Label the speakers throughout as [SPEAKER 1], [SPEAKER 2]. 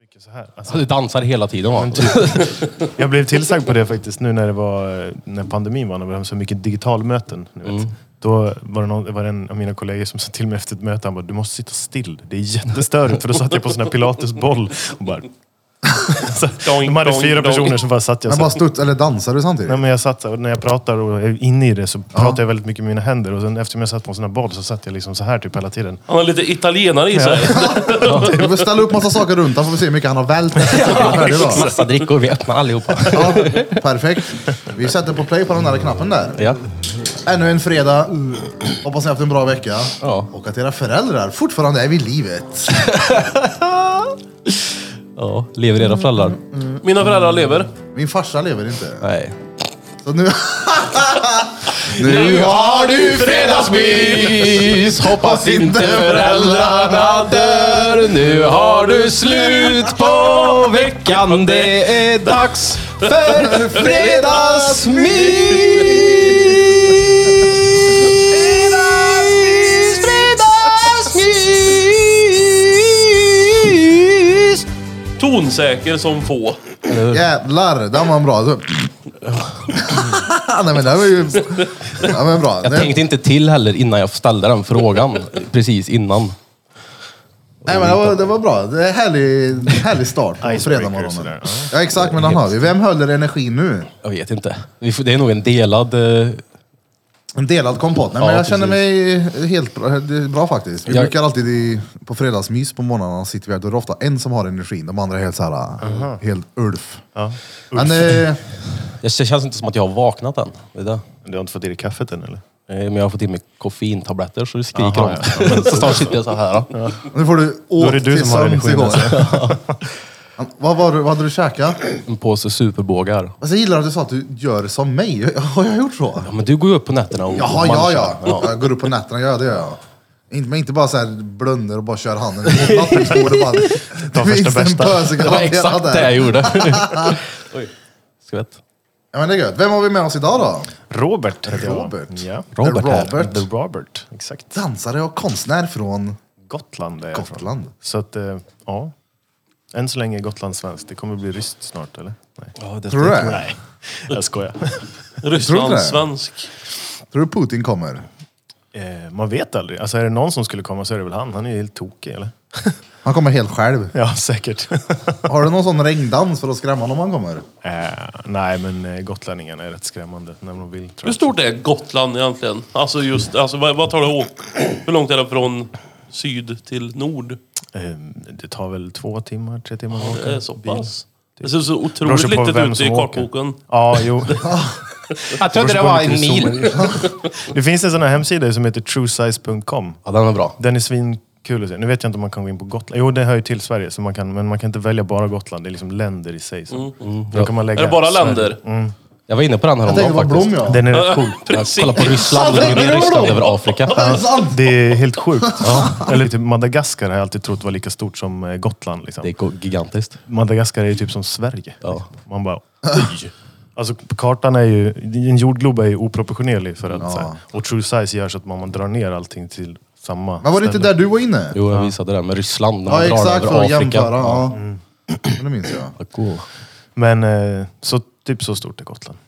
[SPEAKER 1] mycket så här. Alltså,
[SPEAKER 2] Så du dansar hela tiden va?
[SPEAKER 1] jag blev tillsagd på det faktiskt nu när, det var, när pandemin var. När det var så mycket digitalmöten. Ni vet. Då var det, någon, det var en av mina kollegor som sa till mig efter ett möte. Han bara, du måste sitta still. Det är jättestörigt. För då satt jag på sån här pilatesboll. Och bara... så, de hade
[SPEAKER 3] dong,
[SPEAKER 1] fyra
[SPEAKER 3] dong.
[SPEAKER 1] personer som bara satt. Jag
[SPEAKER 4] Men
[SPEAKER 1] satt
[SPEAKER 4] bara studs, eller dansar du samtidigt?
[SPEAKER 1] Nej, men jag satt, så här, och när jag pratar och är inne i det så pratar jag väldigt mycket med mina händer. Och sen eftersom jag satt på en sån här boll så satt jag liksom så här typ hela tiden.
[SPEAKER 3] Han har lite italienare i sig.
[SPEAKER 4] Du får ställa upp massa saker runt, han får vi se hur mycket han har vält. efter att han är färdig då.
[SPEAKER 2] Massa drickor, vi öppnar allihopa.
[SPEAKER 4] Ja, perfekt. Vi sätter på play på den där knappen där.
[SPEAKER 2] Ja.
[SPEAKER 4] Ännu en fredag. Hoppas ni har haft en bra vecka.
[SPEAKER 2] Ja.
[SPEAKER 4] Och att era föräldrar fortfarande är vid livet.
[SPEAKER 2] ja, lever era föräldrar?
[SPEAKER 3] Mina föräldrar lever.
[SPEAKER 4] Min farsa lever inte.
[SPEAKER 2] Nej.
[SPEAKER 4] Så nu... nu har du
[SPEAKER 2] fredagsmys, hoppas inte föräldrarna dör. Nu har du slut på veckan, det är dags för fredagsmys. Fredagsmys.
[SPEAKER 3] Tonsäker som få.
[SPEAKER 4] Jävlar, den var bra. Så- Nej men den var ju... Den var bra.
[SPEAKER 2] Jag tänkte inte till heller innan jag ställde den frågan. Precis innan.
[SPEAKER 4] Nej men det var, det var bra. Det är härlig, härlig start på
[SPEAKER 1] Icebreaker
[SPEAKER 4] fredagmorgonen.
[SPEAKER 1] sådär, ja.
[SPEAKER 4] Ja exakt, men den har vi. Vem håller energin nu?
[SPEAKER 2] Jag vet inte. Vi får- Det är nog en delad... eh,
[SPEAKER 4] En delad kompott. Nej,
[SPEAKER 2] Ja,
[SPEAKER 4] men jag känner mig helt bra, det är bra faktiskt. Vi
[SPEAKER 2] Jag-
[SPEAKER 4] brukar alltid i, på fredagsmys på morgnarna sitter vi här. Då är det ofta en som har energin. De andra är helt såhär, helt Ulf.
[SPEAKER 1] Ja.
[SPEAKER 4] Men eh,
[SPEAKER 2] Det känns inte som att jag har vaknat än. Det är det.
[SPEAKER 1] Du har inte fått i dig kaffet än eller?
[SPEAKER 2] Eh, Men jag har fått i mig koffeintabletter så det skriker
[SPEAKER 1] Aha,
[SPEAKER 2] om det. Så snart sitter jag så här. då.
[SPEAKER 4] nu får du
[SPEAKER 1] är det
[SPEAKER 4] åt
[SPEAKER 1] du
[SPEAKER 4] till
[SPEAKER 1] som har
[SPEAKER 4] sömns
[SPEAKER 1] energin, alltså.
[SPEAKER 4] igår. vad, var, du- vad hade du käkat?
[SPEAKER 2] En påse superbågar.
[SPEAKER 4] Alltså, jag gillar att du sa att du gör som mig. Har jag gjort så?
[SPEAKER 2] Ja, men du går ju upp på nätterna och
[SPEAKER 4] Jaha,
[SPEAKER 2] och
[SPEAKER 4] ja,
[SPEAKER 2] munchar.
[SPEAKER 4] ja. Jag går upp på nätterna, ja det gör jag. Inte, men inte bara såhär blundar och bara kör handen mot nattduksbordet. bara,
[SPEAKER 1] Ta
[SPEAKER 4] Det
[SPEAKER 1] första
[SPEAKER 4] finns en
[SPEAKER 1] bästa.
[SPEAKER 4] pöse
[SPEAKER 2] Det var
[SPEAKER 4] garanterat
[SPEAKER 2] exakt
[SPEAKER 4] där.
[SPEAKER 2] det jag gjorde. Oj, skvätt.
[SPEAKER 4] Ja, men det är gött. Vem har vi med oss idag då?
[SPEAKER 1] Robert heter jag.
[SPEAKER 4] Robert.
[SPEAKER 1] Ja.
[SPEAKER 2] Robert
[SPEAKER 4] The
[SPEAKER 2] här.
[SPEAKER 4] Robert.
[SPEAKER 1] The Robert, exakt.
[SPEAKER 4] Dansare och konstnär från
[SPEAKER 1] Gotland är jag från.
[SPEAKER 4] Gotland.
[SPEAKER 1] Så att, eh, ja. Än så länge är Gotland svenskt. Det kommer bli ryskt snart eller? Nej,
[SPEAKER 4] Tror du det?
[SPEAKER 1] jag skojar.
[SPEAKER 4] Tror du det?
[SPEAKER 3] Rysslandssvensk.
[SPEAKER 4] Tror du Putin kommer?
[SPEAKER 1] eh, man vet aldrig. Alltså är det någon som skulle komma så är det väl han. Han är ju helt tokig eller?
[SPEAKER 4] Han kommer helt själv.
[SPEAKER 1] Ja, säkert.
[SPEAKER 4] Har du någon sån regndans för att skrämma honom om han kommer?
[SPEAKER 1] eh, nej, men eh, gotlänningarna är rätt skrämmande när de vill. Tror
[SPEAKER 3] Hur
[SPEAKER 1] jag.
[SPEAKER 3] stort är Gotland egentligen? Alltså just, alltså vad, vad tar det åk? Hur långt är det från syd till nord?
[SPEAKER 1] Eh, det tar väl två timmar, tre timmar att åka.
[SPEAKER 3] Mm. Det är så
[SPEAKER 1] bil.
[SPEAKER 3] pass. Det ser så
[SPEAKER 1] Beror
[SPEAKER 3] otroligt
[SPEAKER 1] sig på
[SPEAKER 3] litet
[SPEAKER 1] vem
[SPEAKER 3] ut
[SPEAKER 1] som
[SPEAKER 3] i
[SPEAKER 1] åker.
[SPEAKER 3] kartboken.
[SPEAKER 1] Ja, jo.
[SPEAKER 2] Jag trodde det var en mil.
[SPEAKER 1] Det finns en sån här hemsida som heter truesize.com.
[SPEAKER 2] Ja, den var bra.
[SPEAKER 1] Den är svinkul att se. Nu vet jag inte om man kan gå in på Gotland. Jo, det hör ju till Sverige, så man kan, men man kan inte välja bara Gotland. Det är liksom länder i sig. Så.
[SPEAKER 4] Mm.
[SPEAKER 1] Då kan man
[SPEAKER 3] Mm. Är
[SPEAKER 1] lägga
[SPEAKER 3] det bara
[SPEAKER 1] Sverige.
[SPEAKER 3] länder?
[SPEAKER 2] Jag var inne på den här
[SPEAKER 4] Jag
[SPEAKER 2] om
[SPEAKER 4] tänkte
[SPEAKER 2] dagen
[SPEAKER 4] på
[SPEAKER 2] faktiskt.
[SPEAKER 4] Blom ja.
[SPEAKER 1] Den är rätt cool.
[SPEAKER 2] Jag
[SPEAKER 3] Precis.
[SPEAKER 2] kollade på Ryssland,
[SPEAKER 4] Fan, det är
[SPEAKER 2] över Ryssland
[SPEAKER 4] Blom!
[SPEAKER 2] över Afrika.
[SPEAKER 4] Sant!
[SPEAKER 1] Det är helt sjukt. Eller typ Madagaskar har jag alltid trott var lika stort som eh, Gotland.
[SPEAKER 2] Det
[SPEAKER 1] Liksom.
[SPEAKER 2] är gigantiskt.
[SPEAKER 1] Madagaskar är ju typ som Sverige.
[SPEAKER 2] Ja.
[SPEAKER 1] Liksom. Man bara, oj! Alltså kartan är ju, en jordglob är ju oproportionerlig för att så här, Och true size gör så att man, man drar ner allting till samma
[SPEAKER 4] Men var det inte
[SPEAKER 1] ställe.
[SPEAKER 4] där du var inne?
[SPEAKER 2] Jo, jag visade det här med Ryssland när
[SPEAKER 4] Ja
[SPEAKER 2] man drar
[SPEAKER 4] exakt,
[SPEAKER 2] över
[SPEAKER 4] för att
[SPEAKER 2] Afrika. Mm.
[SPEAKER 4] jämföra. Ja. Men Det minns jag.
[SPEAKER 2] Vad cool.
[SPEAKER 1] Men eh, så, typ så stort är Gotland.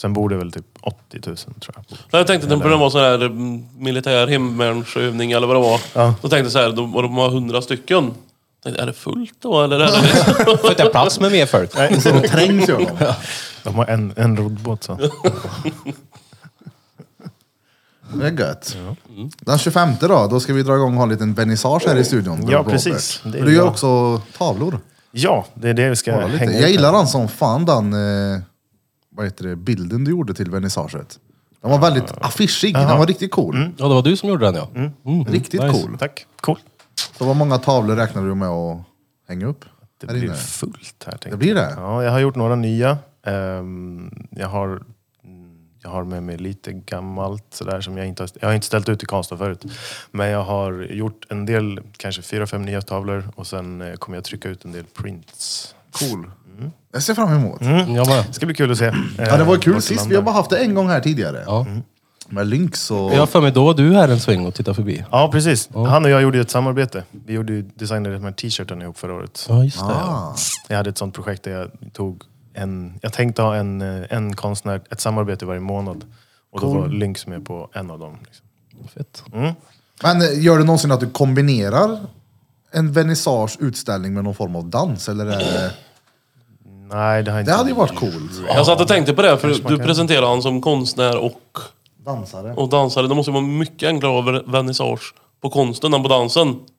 [SPEAKER 1] Sen bor det väl typ 80 000 tror jag.
[SPEAKER 3] Nej, Jag tänkte att det var sån här mm, militär hemvärnsövning eller vad det var. Då tänkte jag så här, de, och de har hundra stycken. Jag Tänkte, är det fullt då eller? Är det
[SPEAKER 2] Får inte jag plats med mer folk?
[SPEAKER 4] Och så de trängs gör de.
[SPEAKER 1] De har en, en roddbåt så.
[SPEAKER 4] Det är gött. Den 25 då, då ska vi dra igång och ha en liten vernissage här i studion.
[SPEAKER 1] Ja,
[SPEAKER 4] Robert.
[SPEAKER 1] precis. Det är
[SPEAKER 4] Du gör
[SPEAKER 1] bra.
[SPEAKER 4] också tavlor.
[SPEAKER 1] Ja, det är det vi ska
[SPEAKER 4] Kolla lite.
[SPEAKER 1] hänga ut
[SPEAKER 4] Jag
[SPEAKER 1] här.
[SPEAKER 4] gillar den som fan, den eh, vad heter det, bilden du gjorde till vernissaget. Den var väldigt affischig, den var riktigt cool.
[SPEAKER 1] Mm.
[SPEAKER 2] Ja, det var du som gjorde den ja. Mm,
[SPEAKER 4] Riktigt
[SPEAKER 2] nice.
[SPEAKER 4] cool.
[SPEAKER 1] Tack. Cool.
[SPEAKER 4] Så vad många tavlor räknar du med att hänga upp?
[SPEAKER 1] Det
[SPEAKER 4] här
[SPEAKER 1] blir
[SPEAKER 4] inne?
[SPEAKER 1] fullt här. tänkte
[SPEAKER 4] Det blir det?
[SPEAKER 1] jag. Ja, jag har gjort några nya. Ehm, jag, har, jag har med mig lite gammalt sådär som jag inte har, jag har inte ställt ut i Karlstad förut. Men jag har gjort en del, kanske fyra, fem nya tavlor och sen eh, kommer jag trycka ut en del prints.
[SPEAKER 4] Cool. Jag ser fram emot.
[SPEAKER 1] Mm.
[SPEAKER 2] Jag med.
[SPEAKER 1] Det ska bli kul att se.
[SPEAKER 4] Ja, det var kul sist, vi har bara haft det en gång här tidigare.
[SPEAKER 2] Ja.
[SPEAKER 4] Med Lynx och...
[SPEAKER 2] Mm. Jag har för mig, då var du här en sväng och tittade förbi.
[SPEAKER 1] Ja, precis. Han och jag gjorde ju ett samarbete. Vi gjorde ju, designade de här t-shirtarna ihop förra året.
[SPEAKER 2] Ja, just det. ja.
[SPEAKER 4] Ah,
[SPEAKER 1] Jag hade ett sånt projekt där jag tog en... Jag tänkte ha en, eh, en konstnär, ett samarbete varje månad. Och då var Lynx med på en av dem. Liksom.
[SPEAKER 2] Fett.
[SPEAKER 4] Men eh, gör du någonsin att du kombinerar en vernissage utställning med någon form av dans? Eller är det...
[SPEAKER 1] Nej, det har inte...
[SPEAKER 4] det hade ju varit coolt.
[SPEAKER 3] Jag satt och tänkte på det, för du presenterade han som konstnär och,
[SPEAKER 4] Dansare.
[SPEAKER 3] och dansare. Det måste ju vara mycket enklare att ha vernissage på konsten än på dansen.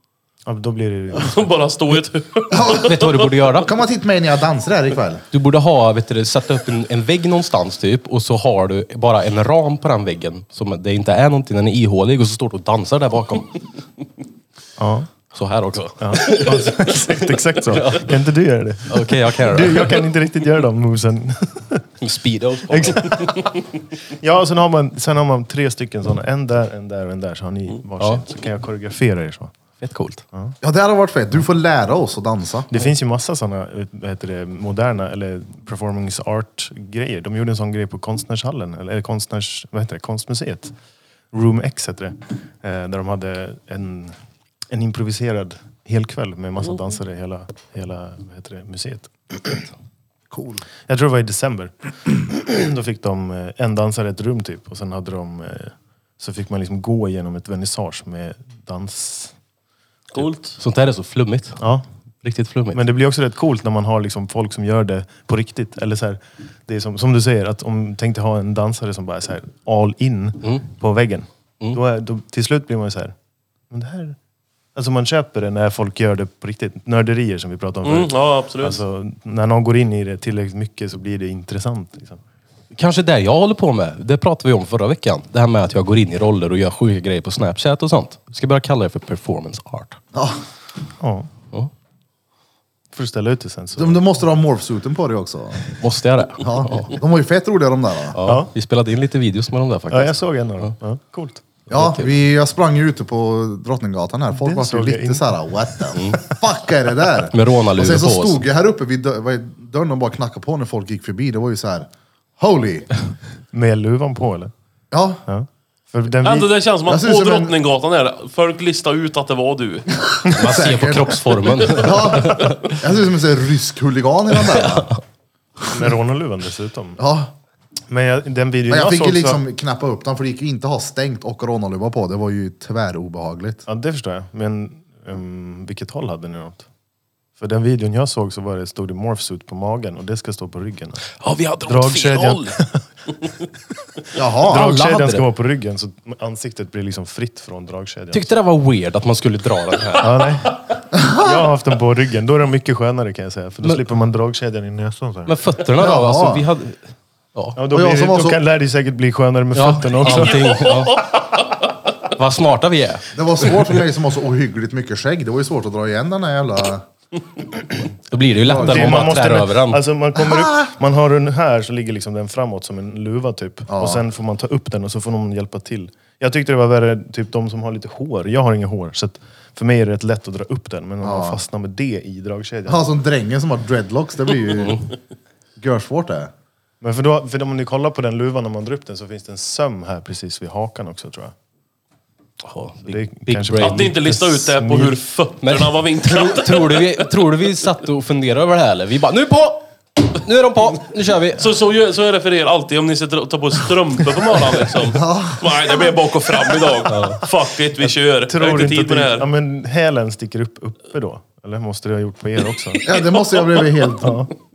[SPEAKER 1] Ja, då blir det ju...
[SPEAKER 3] Bara stå i ett hörn.
[SPEAKER 2] Vet du vad du borde göra?
[SPEAKER 4] Kom och titta på mig när jag dansar här ikväll.
[SPEAKER 2] Du borde ha, vet du, sätta upp en, en vägg någonstans typ och så har du bara en ram på den väggen. Som det inte är någonting, den är ihålig och så står du och dansar där bakom.
[SPEAKER 1] Ja.
[SPEAKER 2] Så här också.
[SPEAKER 1] ja. Alltså, exakt, exakt så. Kan inte du göra det?
[SPEAKER 2] Okej, jag kan göra
[SPEAKER 1] Du,
[SPEAKER 2] det.
[SPEAKER 1] jag kan inte riktigt göra de movesen.
[SPEAKER 2] Speedos.
[SPEAKER 1] Ja, och sen har man, sen har man tre stycken sådana. En där, en där och en där. Så har ni varsin.
[SPEAKER 2] Ja.
[SPEAKER 1] Så kan jag koreografera er så.
[SPEAKER 2] Fett coolt.
[SPEAKER 4] Ja, det hade varit fett. Du får lära oss att dansa.
[SPEAKER 1] Det finns ju massa sådana vad heter det, moderna eller performance art-grejer. De gjorde en sån grej på Konstnärshallen, eller, eller konstnärs, vad heter det, Konstmuseet. Room X heter det. Eh, där de hade en, en improviserad helkväll med massa dansare i hela, hela vad heter det, museet.
[SPEAKER 4] Cool.
[SPEAKER 1] Jag tror det var i december. Då fick de eh, en dansare i ett rum typ och sen hade de eh, så fick man liksom gå igenom ett vernissage med dans.
[SPEAKER 3] Coolt.
[SPEAKER 2] Sånt där är så flummigt.
[SPEAKER 1] Ja,
[SPEAKER 2] Riktigt flummigt.
[SPEAKER 1] Men det blir också rätt coolt när man har liksom folk som gör det på riktigt. Eller så här, det är som, som du säger, att om tänkte ha en dansare som bara är så här all in på väggen. Då är, då, till slut blir man ju så här, men det här... Alltså man köper det när folk gör det på riktigt. Nörderier som vi pratade om
[SPEAKER 3] Mm,
[SPEAKER 1] förut.
[SPEAKER 3] ja, absolut.
[SPEAKER 1] Alltså, när någon går in i det tillräckligt mycket så blir det intressant. Liksom.
[SPEAKER 2] Kanske det jag håller på med. Det pratade vi om förra veckan. Det här med att jag går in i roller och gör sjuka grejer på Snapchat och sånt. Jag ska börja kalla det för performance art.
[SPEAKER 4] Ja,
[SPEAKER 1] Ja.
[SPEAKER 2] Ja.
[SPEAKER 1] För att ställa ut det sen så...
[SPEAKER 4] de, de måste ha morphsuiten på dig också.
[SPEAKER 2] Måste jag det?
[SPEAKER 4] Ja. De var ju fett roliga de där. va?
[SPEAKER 2] Ja, Vi spelade in lite videos med dem där faktiskt.
[SPEAKER 1] Ja, jag såg en av dem. Ja. Coolt.
[SPEAKER 4] Ja, vi, jag sprang ju ute på Drottninggatan här. Folk
[SPEAKER 1] Det
[SPEAKER 4] var ju
[SPEAKER 1] såg jag
[SPEAKER 4] lite
[SPEAKER 1] inte.
[SPEAKER 4] såhär, what the fuck är det där?
[SPEAKER 2] Mm. Med rånarluvor
[SPEAKER 4] Och sen så
[SPEAKER 2] på oss.
[SPEAKER 4] stod jag här uppe vid dö- vad är- dörren och bara knackade på när folk gick förbi. Det var ju så här, holy!
[SPEAKER 1] Med luvan på eller?
[SPEAKER 4] Ja,
[SPEAKER 1] Ja. För den vi...
[SPEAKER 3] Ändå, det känns som
[SPEAKER 4] Jag
[SPEAKER 3] att
[SPEAKER 4] ser
[SPEAKER 3] på
[SPEAKER 4] ut som en-
[SPEAKER 3] Drottninggatan är folk listar ut att det var du.
[SPEAKER 2] Man ser på
[SPEAKER 4] Säkert.
[SPEAKER 2] kroppsformen.
[SPEAKER 4] ja. Jag ser ut som en sån här rysk huligan i den där.
[SPEAKER 1] Med rånarluvan dessutom.
[SPEAKER 4] Ja.
[SPEAKER 1] Men jag, den videon
[SPEAKER 4] Men jag
[SPEAKER 1] jag,
[SPEAKER 4] fick
[SPEAKER 1] såg
[SPEAKER 4] ju
[SPEAKER 1] så-
[SPEAKER 4] liksom knappa upp den för det gick ju inte att ha stängt och rånarluva på. Det var ju tvärobehagligt.
[SPEAKER 1] Ja, det förstår jag. Men um, vilket håll hade ni något? För den videon jag såg så var det, stod det morphsuit på magen och det ska stå på ryggen.
[SPEAKER 2] Ja, vi har dragit fel
[SPEAKER 1] Dragkedjan.
[SPEAKER 2] håll.
[SPEAKER 4] Jaha,
[SPEAKER 2] Dra- hade
[SPEAKER 1] Dragkedjan
[SPEAKER 2] det.
[SPEAKER 1] ska vara på ryggen så ansiktet blir liksom fritt från dragkedjan.
[SPEAKER 2] Tyckte det var weird att man skulle dra den här.
[SPEAKER 1] ja, nej. Jag har haft den på ryggen. Då är den mycket skönare kan jag säga. För då slipper man dragkedjan i näsan. Så här.
[SPEAKER 2] Men fötterna då?
[SPEAKER 4] Jaha.
[SPEAKER 2] Alltså, vi hade... Ja.
[SPEAKER 1] ja, då
[SPEAKER 4] och jag
[SPEAKER 1] blir det,
[SPEAKER 4] som var
[SPEAKER 1] då
[SPEAKER 4] så-
[SPEAKER 1] kan, lär det ju säkert bli skönare med
[SPEAKER 2] Ja,
[SPEAKER 1] fötterna också.
[SPEAKER 2] allting, ja. Vad smarta vi är.
[SPEAKER 4] det var svårt för mig som har så ohyggligt mycket skägg. Det var ju svårt att dra igen den här jävla...
[SPEAKER 2] Då blir det ju lättare
[SPEAKER 1] Det-
[SPEAKER 2] om man bara trär över den.
[SPEAKER 1] Alltså man, kommer upp, man har den här, så ligger liksom den framåt som en luva typ. Och sen får man ta upp den och så får någon hjälpa till. Jag tyckte det var värre, typ de som har lite hår. Jag har inget hår, så att för mig är det rätt lätt att dra upp den. Men om man fastnar med det i dragkedjan.
[SPEAKER 4] Ja, som Alltså, drängen som har dreadlocks. Det blir ju görsvårt det.
[SPEAKER 1] Men för, då, för om ni kollar på den luvan när man drar upp den så finns det en söm här precis vid hakan också tror jag.
[SPEAKER 2] Ja,
[SPEAKER 1] det är
[SPEAKER 2] big, big
[SPEAKER 1] kanske-
[SPEAKER 2] brain.
[SPEAKER 3] Att inte lista ut det på hur fötterna
[SPEAKER 2] Men-
[SPEAKER 3] var vinklade.
[SPEAKER 2] Tror du, vi, tror du vi satt och funderade över det här eller? Vi bara, nu på! Nu är de på! Nu kör vi!
[SPEAKER 3] Så, så, gör- så är det för er alltid om ni sitter och tar på strumpor på morgonen liksom. Nej, det blir bak och fram idag. Fuck it, vi kör. Jag har
[SPEAKER 1] Tror
[SPEAKER 3] inte
[SPEAKER 1] inte
[SPEAKER 3] tid
[SPEAKER 1] att
[SPEAKER 3] med det
[SPEAKER 1] det, ja,
[SPEAKER 3] här.
[SPEAKER 1] men hälen sticker upp uppe då? Eller måste det ha gjort på er också?
[SPEAKER 4] Ja, det måste jag ha blivit helt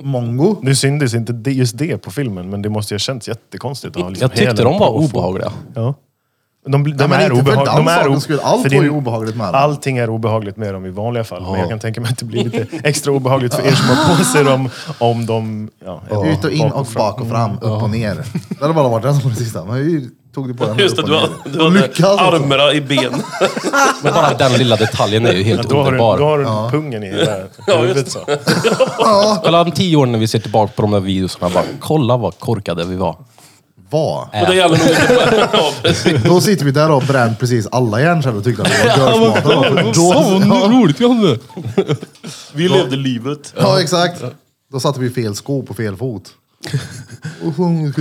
[SPEAKER 4] mongo.
[SPEAKER 1] Nu syntes inte det- just det på filmen, men det måste ju ha känts jättekonstigt. Att ha liksom
[SPEAKER 2] Jag tyckte
[SPEAKER 1] hälen
[SPEAKER 2] de var
[SPEAKER 1] på och få-
[SPEAKER 2] obehagliga.
[SPEAKER 1] Ja. De, bli- de,
[SPEAKER 4] men
[SPEAKER 1] är
[SPEAKER 4] inte för
[SPEAKER 1] obehag-
[SPEAKER 4] dans
[SPEAKER 1] de är
[SPEAKER 4] sakens
[SPEAKER 1] obe-
[SPEAKER 4] skull. Allt
[SPEAKER 1] för det-
[SPEAKER 4] var ju obehagligt med dem.
[SPEAKER 1] Allting är obehagligt med dem i vanliga fall. Men jag kan tänka mig att det blir lite extra obehagligt för er som har på sig dem om de... Ja, ja.
[SPEAKER 4] Ut och in och bak och fram, upp och ner. Det hade bara varit den som var det sista. Men hur tog du på den?
[SPEAKER 3] Just det,
[SPEAKER 4] upp
[SPEAKER 3] du
[SPEAKER 4] och
[SPEAKER 3] har,
[SPEAKER 4] ner?
[SPEAKER 3] du har
[SPEAKER 4] Lyckas alltså.
[SPEAKER 3] armarna i ben.
[SPEAKER 2] Men bara den lilla detaljen är ju helt
[SPEAKER 1] Då har du, då har
[SPEAKER 2] underbar.
[SPEAKER 1] du pungen i hela huvudet. Så.
[SPEAKER 2] Kolla om tio år när vi ser tillbaka på de där videorna. Bara, kolla vad korkade vi var.
[SPEAKER 4] Vad?
[SPEAKER 3] Men det gäller nog inte... Ja, precis.
[SPEAKER 4] Då sitter vi där och bränt precis alla hjärnceller och tyckte att det var görsmarta. Då-
[SPEAKER 2] roligt vi hade!
[SPEAKER 3] Vi levde livet.
[SPEAKER 4] Ja, exakt. Då satte vi fel sko på fel fot. Det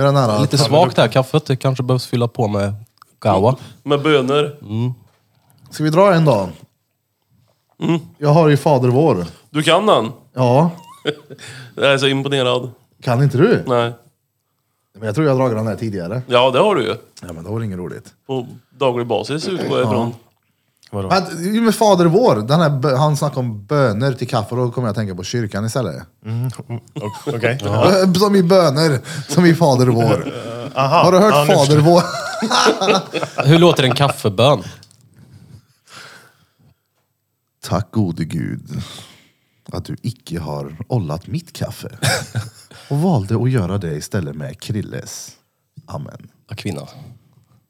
[SPEAKER 4] är den här...
[SPEAKER 2] Lite
[SPEAKER 4] ta-
[SPEAKER 2] svagt det här kaffet. Det kanske behövs fylla på med gawa.
[SPEAKER 3] Med bönor.
[SPEAKER 4] Ska vi dra en dag? Jag har ju Fader vår.
[SPEAKER 3] Du kan den?
[SPEAKER 4] Ja,
[SPEAKER 3] Jag är så imponerad.
[SPEAKER 4] kan inte du?
[SPEAKER 3] Nej.
[SPEAKER 4] Men jag tror jag har dragit den här tidigare.
[SPEAKER 3] Ja, det har du ju.
[SPEAKER 4] Ja, men det var inget roligt.
[SPEAKER 3] På daglig basis utgår jag ifrån.
[SPEAKER 1] Vadå?
[SPEAKER 4] Men ju med Fader vår, den här, bö- han snackade om böner till kaffe och då kommer jag att tänka på kyrkan istället.
[SPEAKER 1] O- Okej.
[SPEAKER 4] Ö, Som i böner, som i Fader vår.
[SPEAKER 1] Aha.
[SPEAKER 4] Har du hört
[SPEAKER 1] Ja, nu
[SPEAKER 4] Fader
[SPEAKER 1] förstår
[SPEAKER 4] vår?
[SPEAKER 2] Hur låter en kaffebön?
[SPEAKER 4] Tack gode gud att du icke har ollat mitt kaffe och valde att göra det istället med Krilles. Amen.
[SPEAKER 2] Akvinna.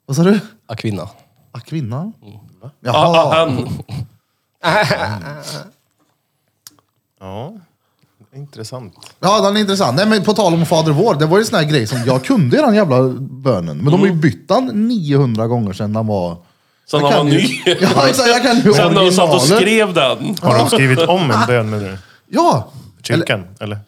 [SPEAKER 4] Vad sa du?
[SPEAKER 2] Akvinna.
[SPEAKER 4] Ah, kvinnan?
[SPEAKER 1] Mm.
[SPEAKER 3] Ah, ah,
[SPEAKER 4] Jaha.
[SPEAKER 3] han.
[SPEAKER 1] Ja. Intressant.
[SPEAKER 4] Ja, den är intressant. Nej, men på tal om Fader vår, det var ju en sån här grej som jag kunde i den jävla bönen. Men de
[SPEAKER 1] Mm.
[SPEAKER 4] har ju bytt den 900 gånger sedan den var...
[SPEAKER 3] Sen
[SPEAKER 4] Jag
[SPEAKER 3] han var
[SPEAKER 4] kan
[SPEAKER 3] ny.
[SPEAKER 4] ju- Ja, exakt. Jag kan ju
[SPEAKER 3] Sen när de satt och
[SPEAKER 4] originalen.
[SPEAKER 3] skrev den.
[SPEAKER 1] Har de skrivit om en bön med det?
[SPEAKER 4] Ja!
[SPEAKER 1] Kyrkan, eller?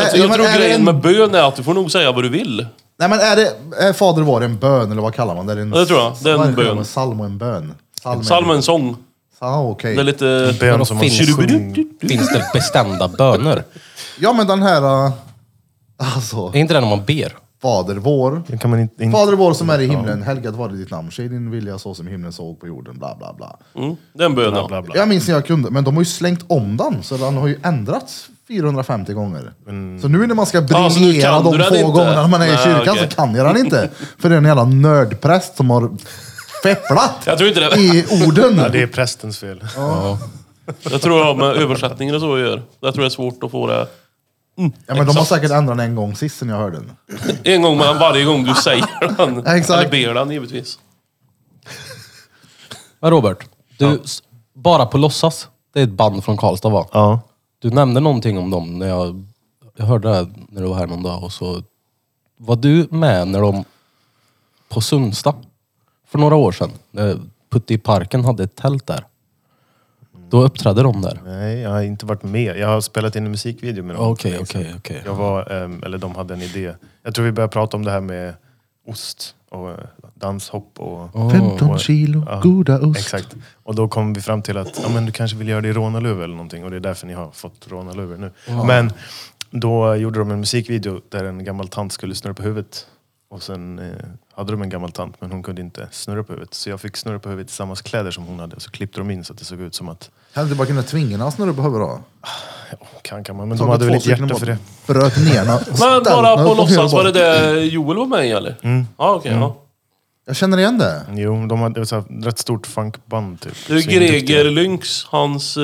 [SPEAKER 3] Alltså,
[SPEAKER 4] Äh,
[SPEAKER 3] jag
[SPEAKER 4] men
[SPEAKER 3] tror
[SPEAKER 4] är det
[SPEAKER 3] grejen
[SPEAKER 4] en-
[SPEAKER 3] med bön är att du får nog säga vad du vill.
[SPEAKER 4] Nej men är det, är Fader vår en bön eller vad kallar man det? Är en,
[SPEAKER 3] Ja, det tror jag. Det är en
[SPEAKER 4] vad kallar man
[SPEAKER 3] bön.
[SPEAKER 4] Psalm och en bön. Psalm.
[SPEAKER 3] Psalm är en sång.
[SPEAKER 4] Ah, okej.
[SPEAKER 3] Det är lite...
[SPEAKER 1] Bön
[SPEAKER 2] Vadå,
[SPEAKER 1] som man
[SPEAKER 2] finns-
[SPEAKER 1] sjunger.
[SPEAKER 2] Finns det bestämda böner?
[SPEAKER 4] Ja men den här... äh, Alltså,
[SPEAKER 2] Är inte det när man ber?
[SPEAKER 4] Fader vår.
[SPEAKER 1] Det kan man inte... inte-
[SPEAKER 4] Fader vår som är i himlen, helgat var det ditt namn. Ske din vilja så som i himlen såg på jorden. Bla bla bla.
[SPEAKER 3] Mm, det är en bön,
[SPEAKER 1] Bla,
[SPEAKER 3] ja.
[SPEAKER 1] bla, bla.
[SPEAKER 4] Jag minns när jag kunde, men de har ju slängt om den så den har ju ändrats 450 gånger. Så nu när man ska briljera
[SPEAKER 3] Ah, så nu kan
[SPEAKER 4] de
[SPEAKER 3] du den
[SPEAKER 4] få
[SPEAKER 3] inte?
[SPEAKER 4] gångerna man är i
[SPEAKER 3] Nej,
[SPEAKER 4] kyrkan
[SPEAKER 3] okej.
[SPEAKER 4] så kan jag den inte. För det är en jävla nördpräst som har fepplat
[SPEAKER 3] Jag tror inte det.
[SPEAKER 4] i orden.
[SPEAKER 1] Ja, det är prästens fel.
[SPEAKER 3] Jag tror det har med översättningen och så att göra. Jag tror det är svårt att få det.
[SPEAKER 4] Ja, men de har
[SPEAKER 3] Exakt.
[SPEAKER 4] säkert ändrat den en gång sist sen jag hörde den.
[SPEAKER 3] En gång mellan varje gång du säger den.
[SPEAKER 4] Ja, exakt.
[SPEAKER 3] Eller ber den givetvis.
[SPEAKER 2] Men Robert, du, s- bara på låtsas. Det är ett band från Karlstad va?
[SPEAKER 1] Ja.
[SPEAKER 2] Du nämnde någonting om dem när jag, jag hörde det här när du var här någon dag och så var du med när de på Sundsta för några år sedan, när Putte i parken hade ett tält där. Då uppträdde de där.
[SPEAKER 1] Nej, jag har inte varit med. Jag har spelat in en musikvideo med dem.
[SPEAKER 2] Okej, okej, okej.
[SPEAKER 1] Jag var, ehm, eller de hade en idé. Jag tror vi började prata om det här med ost och eh, danshopp och...
[SPEAKER 4] 15 kilo
[SPEAKER 1] Ja,
[SPEAKER 4] goda ost.
[SPEAKER 1] Exakt. Och då kom vi fram till att ja, men du kanske vill göra det i rånarluvor eller någonting och det är därför ni har fått rånarluvor nu. Men då gjorde de en musikvideo där en gammal tant skulle snurra på huvudet. Och sen eh, hade de en gammal tant men hon kunde inte snurra på huvudet. Så jag fick snurra på huvudet i samma kläder som hon hade och så klippte de in så att det såg ut som att...
[SPEAKER 4] Kan du inte bara kunna tvinga hans när du behöver då?
[SPEAKER 1] Ja, kan kan man, men
[SPEAKER 4] Tagit
[SPEAKER 1] de hade väl
[SPEAKER 4] två
[SPEAKER 1] inte
[SPEAKER 4] stycken
[SPEAKER 1] hjärta
[SPEAKER 4] och
[SPEAKER 1] för det.
[SPEAKER 4] Bröt ner den och
[SPEAKER 3] Men
[SPEAKER 4] ställt
[SPEAKER 3] bara
[SPEAKER 4] den
[SPEAKER 3] på
[SPEAKER 4] upp och
[SPEAKER 3] låtsas,
[SPEAKER 4] ner
[SPEAKER 3] var det
[SPEAKER 4] bak.
[SPEAKER 3] det Joel var med i eller?
[SPEAKER 4] Mm.
[SPEAKER 3] Ja, okej. ja.
[SPEAKER 4] Jag känner igen det.
[SPEAKER 1] Jo, de hade ett så här, rätt stort funkband typ.
[SPEAKER 3] Det är
[SPEAKER 1] Så induktiga.
[SPEAKER 3] Greger Lynx, hans eh,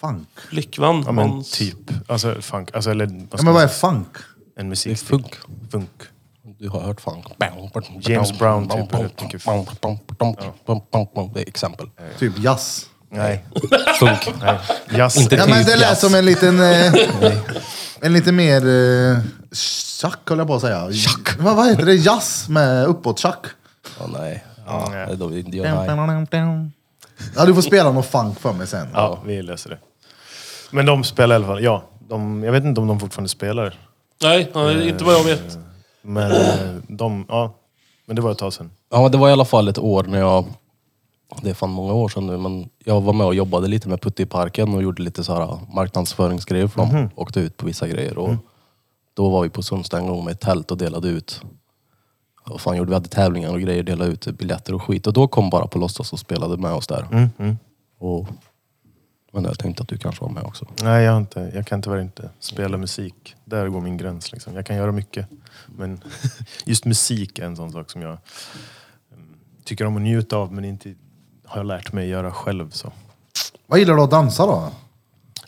[SPEAKER 4] Funk.
[SPEAKER 3] flickvän.
[SPEAKER 1] Ja men
[SPEAKER 3] hans...
[SPEAKER 1] typ. Alltså funk. Alltså, eller, vad ska
[SPEAKER 4] Ja, men
[SPEAKER 1] man
[SPEAKER 4] vad är
[SPEAKER 1] säga?
[SPEAKER 4] funk?
[SPEAKER 1] En
[SPEAKER 2] Det är
[SPEAKER 1] musik. typ.
[SPEAKER 2] funk.
[SPEAKER 1] Funk.
[SPEAKER 2] Du har hört funk.
[SPEAKER 1] James Brown typ, väldigt mycket
[SPEAKER 2] Det är exempel.
[SPEAKER 4] Typ jazz.
[SPEAKER 1] Nej.
[SPEAKER 2] Funk.
[SPEAKER 1] Jazz.
[SPEAKER 2] Inte
[SPEAKER 4] Ja, men det
[SPEAKER 2] Typ
[SPEAKER 4] lät
[SPEAKER 2] jazz.
[SPEAKER 4] som en liten... Eh, en lite mer... Eh, tjack höll jag på att säga. Tjack. Vad, vad heter det? Jazz med uppåt-tjack.
[SPEAKER 2] Ja, nej. Ja,
[SPEAKER 1] Nej.
[SPEAKER 2] det är då vi inte gör nej.
[SPEAKER 4] Ja, du får spela någon funk för mig sen.
[SPEAKER 1] Ja, vi löser det. Men de spelar i alla fall, ja. De, jag vet inte om de fortfarande spelar.
[SPEAKER 3] Nej, nej, inte vad jag vet.
[SPEAKER 1] Men eh, de, ja. Men det var ett tag sedan.
[SPEAKER 2] Ja, men det var i alla fall ett år när jag... Det är fan många år sedan nu, men jag var med och jobbade lite med Putte i parken och gjorde lite så här äh, marknadsföringsgrejer för dem. Åkte ut på vissa grejer. Och Då var vi på Sundsta en gång med ett tält och delade ut. Vad fan gjorde vi? Vi hade tävlingar och grejer, delade ut biljetter och skit. Och då kom bara på låtsas och spelade med oss där. Och, men jag tänkte att du kanske var med också.
[SPEAKER 1] Nej, jag, har inte, jag kan tyvärr inte spela musik. Där går min gräns. Liksom. Jag kan göra mycket. Men just musik är en sån sak som jag mm, tycker om att njuta av men inte har jag lärt mig göra själv. Så.
[SPEAKER 4] Vad gillar du att dansa då?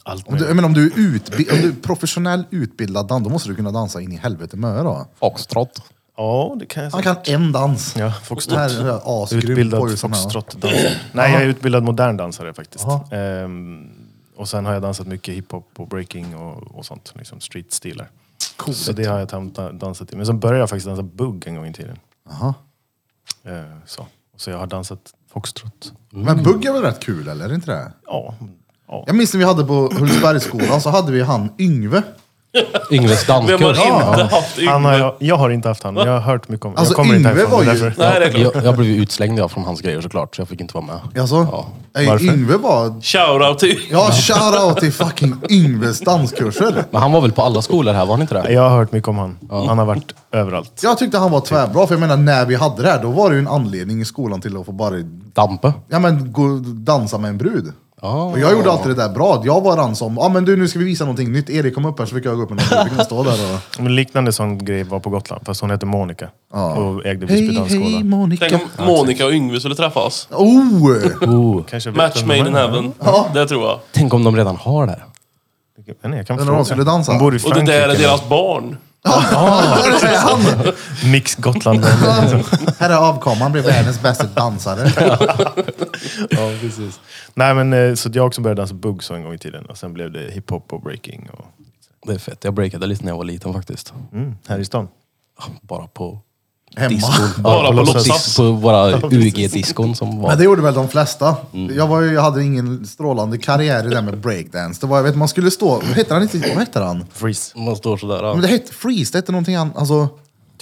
[SPEAKER 1] Allt
[SPEAKER 4] Om du,
[SPEAKER 1] möjligt.
[SPEAKER 4] jag menar, om, du är utbi- om du är professionell utbildad dans, då måste du kunna dansa in i helvete med då.
[SPEAKER 2] Foxtrot.
[SPEAKER 1] Ja, det kan jag
[SPEAKER 4] Han
[SPEAKER 1] säga.
[SPEAKER 4] kan en dans.
[SPEAKER 1] Ja,
[SPEAKER 4] Den
[SPEAKER 1] foxtrot.
[SPEAKER 4] här är jag asgrym på
[SPEAKER 1] Utbildad
[SPEAKER 4] just den här.
[SPEAKER 1] foxtrotdansare. Nej, jag är utbildad modern dansare faktiskt.
[SPEAKER 4] Jaha.
[SPEAKER 1] Ehm, och sen har jag dansat mycket hiphop och breaking och, och sånt. Liksom streetstilar. Så det har jag tam- ta- dansat i. Men sen började jag faktiskt dansa bugg en gång i tiden.
[SPEAKER 4] Jaha.
[SPEAKER 1] Ehm, så. så jag har dansat foxtrot.
[SPEAKER 4] Men bugg är väl rätt kul, eller? Är det inte det?
[SPEAKER 1] Ja. ja.
[SPEAKER 4] Jag minns när vi hade på Hultsbergsskolan så hade vi han Yngve.
[SPEAKER 2] Yngves
[SPEAKER 3] Vem har
[SPEAKER 2] danskurs.
[SPEAKER 3] inte
[SPEAKER 2] Ja.
[SPEAKER 3] haft
[SPEAKER 1] Han har,
[SPEAKER 3] Yngve?
[SPEAKER 1] jag, jag har inte haft han, men jag har hört mycket om honom.
[SPEAKER 4] Alltså,
[SPEAKER 1] jag kommer inte
[SPEAKER 4] Yngve
[SPEAKER 1] härifrån,
[SPEAKER 4] var
[SPEAKER 1] det är
[SPEAKER 4] ju-
[SPEAKER 1] därför-
[SPEAKER 3] Nej, det är klart.
[SPEAKER 2] Jag, jag blev ju utslängd jag från hans grejer såklart, så jag fick inte vara med.
[SPEAKER 4] Alltså,
[SPEAKER 2] Ja.
[SPEAKER 4] nej,
[SPEAKER 1] Varför?
[SPEAKER 4] Yngve var...
[SPEAKER 3] Shoutout till...
[SPEAKER 4] Ja, shoutout till fucking Yngves danskurser.
[SPEAKER 2] Men han var väl på alla skolor här, var han inte det?
[SPEAKER 1] Jag har hört mycket om han. Han har varit överallt.
[SPEAKER 4] Jag tyckte han var tvärbra, för jag menar när vi hade det här, då var det ju en anledning i skolan till att få bara
[SPEAKER 2] Dampe.
[SPEAKER 4] ja, men, gå, dansa med en brud.
[SPEAKER 2] Ah.
[SPEAKER 4] Och jag gjorde alltid det där bra. Jag var den som, ja ah, men du nu ska vi visa någonting nytt. Erik kom upp här så fick jag gå upp med någon brud. Vi kan stå där och...
[SPEAKER 1] Men liknande sån grej var på Gotland, fast hon hette Monica. Och ägde Visby
[SPEAKER 4] Hej,
[SPEAKER 1] dansskola.
[SPEAKER 4] hej Monica.
[SPEAKER 3] Tänk
[SPEAKER 1] typ.
[SPEAKER 3] om Monica och Yngve skulle träffas.
[SPEAKER 4] Oh!
[SPEAKER 2] Oh.
[SPEAKER 1] Kanske vet
[SPEAKER 3] Match
[SPEAKER 1] vem
[SPEAKER 3] made
[SPEAKER 1] hon
[SPEAKER 3] in
[SPEAKER 1] är.
[SPEAKER 3] heaven.
[SPEAKER 4] Ja.
[SPEAKER 3] Det tror jag.
[SPEAKER 2] Tänk om de redan har det.
[SPEAKER 1] Jag vet inte, Jag kan
[SPEAKER 4] Men om de skulle dansa?
[SPEAKER 1] Hon bor i
[SPEAKER 3] Och det
[SPEAKER 1] Frankrike.
[SPEAKER 3] där är deras barn.
[SPEAKER 4] Där är han!
[SPEAKER 1] Mix Gotland.
[SPEAKER 4] Här är avkomman, blev världens bästa dansare.
[SPEAKER 1] ja, precis. Nej, men, eh, så att jag också började dansa bugg en gång i tiden. Och sen blev det hiphop och breaking. Och,
[SPEAKER 2] Det är fett. Jag breakade lite när jag var liten faktiskt.
[SPEAKER 1] mm, här i stan.
[SPEAKER 2] Bara på
[SPEAKER 4] Hemma.
[SPEAKER 2] diskon.
[SPEAKER 3] Bara på
[SPEAKER 1] låtsas.
[SPEAKER 3] låtsas.
[SPEAKER 2] På våra UG-diskon som var...
[SPEAKER 4] Men det gjorde väl de flesta. Jag, var ju, jag hade ingen strålande karriär i det där med breakdance. Det var, jag vet, man skulle stå... Vad hette han inte? Vad hette han?
[SPEAKER 1] Freeze.
[SPEAKER 2] Man står sådär.
[SPEAKER 4] Men
[SPEAKER 2] Ja.
[SPEAKER 4] det hette freeze, det hette någonting annat. Alltså,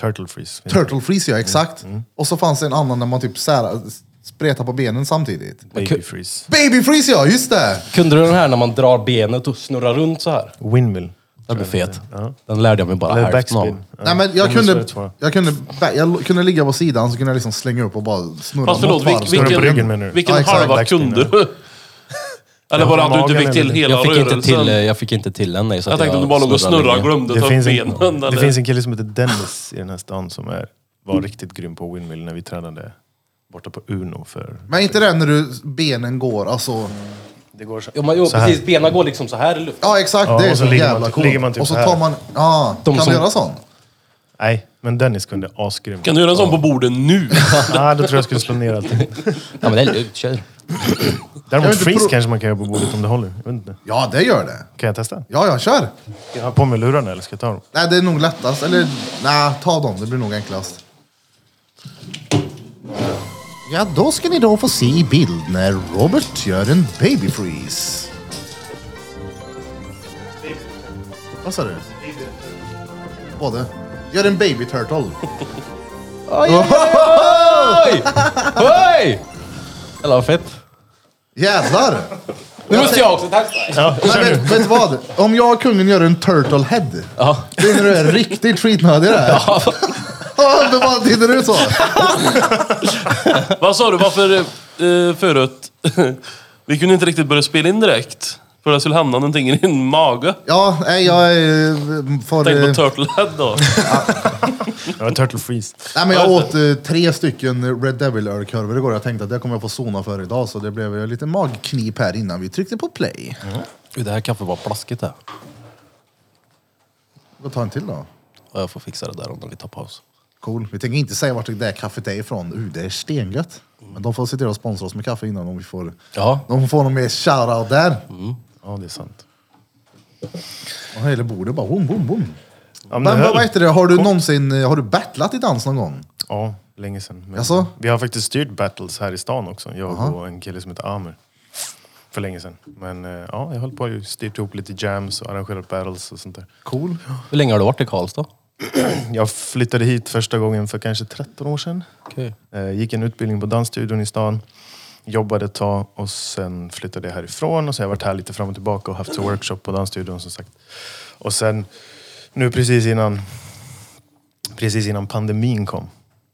[SPEAKER 1] Turtle freeze.
[SPEAKER 4] turtle freeze ja, exakt. Och så fanns det en annan när man typ sära, spretar på benen samtidigt.
[SPEAKER 1] Baby freeze.
[SPEAKER 4] Baby freeze ja, just det!
[SPEAKER 2] Kunde du den här när man drar benet och snurrar runt så här?
[SPEAKER 1] Windmill.
[SPEAKER 2] Den blir fet. Den lärde jag mig bara
[SPEAKER 1] Eller
[SPEAKER 2] hälften av.
[SPEAKER 1] backspin. Ja.
[SPEAKER 4] Nej, men
[SPEAKER 1] De
[SPEAKER 4] jag,
[SPEAKER 1] är så
[SPEAKER 4] kunde,
[SPEAKER 1] rätt svåra.
[SPEAKER 4] jag, kunde, jag kunde ligga på sidan så kunde jag liksom slänga upp och bara snurra
[SPEAKER 3] Fast
[SPEAKER 4] något
[SPEAKER 3] förlåt,
[SPEAKER 4] varv.
[SPEAKER 3] vil-
[SPEAKER 4] Så-
[SPEAKER 1] Står du på ryggen menar du?
[SPEAKER 3] vilken, vilken
[SPEAKER 4] Ja, exakt.
[SPEAKER 3] halva
[SPEAKER 1] Backspin,
[SPEAKER 3] kunde du? Eller bara att du inte fick till
[SPEAKER 1] Jag
[SPEAKER 3] hela
[SPEAKER 2] Jag fick, inte
[SPEAKER 3] rörelsen?
[SPEAKER 2] till, eh, jag fick inte till den nej, så
[SPEAKER 3] Jag tänkte att du bara låg och snurrade och glömde att
[SPEAKER 1] Det,
[SPEAKER 3] ta upp
[SPEAKER 1] finns en,
[SPEAKER 3] benen.
[SPEAKER 1] det
[SPEAKER 3] eller?
[SPEAKER 1] finns en kille som heter Dennis i den här stan som är, var riktigt grym på windmill när vi tränade borta på Uno för...
[SPEAKER 4] Men inte det när du, benen går, alltså.
[SPEAKER 1] Det går så.
[SPEAKER 2] Jo, men, jo
[SPEAKER 1] Så här.
[SPEAKER 2] precis. Benen går liksom så här i luften.
[SPEAKER 4] Ja exakt,
[SPEAKER 1] Ja,
[SPEAKER 4] det är
[SPEAKER 1] och
[SPEAKER 4] så,
[SPEAKER 1] så ligger man
[SPEAKER 4] jävla
[SPEAKER 1] typ-
[SPEAKER 4] coolt.
[SPEAKER 1] ligger man typ
[SPEAKER 4] och så
[SPEAKER 1] så här.
[SPEAKER 4] tar man, ja,
[SPEAKER 2] De
[SPEAKER 4] kan
[SPEAKER 2] som-
[SPEAKER 4] du göra sån?
[SPEAKER 1] Nej, men Dennis kunde asgrym.
[SPEAKER 3] Kan du göra en sån på bordet nu?
[SPEAKER 1] ah, då tror jag jag skulle slå ner allting.
[SPEAKER 2] Ja, men det är lugnt. Kör.
[SPEAKER 1] Däremot
[SPEAKER 4] inte
[SPEAKER 1] freeze
[SPEAKER 4] pro-
[SPEAKER 1] kanske man kan göra på bordet om det håller. Jag vet inte.
[SPEAKER 4] Ja det gör det.
[SPEAKER 1] Kan jag testa?
[SPEAKER 4] Ja, ja, kör!
[SPEAKER 1] Ska jag ha på mig lurarna eller ska jag ta dem?
[SPEAKER 4] Nej, det är nog lättast. Eller nej, ta dem. Det blir nog enklast. Ja, då ska ni då få se i bild när Robert gör en baby freeze. Vad sa du? Både. Gör en baby turtle.
[SPEAKER 2] Oj! Oj! Eller vad fett.
[SPEAKER 4] Jävlar!
[SPEAKER 2] Nu måste jag också testa.
[SPEAKER 4] Nej, vet, vet du vad? Om jag och kungen gör en turtle head.
[SPEAKER 2] Ja.
[SPEAKER 4] Det är när du är riktigt skitnödig där. Ja. Men vad hinner du så?
[SPEAKER 3] Vad sa du? Varför eh, förut? Vi kunde inte riktigt börja spela in direkt. För det skulle hamna någonting i din mage.
[SPEAKER 4] Ja, nej, jag eh, får...
[SPEAKER 3] Tänk på
[SPEAKER 4] eh,
[SPEAKER 3] Turtlehead då.
[SPEAKER 1] Ja, turtle freeze.
[SPEAKER 4] Nej, men jag åt eh, tre stycken Red Devil ölkorvar igår. Jag tänkte att det kommer jag få sona för idag, så det blev en liten magknip här innan vi tryckte på play.
[SPEAKER 2] Gud, Det här kaffet var plaskigt det.
[SPEAKER 4] Då tar en till då.
[SPEAKER 2] Ja, Jag får fixa det där om de vill ta paus.
[SPEAKER 4] Cool. Vi tänker inte säga vart det där kaffet är ifrån. Uh, det är stengött. Men de får se till att sponsra oss med kaffe innan om vi får...
[SPEAKER 2] Ja.
[SPEAKER 4] De får någon mer shoutout där.
[SPEAKER 1] Ja, det är sant.
[SPEAKER 4] Och hela bordet bara boom, boom, boom.
[SPEAKER 1] Ja, men
[SPEAKER 4] Men
[SPEAKER 1] det
[SPEAKER 4] vad
[SPEAKER 1] höll.
[SPEAKER 4] vad heter det, har du någonsin, eh, har du battlat i dans någon gång?
[SPEAKER 1] Ja, länge sedan. Men
[SPEAKER 4] Jaså?
[SPEAKER 1] Vi har faktiskt styrt battles här i stan också. Jag och en kille som heter Amer. För länge sedan. Men eh, ja, jag höll på och styrt ihop lite jams och arrangerat battles och sånt där.
[SPEAKER 4] Cool.
[SPEAKER 2] Hur länge har du varit i Karlstad?
[SPEAKER 1] Jag flyttade hit första gången för kanske 13 år sedan.
[SPEAKER 2] Okej.
[SPEAKER 1] Eh, Gick en utbildning på dansstudion i stan. Jobbade ett tag och sen flyttade jag härifrån. Och så har jag varit här lite fram och tillbaka och haft så workshop på dansstudion som sagt. Och sen nu precis innan, precis innan pandemin kom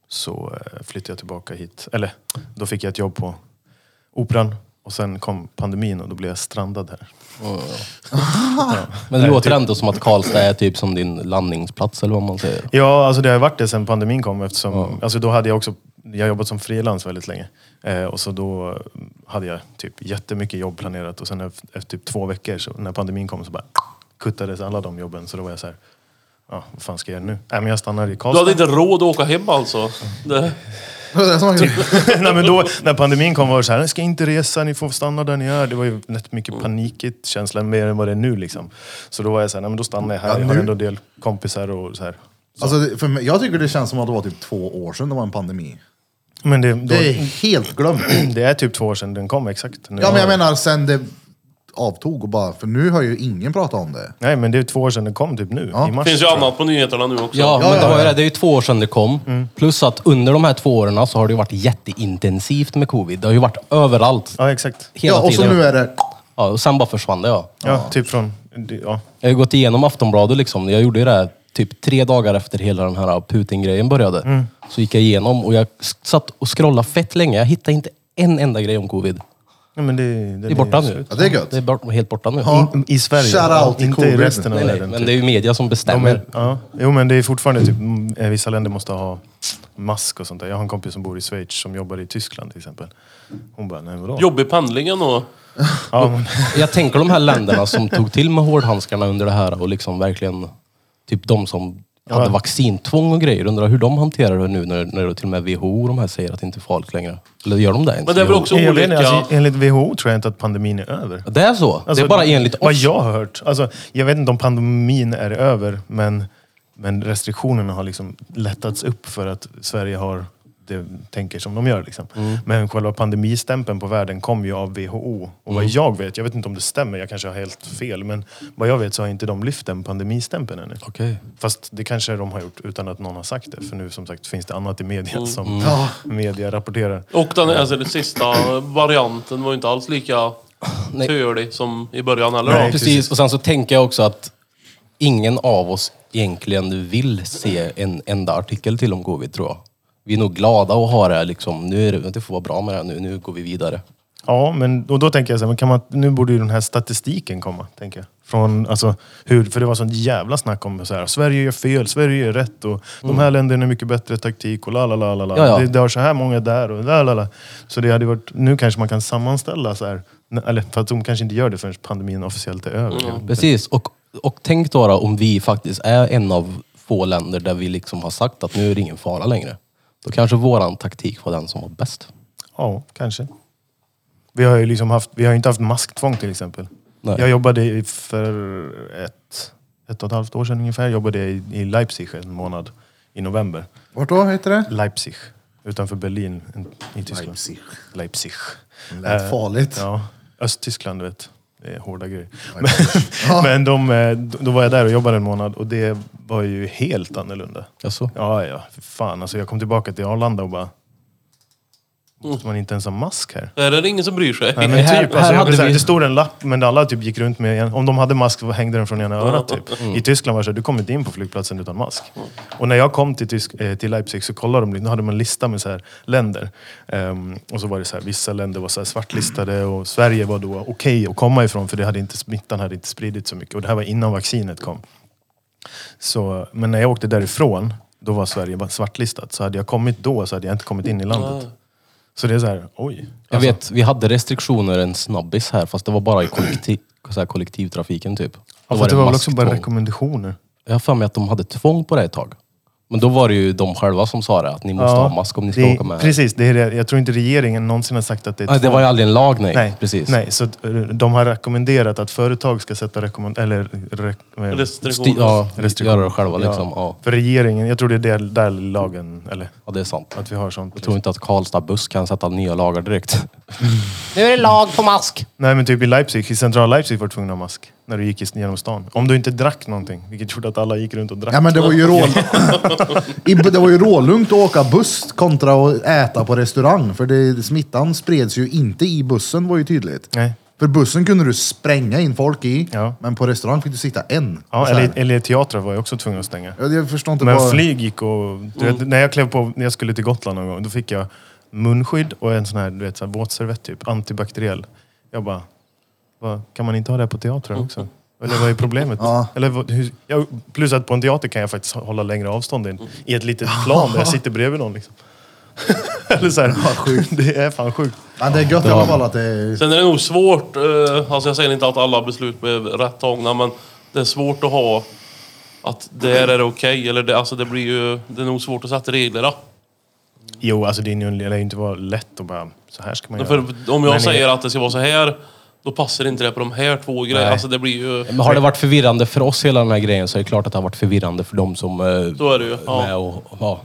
[SPEAKER 1] så eh, flyttade jag tillbaka hit. Eller då fick jag ett jobb på Operan. Och sen kom pandemin och då blev jag strandad här.
[SPEAKER 2] Men det låter
[SPEAKER 4] typ-
[SPEAKER 2] ändå som att Karlstad är typ som din landningsplats eller vad man säger.
[SPEAKER 1] Ja, alltså det har varit det sedan pandemin kom. Eftersom, alltså då hade jag också, jag har jobbat som frilans väldigt länge. Eh, och så då hade jag typ jättemycket jobb planerat och sen efter, efter typ två veckor så, när pandemin kom så bara kuttades alla de jobben. Så då var jag så här, ja, vad fan ska jag göra nu? Nej, men jag stannar i
[SPEAKER 3] Du
[SPEAKER 1] Karlstad.
[SPEAKER 3] hade inte råd att åka hem alltså. Det,
[SPEAKER 4] Det var det som var-
[SPEAKER 1] Nej, men då, när pandemin kom var det så här, ni ska inte resa, ni får stanna där ni är. Det var ju rätt mycket panikigt känslan mer än vad det är nu liksom. Så då var jag så här, nej men då stannar jag här.
[SPEAKER 4] Ja,
[SPEAKER 1] jag har
[SPEAKER 4] nu-
[SPEAKER 1] ändå en del kompisar och så här.
[SPEAKER 4] Alltså, det- för mig, jag tycker det känns som att det var typ två år sedan det var en pandemi.
[SPEAKER 1] Men det, då,
[SPEAKER 4] Det är helt glömt.
[SPEAKER 1] det är typ två år sedan den kom exakt. Nu
[SPEAKER 4] Ja, men
[SPEAKER 1] har-
[SPEAKER 4] jag menar sen det avtog och bara, för nu har ju ingen pratat om det.
[SPEAKER 1] Nej, men det är två år sedan det kom typ nu. I mars,
[SPEAKER 3] finns ju
[SPEAKER 1] tror jag.
[SPEAKER 3] annat på nyheterna nu också.
[SPEAKER 2] Ja,
[SPEAKER 4] Ja, Mm.
[SPEAKER 2] men det,
[SPEAKER 4] ja,
[SPEAKER 2] var ju
[SPEAKER 4] ja.
[SPEAKER 2] det. det är ju två år sedan det kom. Plus att under de här två åren så har det ju varit jätteintensivt med covid. Det har ju varit överallt.
[SPEAKER 1] Ja, exakt.
[SPEAKER 2] Hela
[SPEAKER 4] ja, och
[SPEAKER 2] tiden.
[SPEAKER 4] så nu är det...
[SPEAKER 2] Ja, och sen bara försvann det ja.
[SPEAKER 1] Ja, typ från... Ja.
[SPEAKER 2] Jag har ju gått igenom Aftonbladet liksom. Jag gjorde ju det här typ tre dagar efter hela den här Putin-grejen började.
[SPEAKER 4] Mm.
[SPEAKER 2] Så gick jag igenom och jag s- satt och scrollade fett länge. Jag hittade inte en enda grej om covid.
[SPEAKER 1] ja men det, den
[SPEAKER 2] Det är borta
[SPEAKER 1] ju
[SPEAKER 2] nu.
[SPEAKER 1] slut.
[SPEAKER 4] Ja, det är gött.
[SPEAKER 2] Det är bort, helt borta nu.
[SPEAKER 1] I, I Sverige.
[SPEAKER 4] Shout out till
[SPEAKER 1] inte i
[SPEAKER 4] covid.
[SPEAKER 1] resten av
[SPEAKER 2] Nej, nej,
[SPEAKER 1] världen.
[SPEAKER 2] men
[SPEAKER 1] typ.
[SPEAKER 2] det är ju media som
[SPEAKER 1] De
[SPEAKER 2] bestämmer.
[SPEAKER 1] är, ja. Jo, men det är fortfarande typ, mm, eh, vissa länder måste ha mask och sånt där. Jag har en kompis som bor i Schweiz som jobbar i Tyskland till exempel. Hon bara, nej vadå?
[SPEAKER 3] Jobbig pendlingen och...
[SPEAKER 1] Ja, men,
[SPEAKER 2] Jag tänker de här länderna som tog till med hårdhandskarna under det här och liksom verkligen, typ de som hade vaccintvång och grejer. Undrar hur de hanterar det nu när, när till och med WHO och de här säger att det inte är farligt längre. Eller gör de det ens?
[SPEAKER 3] Men det är väl
[SPEAKER 2] Jo.
[SPEAKER 3] också
[SPEAKER 1] jag vet,
[SPEAKER 3] olika...
[SPEAKER 1] inte, alltså, enligt WHO tror jag inte att pandemin är över.
[SPEAKER 2] Det är så? det
[SPEAKER 1] Alltså,
[SPEAKER 2] är bara enligt
[SPEAKER 1] Vad
[SPEAKER 2] oss?
[SPEAKER 1] jag har hört. Alltså, jag vet inte om pandemin är över, men, men restriktionerna har liksom lättats upp för att Sverige har det tänker som de gör. Liksom.
[SPEAKER 2] Mm.
[SPEAKER 1] Men själva pandemistämpeln på världen kom ju av WHO. Och
[SPEAKER 2] Mm.
[SPEAKER 1] vad jag vet, jag vet inte om det stämmer, jag kanske har helt fel, men vad jag vet så har inte de lyft den pandemistämpeln ännu.
[SPEAKER 2] Okej.
[SPEAKER 1] Fast det kanske de har gjort utan att någon har sagt det. För nu som sagt finns det annat i media
[SPEAKER 2] Mm.
[SPEAKER 1] som
[SPEAKER 4] Ja.
[SPEAKER 1] media rapporterar.
[SPEAKER 3] Och den, alltså, den sista varianten var ju inte alls lika
[SPEAKER 2] Nej.
[SPEAKER 3] tölig som i början heller.
[SPEAKER 1] Nej.
[SPEAKER 3] Nej.
[SPEAKER 2] Precis, och sen så tänker jag också att ingen av oss egentligen vill se en enda artikel till om covid tror jag. Vi är nog glada att ha det här liksom, nu är det, det får vara bra med det här nu, nu går vi vidare.
[SPEAKER 1] Ja, men, och då tänker jag så här, men kan man, nu borde ju den här statistiken komma, tänker jag. Från, alltså, hur, för det var sånt jävla snack om så här, Sverige gör fel, Sverige gör rätt och de här länderna är mycket bättre taktik och la la la la la.
[SPEAKER 2] Mm. Ja, ja.
[SPEAKER 1] Det, det har så här många där och la la la. Så det hade varit, nu kanske man kan sammanställa så här, n- eller för att de kanske inte gör det förrän pandemin officiellt är över.
[SPEAKER 2] Mm. Precis, och, och tänk då, då om vi faktiskt är en av få länder där vi liksom har sagt att nu är det ingen fara längre. Då kanske våran taktik var den som var bäst.
[SPEAKER 1] Ja, kanske. Vi har ju liksom haft, vi har ju inte haft masktvång till exempel.
[SPEAKER 2] Nej.
[SPEAKER 1] Jag jobbade i- för ett, ett och ett halvt år sedan ungefär, jobbade jag i, i Leipzig en månad i november.
[SPEAKER 4] Vart då heter det?
[SPEAKER 1] Leipzig, utanför Berlin en- i Tyskland.
[SPEAKER 4] Leipzig.
[SPEAKER 1] Leipzig.
[SPEAKER 4] Lät
[SPEAKER 1] Eh,
[SPEAKER 4] farligt.
[SPEAKER 1] Ja, Östtyskland du vet. Det är hårda grejer. Men, men de, eh, då var jag där och jobbade en månad och det var ju helt annorlunda.
[SPEAKER 2] Jaså?
[SPEAKER 1] Ja, ja, för fan. Alltså, jag kom tillbaka till Arlanda och bara... Måste man inte ens ha mask här?
[SPEAKER 3] Är det ingen som bryr sig?
[SPEAKER 1] Nej, men
[SPEAKER 2] här-
[SPEAKER 1] typ,
[SPEAKER 2] här
[SPEAKER 1] alltså, jag
[SPEAKER 2] hade
[SPEAKER 1] vill säga,
[SPEAKER 2] vi-
[SPEAKER 1] Det stod en lapp, men alla typ gick runt med en. Om de hade mask så hängde den från ena örat. Typ. I Tyskland var det så här, du kommer inte in på flygplatsen utan mask. Och när jag kom till, Tysk, eh, till Leipzig så kollade de, då hade de en lista med så här, länder. Ehm, och så var det så här, vissa länder var så här, svartlistade och Sverige var då okej att komma ifrån för det hade inte, smittan hade inte spridit så mycket. Och det här var innan vaccinet kom. Så, men när jag åkte därifrån, då var Sverige bara svartlistat. Så hade jag kommit då så hade jag inte kommit in i landet. Så det är så här, oj.
[SPEAKER 2] Jag vet, vi hade restriktioner en snabbis här fast det var bara i kollektiv, så här kollektivtrafiken typ. Då
[SPEAKER 1] Ja, för det var väl också bara
[SPEAKER 2] masktvång.
[SPEAKER 1] rekommendationer.
[SPEAKER 2] Jag har för mig att de hade tvång på det ett tag. Men då var det ju de själva som sa det, att ni måste ha mask om ni ska
[SPEAKER 1] det,
[SPEAKER 2] åka med.
[SPEAKER 1] Precis, det är det. jag tror inte regeringen någonsin har sagt att det är
[SPEAKER 2] Nej, det
[SPEAKER 1] tvång.
[SPEAKER 2] var ju aldrig en lag, nej.
[SPEAKER 1] Nej,
[SPEAKER 2] Precis.
[SPEAKER 1] Nej, så att, eh, de har rekommenderat att företag ska sätta rekommend... Eller, re, eh,
[SPEAKER 2] Sty-
[SPEAKER 3] Restriktioner.
[SPEAKER 2] ja,
[SPEAKER 1] Restriktioner.
[SPEAKER 2] göra det själva liksom. Ja.
[SPEAKER 1] För regeringen, jag tror det är där, där lagen, eller
[SPEAKER 2] ja, det är sant.
[SPEAKER 1] att vi har sånt.
[SPEAKER 2] Jag tror inte att Karlstad buss kan sätta nya lagar direkt. nu är det lag på mask!
[SPEAKER 1] Nej men typ i Leipzig, i centrala Leipzig var du tvungen att ha mask. När du gick i- genom stan. Om du inte drack någonting, vilket gjorde att alla gick runt och drack.
[SPEAKER 4] Ja, men det var ju rål... I- det var ju rålugnt att åka buss kontra att äta på restaurang. För det, smittan spreds ju inte i bussen var ju tydligt.
[SPEAKER 1] Nej.
[SPEAKER 4] För bussen kunde du spränga in folk i,
[SPEAKER 1] Ja.
[SPEAKER 4] men på restaurang fick du sitta en.
[SPEAKER 1] Ja,
[SPEAKER 4] Så här.
[SPEAKER 1] eller, eller teatrar var jag också tvungen att stänga.
[SPEAKER 4] Ja, Jag förstår inte
[SPEAKER 1] Men
[SPEAKER 4] vad...
[SPEAKER 1] flyg gick och... Du vet, när jag klev på, när jag skulle till Gotland någon gång, då fick jag munskydd och en sån här, du vet, så här våtservett typ, antibakteriell. Jag bara, vad, kan man inte ha det här på teatrar också? Eller vad är problemet?
[SPEAKER 4] Ja.
[SPEAKER 1] Eller, vad- hur, jag, plus att på en teater kan jag faktiskt hålla längre avstånd än i ett litet plan där jag sitter bredvid någon. Liksom. Eller så här, det är fan sjukt.
[SPEAKER 4] Ja, det är gött i alla fall att det är...
[SPEAKER 3] Sen är det nog svårt, eh, alltså jag säger inte att alla beslut blev rätt tagna, men det är svårt att ha att där är det okej, eller det, alltså det blir ju, det är nog svårt att sätta reglerna.
[SPEAKER 1] Jo, alltså det är ju det lär ju inte vara lätt att bara, så här ska man göra.
[SPEAKER 3] För om jag
[SPEAKER 1] Men-
[SPEAKER 3] säger att det ska vara så här, då passar inte det på de här två grejerna.
[SPEAKER 1] Nej.
[SPEAKER 3] Alltså det blir ju,
[SPEAKER 2] Men har det varit förvirrande för oss hela den här grejen så är det klart att det har varit förvirrande för de som eh,
[SPEAKER 3] då är det ju.
[SPEAKER 2] är med
[SPEAKER 3] Ja.
[SPEAKER 2] och... Ja.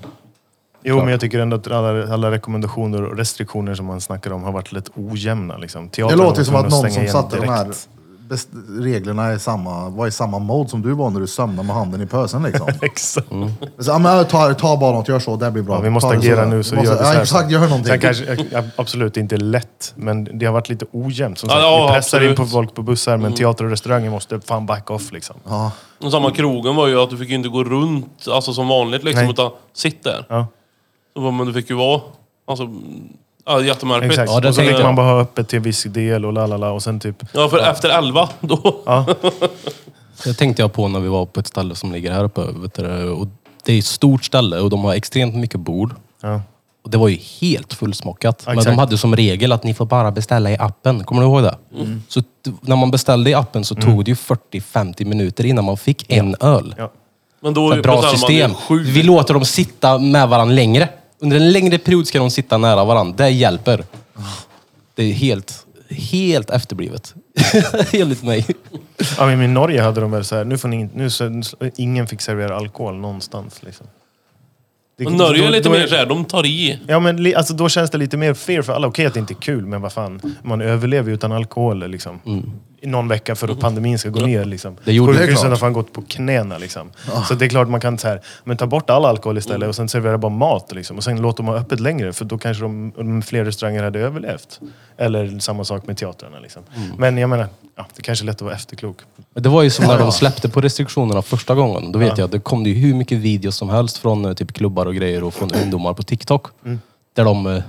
[SPEAKER 1] Jo, men jag tycker ändå att alla, alla rekommendationer och restriktioner som man snackar om har varit lite ojämna. Liksom.
[SPEAKER 4] Det
[SPEAKER 1] Teatern
[SPEAKER 4] låter
[SPEAKER 1] var
[SPEAKER 4] som att
[SPEAKER 1] tvungen
[SPEAKER 4] någon
[SPEAKER 1] stänga
[SPEAKER 4] som
[SPEAKER 1] igen
[SPEAKER 4] satte de här
[SPEAKER 1] direkt.
[SPEAKER 4] best, reglerna är samma, var i samma mode som du var när du sömnade med handen i pösen liksom.
[SPEAKER 1] Exakt.
[SPEAKER 3] Mm.
[SPEAKER 4] Så, ja, men jag tar, ta bara något, gör så, det blir bra.
[SPEAKER 1] Ja, vi måste
[SPEAKER 4] Ta det
[SPEAKER 1] agera
[SPEAKER 4] där.
[SPEAKER 1] nu så
[SPEAKER 4] Vi måste-
[SPEAKER 1] gör vi så här.
[SPEAKER 4] Ja, exakt, gör någonting.
[SPEAKER 1] Sen kanske, ja, absolut, det är inte lätt, men det har varit lite ojämnt. Som
[SPEAKER 3] Ja,
[SPEAKER 1] sagt,
[SPEAKER 3] ja,
[SPEAKER 1] vi pressar
[SPEAKER 3] absolut. Mm.
[SPEAKER 1] in på folk på bussar, men teater och restauranger måste fan back off liksom.
[SPEAKER 4] Ja,
[SPEAKER 3] Och samma krogen var ju att du fick ju inte gå runt alltså som vanligt liksom,
[SPEAKER 1] Nej.
[SPEAKER 3] utan sitt där.
[SPEAKER 1] Ja.
[SPEAKER 3] Så bara, Men du fick ju vara... Alltså, ja, jättemärkligt.
[SPEAKER 1] Exakt.
[SPEAKER 2] Ja, det
[SPEAKER 1] och så
[SPEAKER 2] tänkte
[SPEAKER 1] fick
[SPEAKER 2] jag.
[SPEAKER 1] man bara ha öppet till en viss del och lalala och sen typ...
[SPEAKER 3] Ja, för efter elva, då...
[SPEAKER 2] Det tänkte jag på när vi var på ett ställe som ligger här uppe. Vet du, och det är ett stort ställe och de har extremt mycket bord.
[SPEAKER 1] Ja.
[SPEAKER 2] Och det var ju helt fullsmockat. Men
[SPEAKER 1] exakt.
[SPEAKER 2] de hade som regel att ni får bara beställa i appen. Kommer du ihåg det?
[SPEAKER 1] Mm.
[SPEAKER 2] Så t- när man beställde i appen så tog det ju 40-50 minuter innan man fick en öl.
[SPEAKER 1] Ja.
[SPEAKER 3] Men då
[SPEAKER 2] Ett bra
[SPEAKER 3] bestämmer man
[SPEAKER 2] system.
[SPEAKER 3] ju sju.
[SPEAKER 2] Vi låter dem sitta med varandra längre. Under en längre period ska de sitta nära varandra. Det hjälper.
[SPEAKER 3] Ah.
[SPEAKER 2] Det är helt, helt efterblivet. Enligt mig.
[SPEAKER 1] Ja, men I Norge hade de väl så här, nu får ni in, nu, så, ingen fick servera alkohol någonstans. Liksom. Det-
[SPEAKER 3] Men Norge är
[SPEAKER 1] då-
[SPEAKER 3] lite
[SPEAKER 1] då
[SPEAKER 3] mer såhär, de tar i.
[SPEAKER 1] Ja, men li, alltså, då känns det lite mer fair för alla. Okej att det inte är kul, men vad fan. Man överlever ju utan alkohol liksom. I någon vecka för att pandemin ska gå ner. Liksom.
[SPEAKER 2] Det gjorde
[SPEAKER 4] Mm. det klart. Ah.
[SPEAKER 1] Sjukhusen har fan gått på knäna. Liksom. Så det är klart man kan så här, men ta bort all alkohol istället
[SPEAKER 4] Mm.
[SPEAKER 1] och sen servera bara mat. Liksom. Och sen låt dem ha öppet längre, för då kanske de, om fler restauranger hade överlevt. Eller samma sak med teatrarna. Liksom.
[SPEAKER 4] Mm.
[SPEAKER 1] Men jag menar, ja, det kanske är lätt att vara efterklok.
[SPEAKER 2] Men Det var ju som när de släppte på restriktionerna första gången. Då vet jag att det kom det ju hur mycket videos som helst från eh, typ klubbar och grejer och från ungdomar på TikTok.
[SPEAKER 1] Mm.
[SPEAKER 2] Där de, eh,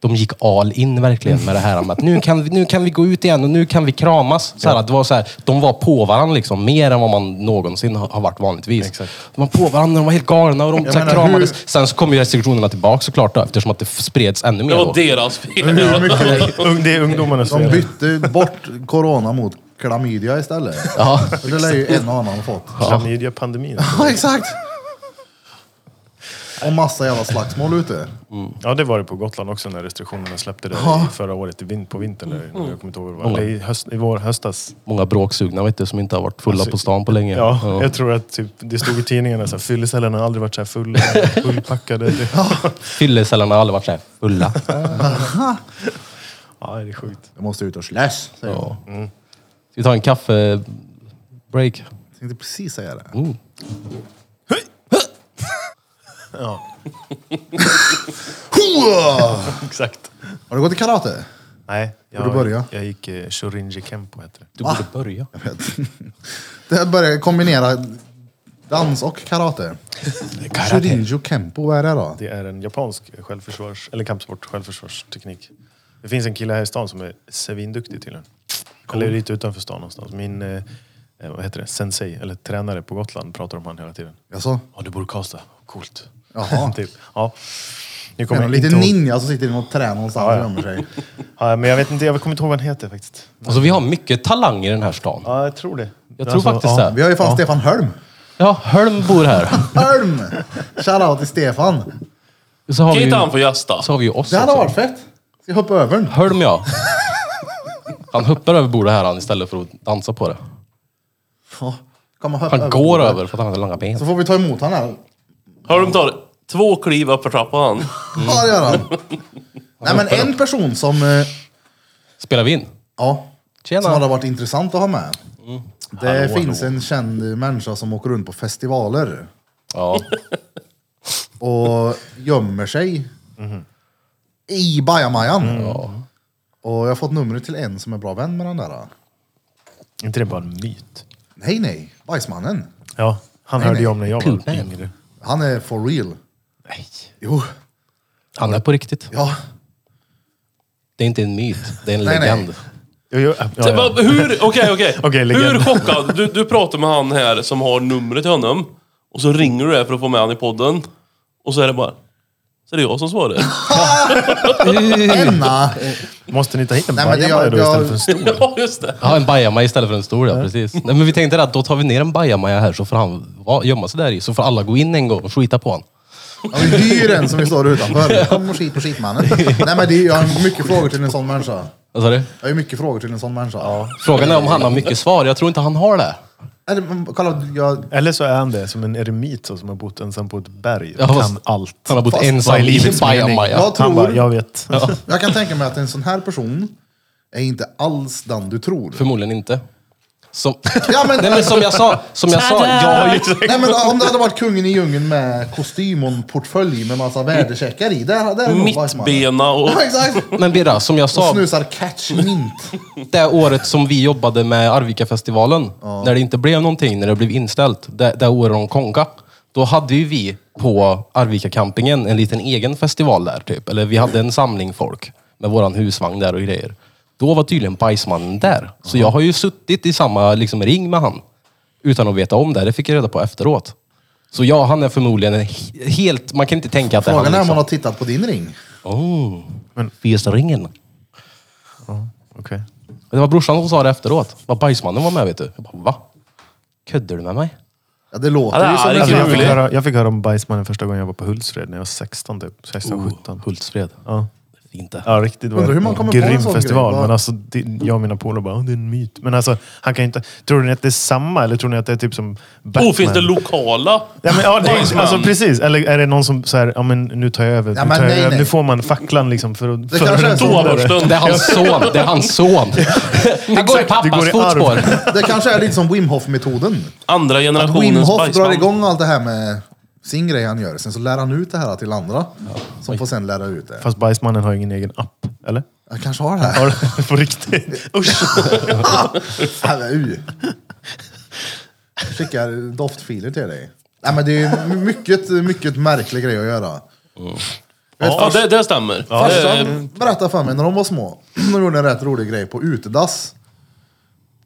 [SPEAKER 2] de gick all in verkligen med det här med att nu kan, vi, nu kan vi gå ut igen och nu kan vi kramas. Så här, att det var så här, de var på varandra liksom, mer än vad man någonsin har har varit vanligtvis.
[SPEAKER 1] Exakt.
[SPEAKER 2] De var på varandra, de var helt galna och de så här,
[SPEAKER 4] menar,
[SPEAKER 2] kramades. Sen så kom ju restriktionerna tillbaka såklart då, eftersom att det f- spreds ännu mer
[SPEAKER 3] Det
[SPEAKER 2] då.
[SPEAKER 3] var deras fel.
[SPEAKER 4] hur mycket
[SPEAKER 1] Ung- Det är ungdomarnas
[SPEAKER 4] De
[SPEAKER 1] fel.
[SPEAKER 4] bytte bort corona mot klamydia istället.
[SPEAKER 2] Ja.
[SPEAKER 4] Och Det lär ju en och annan fått.
[SPEAKER 1] Klamydia-pandemin.
[SPEAKER 4] Ja, exakt! Och massa jävla slagsmål ute.
[SPEAKER 1] Ja, det var det på Gotland också när restriktionerna släppte det i förra året, i vin, på vintern. Där, jag kommer inte ihåg vad det var. Eller i, höst, i vår, höstas.
[SPEAKER 2] Många bråksugna vet du, som inte har varit fulla
[SPEAKER 1] Alltså,
[SPEAKER 2] på stan på länge.
[SPEAKER 1] Ja, jag tror att typ, det stod i tidningarna så här, fyllecellerna har aldrig varit så här fulla, fullpackade. Det,
[SPEAKER 2] Fyllecellerna har aldrig varit så här fulla.
[SPEAKER 1] ja, det är sjukt.
[SPEAKER 4] Jag måste ut och slåss, säger jag.
[SPEAKER 2] Ja. Ska vi ta en kaffebreak?
[SPEAKER 4] Jag tänkte precis säga det.
[SPEAKER 2] Mm.
[SPEAKER 1] Ja,
[SPEAKER 4] Hoa!
[SPEAKER 1] exakt.
[SPEAKER 4] Har du gått i karate?
[SPEAKER 1] Nej, jag,
[SPEAKER 4] du börja?
[SPEAKER 1] jag gick eh, Shorinji Kempo, heter det.
[SPEAKER 2] Du borde börja.
[SPEAKER 4] Det här börjar kombinera dans och karate. Shorinjo Kempo, vad är det då?
[SPEAKER 1] Det är en japansk självförsvars, eller kampsport, självförsvarsteknik. Det finns en kille här i stan som är svinduktig tydligen. Eller lite utanför stan någonstans. Min, eh, eh, vad heter det, sensei, eller tränare på Gotland pratar om han hela tiden.
[SPEAKER 4] Jaså?
[SPEAKER 1] Ja, du bor i Karlstad. Coolt.
[SPEAKER 4] Jaha.
[SPEAKER 1] typ. Ja. Nu
[SPEAKER 4] Är det
[SPEAKER 1] kommer
[SPEAKER 4] någon
[SPEAKER 1] jag
[SPEAKER 4] liten
[SPEAKER 1] inte ihåg...
[SPEAKER 4] ninja som sitter i något träd någonstans och gömmer sig?
[SPEAKER 1] Ja, men jag vet inte, jag kommer inte ihåg vad han heter faktiskt.
[SPEAKER 2] Alltså vi har mycket talang i den här stan.
[SPEAKER 1] Ja, jag tror det. Alltså,
[SPEAKER 2] Jag tror faktiskt
[SPEAKER 1] ja.
[SPEAKER 2] det.
[SPEAKER 4] Vi har ju fan Stefan Hölm.
[SPEAKER 2] Ja, Hölm bor här.
[SPEAKER 4] Hölm! Shoutout till Stefan.
[SPEAKER 2] Så har
[SPEAKER 3] Kan
[SPEAKER 2] vi ju,
[SPEAKER 3] inte han få gästa?
[SPEAKER 2] så har vi ju oss
[SPEAKER 4] Det hade varit
[SPEAKER 2] också.
[SPEAKER 4] fett. Ska jag hoppa över den?
[SPEAKER 2] Hölm ja. Han hoppar över bordet här han istället för att dansa på det.
[SPEAKER 4] Ja, Kan man hoppa
[SPEAKER 2] Han går
[SPEAKER 4] bordet?
[SPEAKER 2] över för att han har långa ben.
[SPEAKER 4] Så får vi ta emot han här.
[SPEAKER 3] Har de tagit två kliv upp för trappan?
[SPEAKER 4] Ja, det gör han. Nej, men en person som... eh,
[SPEAKER 2] Spelar vi in?
[SPEAKER 4] Ja. Som hade
[SPEAKER 2] Tjena!
[SPEAKER 4] varit intressant att ha med. Det finns en känd människa som åker runt på festivaler
[SPEAKER 2] Ja.
[SPEAKER 4] och gömmer sig i bajamajan. Och jag har fått numret till en som är bra vän med den där.
[SPEAKER 1] inte det bara en myt?
[SPEAKER 4] Nej, nej. Bajsmannen.
[SPEAKER 1] Ja, han hörde ju om när jag var
[SPEAKER 2] Pupen.
[SPEAKER 1] yngre.
[SPEAKER 4] Han är for real.
[SPEAKER 1] Nej.
[SPEAKER 4] Jo,
[SPEAKER 2] Han är på riktigt.
[SPEAKER 4] ja.
[SPEAKER 2] Det är inte en myt, det är en
[SPEAKER 4] Nej, nej.
[SPEAKER 2] legend.
[SPEAKER 1] Jo, jo, ja,
[SPEAKER 3] Det var-
[SPEAKER 1] ja.
[SPEAKER 3] Hur, okej, okej.
[SPEAKER 1] Okej, legend.
[SPEAKER 3] Hur chockad? Du, du pratar med han här som har numret till honom. Och så ringer du där för att få med han i podden. Och så är det bara... Så är det jag som svarar.
[SPEAKER 4] Enna.
[SPEAKER 1] Måste ni ta hit en
[SPEAKER 4] Nej, men det-
[SPEAKER 1] bajamaja då
[SPEAKER 4] jag-
[SPEAKER 1] istället för en stor?
[SPEAKER 3] ja, just det.
[SPEAKER 2] Ja, en bajamaja istället för en stor, ja. Precis. Nej, men vi tänkte att då tar vi ner en bajamaja här så får han va- gömma sig där i. Så får alla gå in en gång och skita på honom.
[SPEAKER 4] Ja, vi hyr en som vi står utanför. Kom och skit på skitmannen. Nej, men det är, jag har mycket frågor till en sån människa.
[SPEAKER 2] Vad sa du?
[SPEAKER 4] Jag har ju mycket frågor till en sån människa. Ja.
[SPEAKER 2] Frågan är om han har mycket svar. Jag tror inte han har det.
[SPEAKER 4] Eller, men kolla, jag,
[SPEAKER 1] Eller så är han det, som en eremit så, som har bott ensam på ett berg.
[SPEAKER 2] Ja,
[SPEAKER 1] kan
[SPEAKER 2] fast-
[SPEAKER 1] allt.
[SPEAKER 2] Han har bott
[SPEAKER 1] Fast
[SPEAKER 2] ensam
[SPEAKER 1] vad är
[SPEAKER 2] i en
[SPEAKER 1] livets mening?
[SPEAKER 2] bajamaja.
[SPEAKER 4] Jag
[SPEAKER 1] Han
[SPEAKER 4] tror-
[SPEAKER 1] bara, jag vet.
[SPEAKER 4] jag kan tänka mig att en sån här person är inte alls den du tror.
[SPEAKER 2] Förmodligen inte. Som,
[SPEAKER 4] Ja, men-
[SPEAKER 2] Nej, men som jag sa, som jag sa jag har ju...
[SPEAKER 4] Nej men om det hade varit kungen i djungeln med kostym och en portfölj med massa värdecheckar i. Där, där är nog Weissmannen.
[SPEAKER 3] Mittbena och...
[SPEAKER 4] Ja, exakt.
[SPEAKER 2] Men Birra, som jag
[SPEAKER 4] Och
[SPEAKER 2] sa,
[SPEAKER 4] snusar catch mint.
[SPEAKER 2] det året som vi jobbade med Arvika-festivalen, när det inte blev någonting, när det blev inställt, det, det året de konka, då hade ju vi på Arvika-campingen en liten egen festival där typ. Eller vi hade en samling folk med våran husvagn där och grejer. Då var tydligen bajsmannen där. Så jag har ju suttit i samma liksom, ring med han. Utan att veta om det. Det fick jag reda på efteråt. Så ja, han är förmodligen en he- helt... Man kan inte tänka att det är han.
[SPEAKER 4] Frågan är om
[SPEAKER 2] liksom.
[SPEAKER 4] man har tittat på din ring.
[SPEAKER 2] Oh,
[SPEAKER 1] Men-
[SPEAKER 2] Fiestaringen.
[SPEAKER 1] Okej.
[SPEAKER 2] Det var brorsan som sa det efteråt. Vad bajsmannen var med vet du. Jag bara, va? Kuddar du med mig?
[SPEAKER 4] Ja, det låter
[SPEAKER 3] Ja,
[SPEAKER 4] ju som
[SPEAKER 3] det är
[SPEAKER 1] Alltså,
[SPEAKER 4] en
[SPEAKER 1] jag, fick
[SPEAKER 3] Kul.
[SPEAKER 1] höra, jag fick höra om Bajsmannen första gången jag var på Hultsfred när jag var 16 typ. 16-17.
[SPEAKER 2] Hultsfred.
[SPEAKER 1] Ja.
[SPEAKER 2] Fint det.
[SPEAKER 1] Ja, riktigt. Det var
[SPEAKER 4] Undrar hur man
[SPEAKER 1] en
[SPEAKER 4] kommer på en
[SPEAKER 1] grym
[SPEAKER 4] sån
[SPEAKER 1] festival.
[SPEAKER 4] grej.
[SPEAKER 1] Men
[SPEAKER 4] Vad-
[SPEAKER 1] alltså, det, jag och mina polare bara, "Åh, det är en myt. Men alltså, han kan ju inte... Tror ni att det är samma? Eller tror ni att det är typ som Batman?
[SPEAKER 3] Oh, finns det lokala?
[SPEAKER 1] Ja, men, ja, det är, ju-
[SPEAKER 3] Batman?
[SPEAKER 1] alltså, precis. Eller är det någon som så här, ja men nu tar jag över.
[SPEAKER 4] Ja,
[SPEAKER 1] nu,
[SPEAKER 4] men
[SPEAKER 1] tar jag
[SPEAKER 4] nej,
[SPEAKER 1] över.
[SPEAKER 4] nej.
[SPEAKER 1] nu får man facklan liksom för att...
[SPEAKER 4] Det
[SPEAKER 1] för
[SPEAKER 4] kanske är
[SPEAKER 1] att-
[SPEAKER 4] så.
[SPEAKER 2] Det är
[SPEAKER 3] Toaborsten.
[SPEAKER 2] hans son. Det är hans son. Han går i
[SPEAKER 1] Exakt, det
[SPEAKER 2] pappas
[SPEAKER 1] går i
[SPEAKER 2] fotspår.
[SPEAKER 1] arv.
[SPEAKER 4] Det kanske är lite som Wim Hof-metoden.
[SPEAKER 3] Andra
[SPEAKER 4] Att Wim
[SPEAKER 3] generationens
[SPEAKER 4] Hof drar
[SPEAKER 3] bajsman.
[SPEAKER 4] igång allt det här med sin grej han gör. Sen så lär han ut det här till andra. Som får sen lära ut det.
[SPEAKER 1] Fast Bajsmannen har ingen egen app, eller?
[SPEAKER 4] Jag kanske har det här.
[SPEAKER 1] Har du- På riktigt? Usch!
[SPEAKER 4] Fan, vad u. Skickar doftfiler till dig. Nej men det är ju mycket, mycket märklig grej att göra.
[SPEAKER 3] Ja, det, det stämmer. Det är-
[SPEAKER 4] Farsan berättade för mig när de var små. De gjorde en rätt rolig grej på utedass.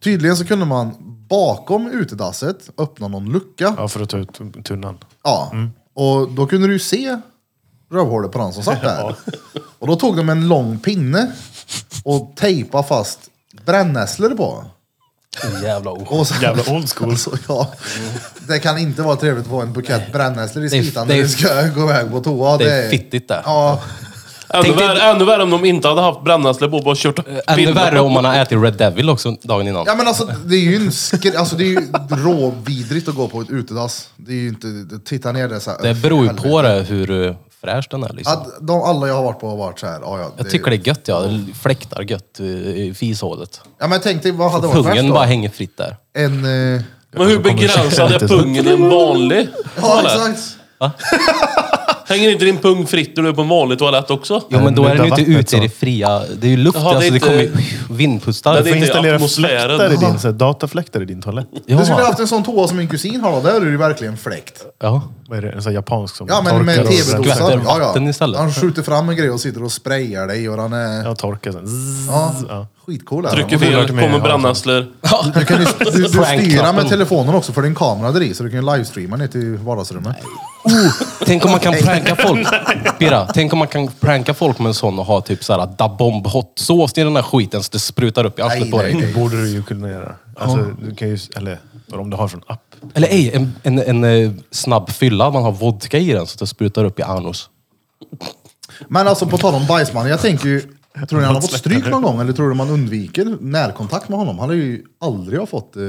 [SPEAKER 4] Tydligen så kunde man bakom utedasset öppna någon lucka. Ja.
[SPEAKER 1] Ja, för att ta ut tunnan.
[SPEAKER 4] Och då kunde du ju se rövhålet på den som satt där. Och då tog de en lång pinne och tejpade fast brännässlor på.
[SPEAKER 2] Jävla o-
[SPEAKER 4] Och så,
[SPEAKER 1] Jävla old school.
[SPEAKER 4] Så, ja, det kan inte vara trevligt att få en bukett brännässlor i
[SPEAKER 2] Det är-
[SPEAKER 4] skitan
[SPEAKER 2] det
[SPEAKER 4] när
[SPEAKER 2] är-
[SPEAKER 4] du ska gå iväg på toa.
[SPEAKER 2] Det är fittigt det.
[SPEAKER 4] Ja,
[SPEAKER 3] Ännu
[SPEAKER 2] Tänk dig-
[SPEAKER 3] värre, ännu värre om de inte hade haft brännässlor på och bara kört
[SPEAKER 2] Ännu
[SPEAKER 3] bilder.
[SPEAKER 2] värre om man har ätit Red Devil också dagen innan.
[SPEAKER 4] Ja men alltså det är ju en skri- alltså, det är ju råvidrigt att gå på ett utedass. Det är ju inte, titta ner det så här.
[SPEAKER 2] Det beror ju på
[SPEAKER 4] helvete.
[SPEAKER 2] det hur eh, fräsch den är liksom.
[SPEAKER 4] Att de, alla jag har varit på har varit så här, ja, ja,
[SPEAKER 2] Jag tycker det är gött ja. Det Fläktar gött eh, i fishålet.
[SPEAKER 4] Ja men tänk dig, vad hade varit värst
[SPEAKER 2] Pungen
[SPEAKER 4] då?
[SPEAKER 2] bara hänger fritt där.
[SPEAKER 4] En... Eh,
[SPEAKER 3] Men hur
[SPEAKER 1] Då kommer
[SPEAKER 3] begränsad är
[SPEAKER 1] käften till-
[SPEAKER 3] pungen i en vanlig
[SPEAKER 4] ja
[SPEAKER 3] toalett?
[SPEAKER 4] exakt!
[SPEAKER 3] Hänger inte din pung fritt när du är på en vanlig toalett också?
[SPEAKER 2] Jo men då
[SPEAKER 1] nu
[SPEAKER 2] är den ju
[SPEAKER 1] tar
[SPEAKER 2] inte
[SPEAKER 1] vattnet
[SPEAKER 2] ute i
[SPEAKER 1] så.
[SPEAKER 2] det fria. Det är ju luft,
[SPEAKER 3] Jaha, det
[SPEAKER 2] alltså
[SPEAKER 3] är
[SPEAKER 2] det
[SPEAKER 3] inte-
[SPEAKER 2] kommer ju vindpustar.
[SPEAKER 1] Du
[SPEAKER 3] Nej, det är
[SPEAKER 1] får
[SPEAKER 3] inte
[SPEAKER 1] installera
[SPEAKER 3] atmosfären.
[SPEAKER 1] fläktar i din, så här, datafläktar i din toalett.
[SPEAKER 4] Du skulle
[SPEAKER 2] Ja,
[SPEAKER 4] haft en sån toa som min kusin har då, där är det ju verkligen fläkt.
[SPEAKER 2] ja.
[SPEAKER 1] Vad är det? En sån här japansk som
[SPEAKER 4] Ja men med
[SPEAKER 1] torkar och-
[SPEAKER 2] skvätter
[SPEAKER 4] tv-dosa. Ja,
[SPEAKER 2] vatten
[SPEAKER 4] ja.
[SPEAKER 2] istället.
[SPEAKER 4] Han skjuter fram en grej och sitter och sprayar dig och han är...
[SPEAKER 1] Ja, torkar sen. Zzz.
[SPEAKER 4] Ja,
[SPEAKER 1] Ja.
[SPEAKER 4] skitcool är
[SPEAKER 3] Trycker
[SPEAKER 4] han.
[SPEAKER 1] det är
[SPEAKER 3] fel,
[SPEAKER 1] värt med,
[SPEAKER 3] kommer
[SPEAKER 1] ja.
[SPEAKER 3] brännässlor.
[SPEAKER 4] Du kan ju, du, du styra
[SPEAKER 2] Prank-knappen.
[SPEAKER 4] med telefonen också för din kamera där i så du kan ju livestreama ner till vardagsrummet.
[SPEAKER 2] Tänk om man kan pranka folk. Bira, tänk om man kan pranka folk med en sån och ha typ såhär dabomb hot sås i den där skiten så det sprutar upp i arslet
[SPEAKER 4] Nej,
[SPEAKER 2] på
[SPEAKER 4] nej,
[SPEAKER 2] dig.
[SPEAKER 4] nej.
[SPEAKER 1] borde du ju kunna göra. Alltså, du kan ju, eller om du har från app.
[SPEAKER 2] Eller ej, en, en, en eh, snabb fylla. Man har vodka i den så det sprutar upp i anus.
[SPEAKER 4] Men alltså på tal om bajsmannen, jag tänker ju, tror ni han har fått stryk någon gång eller tror du man undviker närkontakt med honom? Han har ju aldrig har fått... eh,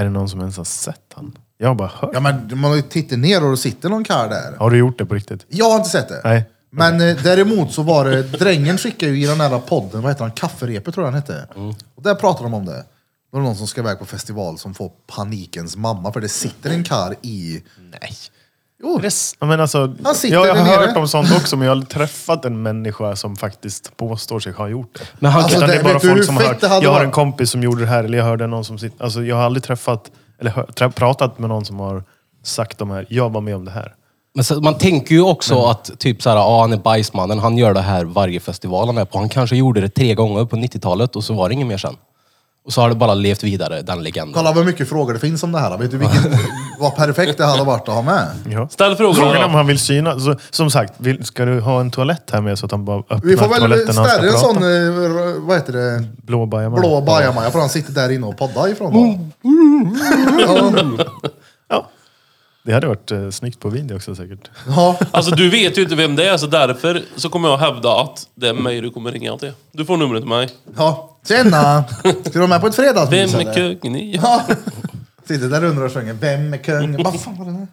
[SPEAKER 1] Är det någon som ens har sett han? Jag har bara hört.
[SPEAKER 4] ja men man har ju tittat ner och det sitter någon karl där.
[SPEAKER 1] Har du gjort det på riktigt?
[SPEAKER 4] Jag har inte sett det.
[SPEAKER 1] Nej.
[SPEAKER 4] Men eh, däremot så var det, drängen skickade ju i den här podden, vad heter han, Kafferepet tror jag han hette. Och där pratar de om det. Då är det någon som ska iväg på festival som får panikens mamma för det sitter en karl i...
[SPEAKER 2] Nej.
[SPEAKER 4] Jo,
[SPEAKER 1] Ja, men alltså,
[SPEAKER 4] Han sitter
[SPEAKER 1] jag, jag har
[SPEAKER 4] där nere.
[SPEAKER 1] hört om sånt också, men jag har aldrig träffat en människa som faktiskt påstår sig ha gjort det.
[SPEAKER 2] Men han
[SPEAKER 4] Alltså,
[SPEAKER 1] Utan
[SPEAKER 4] det-
[SPEAKER 1] det, är bara
[SPEAKER 4] vet du hur
[SPEAKER 1] folk som har
[SPEAKER 4] fett
[SPEAKER 1] hört.
[SPEAKER 4] det hade
[SPEAKER 1] Jag har
[SPEAKER 4] varit?
[SPEAKER 1] en kompis som gjorde det här, eller jag hörde någon som... sitter- Alltså, jag har aldrig träffat, eller hör, tra- pratat med någon som har sagt de här, jag var med om det här.
[SPEAKER 2] Men så, man tänker ju också
[SPEAKER 4] Mm.
[SPEAKER 2] att typ såhär, ah, han är bajsmannen, han gör det här varje festival han är på. Han kanske gjorde det tre gånger på 90-talet och så var det inget mer sen. Och så har det bara levt vidare, den legenden.
[SPEAKER 4] Kolla vad mycket frågor det finns om det här. Vet du vilken, vad perfekt det hade varit att ha med?
[SPEAKER 1] Ja.
[SPEAKER 3] Ställ frågor
[SPEAKER 1] Frågan är om
[SPEAKER 3] då.
[SPEAKER 1] han vill synas. Så, som sagt, vill, ska du ha en toalett här med så att han bara öppnar
[SPEAKER 4] Vi får väl
[SPEAKER 1] toaletten när han ska
[SPEAKER 4] ställa en
[SPEAKER 1] prata?
[SPEAKER 4] sån, eh, vad heter det,
[SPEAKER 1] Blå bajamaja.
[SPEAKER 4] blå bajamaja för han sitter där inne och poddar ifrån då.
[SPEAKER 1] Oh. Ja. Det hade varit eh, snyggt på video också säkert.
[SPEAKER 4] Ja.
[SPEAKER 3] Alltså du vet ju inte vem det är, så därför så kommer jag hävda att det är mig du kommer ringa till. Du får numret till mig.
[SPEAKER 4] ja. Tjena! Ska du vara med på ett
[SPEAKER 3] Vem
[SPEAKER 4] fredagsmys
[SPEAKER 3] är
[SPEAKER 4] eller?
[SPEAKER 3] kungen i?
[SPEAKER 4] Ja. Sitter där under och sjunger Vem är kung? Vad fan var det där?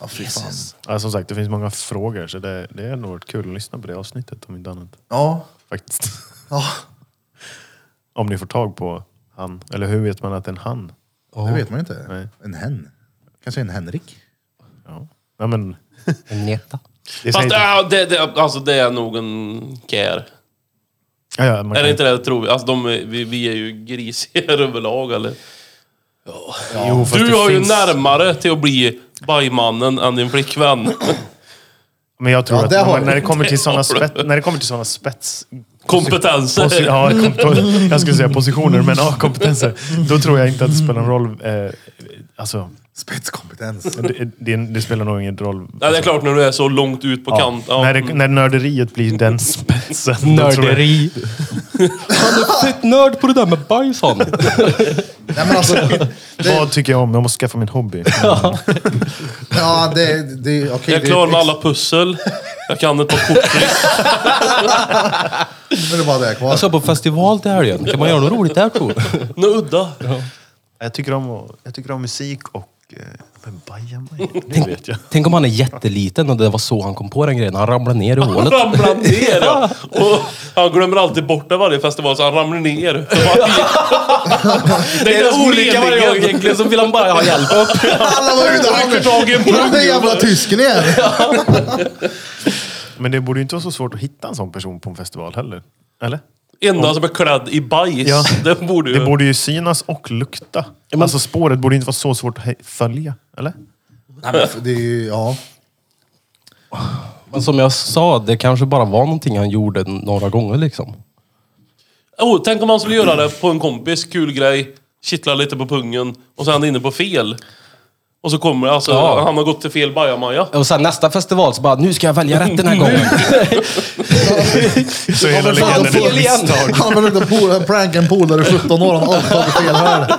[SPEAKER 4] Ja, fy fan.
[SPEAKER 1] Ja, som sagt, det finns många frågor så det, det är nog varit kul att lyssna på det avsnittet om inte annat.
[SPEAKER 4] Ja,
[SPEAKER 1] Faktiskt.
[SPEAKER 4] ja
[SPEAKER 1] Om ni får tag på han. Eller hur vet man att det är en han?
[SPEAKER 4] det vet man ju inte.
[SPEAKER 1] Oh. Nej.
[SPEAKER 4] En hen. Kanske en Henrik.
[SPEAKER 1] Ja. Ja, men,
[SPEAKER 2] Njeta.
[SPEAKER 1] det
[SPEAKER 3] Fast
[SPEAKER 1] säger inte-
[SPEAKER 3] ja, det, det, alltså, det är nog en care.
[SPEAKER 1] ja, ja, man
[SPEAKER 3] Är det
[SPEAKER 1] kan-
[SPEAKER 3] inte det tror vi? Alltså, de, är- vi, vi är ju grisiga överlag eller?
[SPEAKER 1] Jo, fast
[SPEAKER 3] Du
[SPEAKER 1] det
[SPEAKER 3] har ju
[SPEAKER 1] finns-
[SPEAKER 3] närmare till att bli bajmannen än din flickvän.
[SPEAKER 1] Men jag tror
[SPEAKER 4] Ja,
[SPEAKER 1] att
[SPEAKER 4] det
[SPEAKER 1] när,
[SPEAKER 4] har
[SPEAKER 1] man-
[SPEAKER 4] du.
[SPEAKER 1] när det kommer till
[SPEAKER 3] Det
[SPEAKER 1] sådana
[SPEAKER 3] har du.
[SPEAKER 1] spets... När det kommer till såna spets
[SPEAKER 3] Kompetenser.
[SPEAKER 1] posi- ja, kom, po- jag skulle säga positioner, men ja, kompetenser. Då tror jag inte att det spelar någon roll. Eh, alltså,
[SPEAKER 4] Spetskompetens.
[SPEAKER 1] det, det, det spelar nog ingen roll.
[SPEAKER 3] Nej, det är klart när du är så långt ut på kant. Ja.
[SPEAKER 1] När, det, när nörderiet blir den spetsen. då tror jag-
[SPEAKER 2] Nörderi. Han är fett nörd på det där med bajs han.
[SPEAKER 4] Nej, men alltså,
[SPEAKER 1] Vad tycker jag om? Jag måste skaffa min hobby.
[SPEAKER 4] ja, det, det, okay,
[SPEAKER 3] Jag är klar med alla pussel. Jag kan ett par korttrick.
[SPEAKER 4] Nu är det bara det kvar.
[SPEAKER 2] Jag ska på festival till helgen. Kan man göra något roligt där tror du?
[SPEAKER 3] Något udda.
[SPEAKER 1] Jag tycker om, att- jag tycker om musik och... eh, Men bajamaja, det vet jag.
[SPEAKER 2] Tänk om han är jätteliten och det var så han kom på den grejen. Han ramlade ner i hålet.
[SPEAKER 3] Ramlar ner ja. Och han glömmer alltid bort det varje festival så han ramlar ner. Det är,
[SPEAKER 2] egentligen så vill han bara ha hjälp upp.
[SPEAKER 4] Alla var ute
[SPEAKER 3] Han rycker tag i en
[SPEAKER 4] Den där jävla tysken igen.
[SPEAKER 1] Men det borde ju inte vara så svårt att hitta en sån person på en festival heller. Eller?
[SPEAKER 3] Enda som är klädd i bajs.
[SPEAKER 1] Ja.
[SPEAKER 3] Det borde ju...
[SPEAKER 1] Det borde ju synas och lukta. Alltså spåret borde inte vara så svårt att he- följa. Eller?
[SPEAKER 4] Nej, men det är ju, ja.
[SPEAKER 2] Men som jag sa, det kanske bara var någonting han gjorde några gånger liksom.
[SPEAKER 3] Oh, tänk om han skulle göra det på en kompis, kul grej, kittla lite på pungen och sen är han inne på fel. Och så kommer det, alltså,
[SPEAKER 2] Ja.
[SPEAKER 3] han har gått till fel bajamaja.
[SPEAKER 2] Och sen nästa festival så bara, nu ska jag välja rätt den här gången.
[SPEAKER 1] Så hela
[SPEAKER 2] men fan,
[SPEAKER 1] legenden är
[SPEAKER 2] fel
[SPEAKER 1] ett
[SPEAKER 2] igen.
[SPEAKER 1] misstag.
[SPEAKER 4] Han var ute och prankade en polare i 17 år. Han har tagit fel här.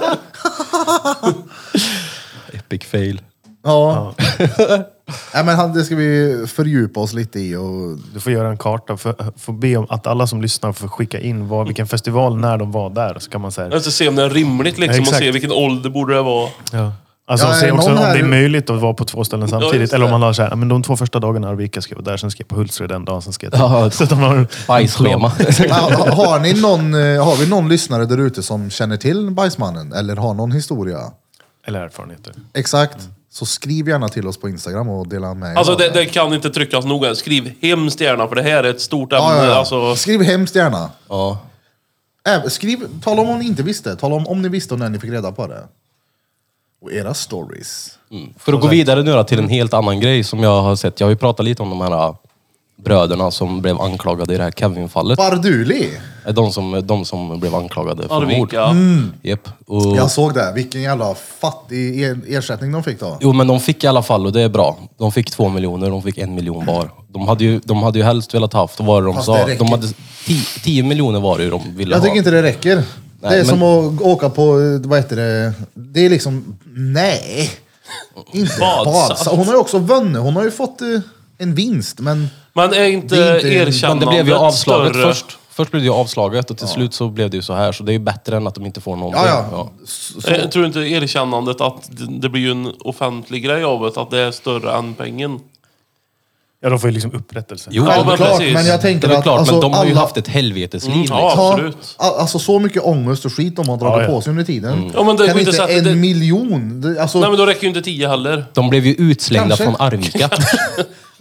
[SPEAKER 2] Epic fail.
[SPEAKER 4] Ja. Nej, men han- det ska vi fördjupa oss lite i. Och,
[SPEAKER 1] Du får göra en karta. För, får be om att alla som lyssnar får skicka in vad, vilken festival, när de var där. Så kan man säga.
[SPEAKER 3] Jag måste se om det är rimligt liksom och
[SPEAKER 1] Exakt.
[SPEAKER 3] se vilken ålder borde det vara.
[SPEAKER 1] Ja. Alltså
[SPEAKER 4] Ja, är
[SPEAKER 1] se
[SPEAKER 4] det
[SPEAKER 1] också om
[SPEAKER 4] någon här-
[SPEAKER 1] det är möjligt att vara på två ställen samtidigt.
[SPEAKER 3] just
[SPEAKER 1] eller om
[SPEAKER 3] det.
[SPEAKER 1] man har så här, "Ja, men de två första dagarna i Arvika ska jag vara där, sen ska jag på Hultsfred den dagen, sen ska jag till.
[SPEAKER 2] Ja.
[SPEAKER 1] Så att de har en
[SPEAKER 2] Bajsschema.
[SPEAKER 4] Men har, har, ni någon, eh, har vi någon lyssnare där ute som känner till Bajsmannen eller har någon historia?
[SPEAKER 1] Eller erfarenheter.
[SPEAKER 4] Exakt. Så skriv gärna till oss på Instagram och dela med er.
[SPEAKER 3] Alltså
[SPEAKER 4] av
[SPEAKER 3] det, det kan inte tryckas noga. Skriv hemskt gärna för det här är ett stort ämne.
[SPEAKER 4] Ja, ja, ja.
[SPEAKER 3] Alltså,
[SPEAKER 4] Skriv hemskt gärna.
[SPEAKER 2] Ja.
[SPEAKER 4] Även- Äh, Skriv, tala om om ni inte visste. Tala om om ni visste och när ni fick reda på det. Och era stories.
[SPEAKER 2] För att gå vidare nu då till en helt annan grej som jag har sett. Jag har ju pratat lite om de här äh, bröderna som blev anklagade i det här Kevin-fallet.
[SPEAKER 4] Barduli!
[SPEAKER 3] Mm.
[SPEAKER 2] De som, de som blev anklagade för mord.
[SPEAKER 3] Arvika.
[SPEAKER 1] Mm.
[SPEAKER 2] Jep. Och,
[SPEAKER 4] Jag såg det. Vilken jävla fattig er- ersättning de fick då.
[SPEAKER 2] Jo men de fick i alla fall och det är bra. De fick två miljoner, de fick en miljon var. De hade ju, de hade ju helst velat haft, vad var det de
[SPEAKER 4] Fast
[SPEAKER 2] sa?
[SPEAKER 4] det räcker.
[SPEAKER 2] De hade ti- tio miljoner var det ju de ville
[SPEAKER 4] Jag
[SPEAKER 2] ha.
[SPEAKER 4] tycker inte det räcker. det är
[SPEAKER 2] men-
[SPEAKER 4] som att åka på, eh, vad heter det, det är liksom, nej. Inte
[SPEAKER 3] Badsaft.
[SPEAKER 4] Badsa. Hon har ju också vunnit, hon har ju fått eh, en vinst. Men
[SPEAKER 3] Men är inte,
[SPEAKER 4] Det är inte-
[SPEAKER 2] Men det
[SPEAKER 3] erkännandet
[SPEAKER 2] blev ju avslaget
[SPEAKER 3] större?
[SPEAKER 2] först. Först blev det ju avslaget och till slut så blev det ju så här. Så det är ju bättre än att de inte får någonting.
[SPEAKER 4] ja, ja. Så, så,
[SPEAKER 3] Jag tror inte erkännandet att det, det blir ju en offentlig grej av det, att det är större än pengen.
[SPEAKER 1] Ja, de får ju liksom upprättelse.
[SPEAKER 2] Jo,
[SPEAKER 3] Ja,
[SPEAKER 2] det är
[SPEAKER 3] men
[SPEAKER 2] klart.
[SPEAKER 3] precis.
[SPEAKER 4] men jag tänker
[SPEAKER 2] det är
[SPEAKER 4] att
[SPEAKER 2] klart,
[SPEAKER 4] alltså,
[SPEAKER 2] men de har ju
[SPEAKER 4] alla-
[SPEAKER 2] haft ett helvetesliv.
[SPEAKER 3] Mm, ja.
[SPEAKER 2] liksom.
[SPEAKER 4] Ja,
[SPEAKER 3] Absolut. Mm.
[SPEAKER 4] a- Alltså så mycket ångest och skit de har
[SPEAKER 1] Ja,
[SPEAKER 4] dragit
[SPEAKER 1] ja.
[SPEAKER 4] på sig under tiden.
[SPEAKER 3] Ja, men det
[SPEAKER 4] kan
[SPEAKER 3] går
[SPEAKER 4] inte
[SPEAKER 3] inte så att
[SPEAKER 4] en
[SPEAKER 3] det-
[SPEAKER 4] miljon... Det, alltså,
[SPEAKER 3] Nej men då räcker ju inte tio heller.
[SPEAKER 2] De blev ju utslängda
[SPEAKER 4] Kanske.
[SPEAKER 2] från Arvika.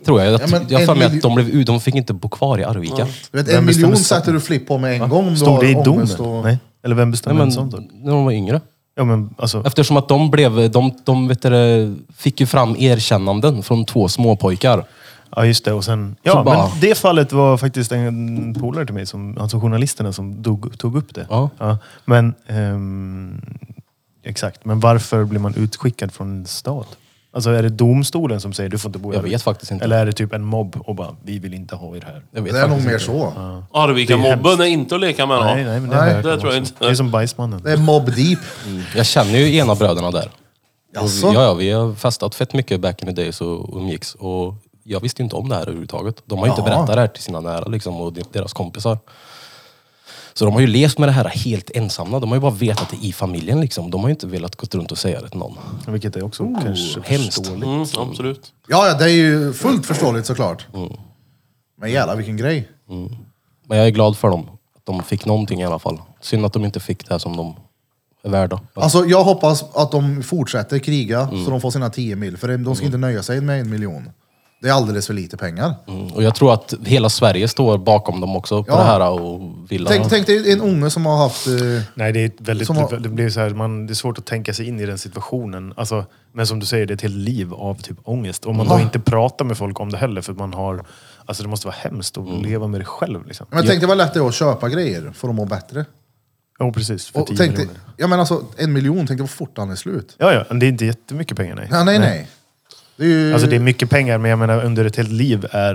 [SPEAKER 2] Tror jag. Jag,
[SPEAKER 4] Ja, men
[SPEAKER 2] jag har för mig
[SPEAKER 4] en
[SPEAKER 2] att de, blev, ut- de fick inte bo kvar i Arvika.
[SPEAKER 4] du vet,
[SPEAKER 1] Vem bestämmer
[SPEAKER 4] en miljon
[SPEAKER 1] sånt?
[SPEAKER 4] sätter du flipp på med en gång om du
[SPEAKER 1] Stod
[SPEAKER 4] har
[SPEAKER 1] det i domen?
[SPEAKER 4] ångest och...
[SPEAKER 1] Nej. Eller vem bestämmer
[SPEAKER 2] Nej,
[SPEAKER 1] en sån
[SPEAKER 2] men,
[SPEAKER 1] sak?
[SPEAKER 2] när de var yngre.
[SPEAKER 1] Ja, men alltså...
[SPEAKER 2] Eftersom att de blev, de, de vet du, det, fick ju fram erkännanden från två småpojkar.
[SPEAKER 1] Ja, just det. Och sen, ja,
[SPEAKER 2] bara-
[SPEAKER 1] men det fallet var faktiskt en polare till mig, som, alltså journalisterna som dog, tog upp det.
[SPEAKER 2] Ja.
[SPEAKER 1] men, ehm, exakt. Men varför blir man utskickad från en stad? Alltså är det domstolen som säger du får inte bo
[SPEAKER 2] Jag
[SPEAKER 1] här"?
[SPEAKER 2] vet faktiskt inte.
[SPEAKER 1] Eller är det typ en mobb och bara, vi vill inte ha er här.
[SPEAKER 2] Jag vet
[SPEAKER 4] Det är nog
[SPEAKER 2] faktiskt
[SPEAKER 4] mer
[SPEAKER 2] inte.
[SPEAKER 4] så.
[SPEAKER 1] Det är
[SPEAKER 3] Arvika-mobben är inte att leka med.
[SPEAKER 1] Nej, nej, men det,
[SPEAKER 4] Nej,
[SPEAKER 1] har
[SPEAKER 3] det
[SPEAKER 1] hört
[SPEAKER 3] tror jag
[SPEAKER 1] också.
[SPEAKER 3] inte.
[SPEAKER 1] Det är som Bajsmannen.
[SPEAKER 4] Det är Mob Deep.
[SPEAKER 2] Jag känner ju ena bröderna där. Och vi-
[SPEAKER 4] Jaså?
[SPEAKER 2] Ja, ja, vi har festat fett mycket back in the days och umgicks. Och jag visste ju inte om det här överhuvudtaget. De har ju inte
[SPEAKER 4] Jaha.
[SPEAKER 2] berättat det här till sina nära liksom, och de- deras kompisar. Så de har ju levt med det här helt ensamma. De har ju bara vetat det i familjen liksom. De har ju inte velat gå runt och säga det till någon.
[SPEAKER 1] Vilket är också
[SPEAKER 2] Oh.
[SPEAKER 1] kanske
[SPEAKER 2] hemskt.
[SPEAKER 1] förståeligt.
[SPEAKER 3] Mm, absolut.
[SPEAKER 4] Ja, ja, det är ju fullt förståeligt såklart. Men jävlar vilken grej.
[SPEAKER 2] Men jag är glad för dem. Att de fick någonting i alla fall. Synd att de inte fick det här som de är värda.
[SPEAKER 4] Alltså jag hoppas att de fortsätter kriga så de får sina 10 mil. För de ska inte nöja sig med en miljon. Det är alldeles för lite pengar.
[SPEAKER 2] Mm. Och jag tror att hela Sverige står bakom dem också på
[SPEAKER 4] Ja.
[SPEAKER 2] det här och vill
[SPEAKER 4] Tänk, tänk dig en unge som har haft... eh,
[SPEAKER 1] Nej, det är väldigt...
[SPEAKER 4] Som har-
[SPEAKER 1] det, blir så här, man, det är svårt att tänka sig in i den situationen. Alltså, men som du säger, det är ett helt liv av typ ångest. Om man då
[SPEAKER 4] Ja.
[SPEAKER 1] inte pratar med folk om det heller, för att man har... Alltså det måste vara hemskt att
[SPEAKER 3] Mm.
[SPEAKER 1] leva med det själv. Liksom.
[SPEAKER 4] Men tänk dig vad lätt det är att köpa grejer för att må bättre.
[SPEAKER 1] Jo, precis. För
[SPEAKER 4] Och
[SPEAKER 1] 10
[SPEAKER 4] tänk dig,
[SPEAKER 1] miljoner.
[SPEAKER 4] ja, men alltså, en miljon, tänk dig vad fort han är slut.
[SPEAKER 1] Ja, ja. men Det är inte jättemycket pengar, nej.
[SPEAKER 4] Ja, nej, nej. Det är ju...
[SPEAKER 1] Alltså det är mycket pengar, men jag menar under ett helt liv är...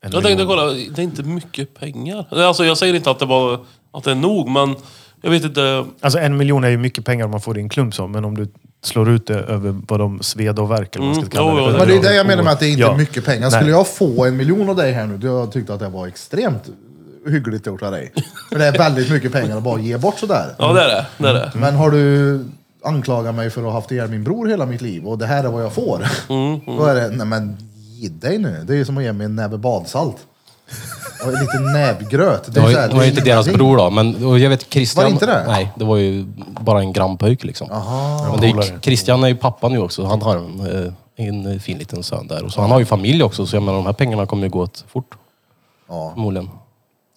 [SPEAKER 1] En
[SPEAKER 3] Jag tänkte kolla, det är inte mycket pengar. Alltså jag säger inte att det, bara, att det är nog, men jag vet inte.
[SPEAKER 1] Alltså en miljon är ju mycket pengar om man får det i en klump som, men om du slår ut det över vad de sved och verk eller vad man
[SPEAKER 3] Mm,
[SPEAKER 1] ska kalla
[SPEAKER 3] jo, jo,
[SPEAKER 1] det.
[SPEAKER 3] det-
[SPEAKER 4] men det är det jag menar med att det är inte är
[SPEAKER 1] Ja.
[SPEAKER 4] mycket pengar.
[SPEAKER 1] Nej.
[SPEAKER 4] Skulle jag få en miljon av dig här nu, då jag tyckte att det var extremt hyggligt gjort av dig. För det är väldigt mycket pengar att bara ge bort sådär.
[SPEAKER 3] Ja, det är det. det, är det.
[SPEAKER 4] Men har du anklagat mig för att ha haft ihjäl min bror hela mitt liv och det här är vad jag får.
[SPEAKER 2] Mm,
[SPEAKER 4] Då är det, nej men ge dig nu. Det är ju som att ge mig en näve badsalt. Och lite näbbgröt.
[SPEAKER 2] Det
[SPEAKER 4] är
[SPEAKER 2] var,
[SPEAKER 4] ju
[SPEAKER 2] ju,
[SPEAKER 4] så här,
[SPEAKER 2] det var ju inte
[SPEAKER 4] ingenting.
[SPEAKER 2] deras bror då, men och jag vet Christian...
[SPEAKER 4] Var det inte det?
[SPEAKER 2] Nej, det var ju bara en grannpojk liksom. Men det är, ju- Christian är ju pappa nu också, han har en, eh, en fin liten son där. Och så han har ju familj också, så jag menar de här pengarna kommer ju gå åt fort.
[SPEAKER 4] Ja.
[SPEAKER 2] Förmodligen.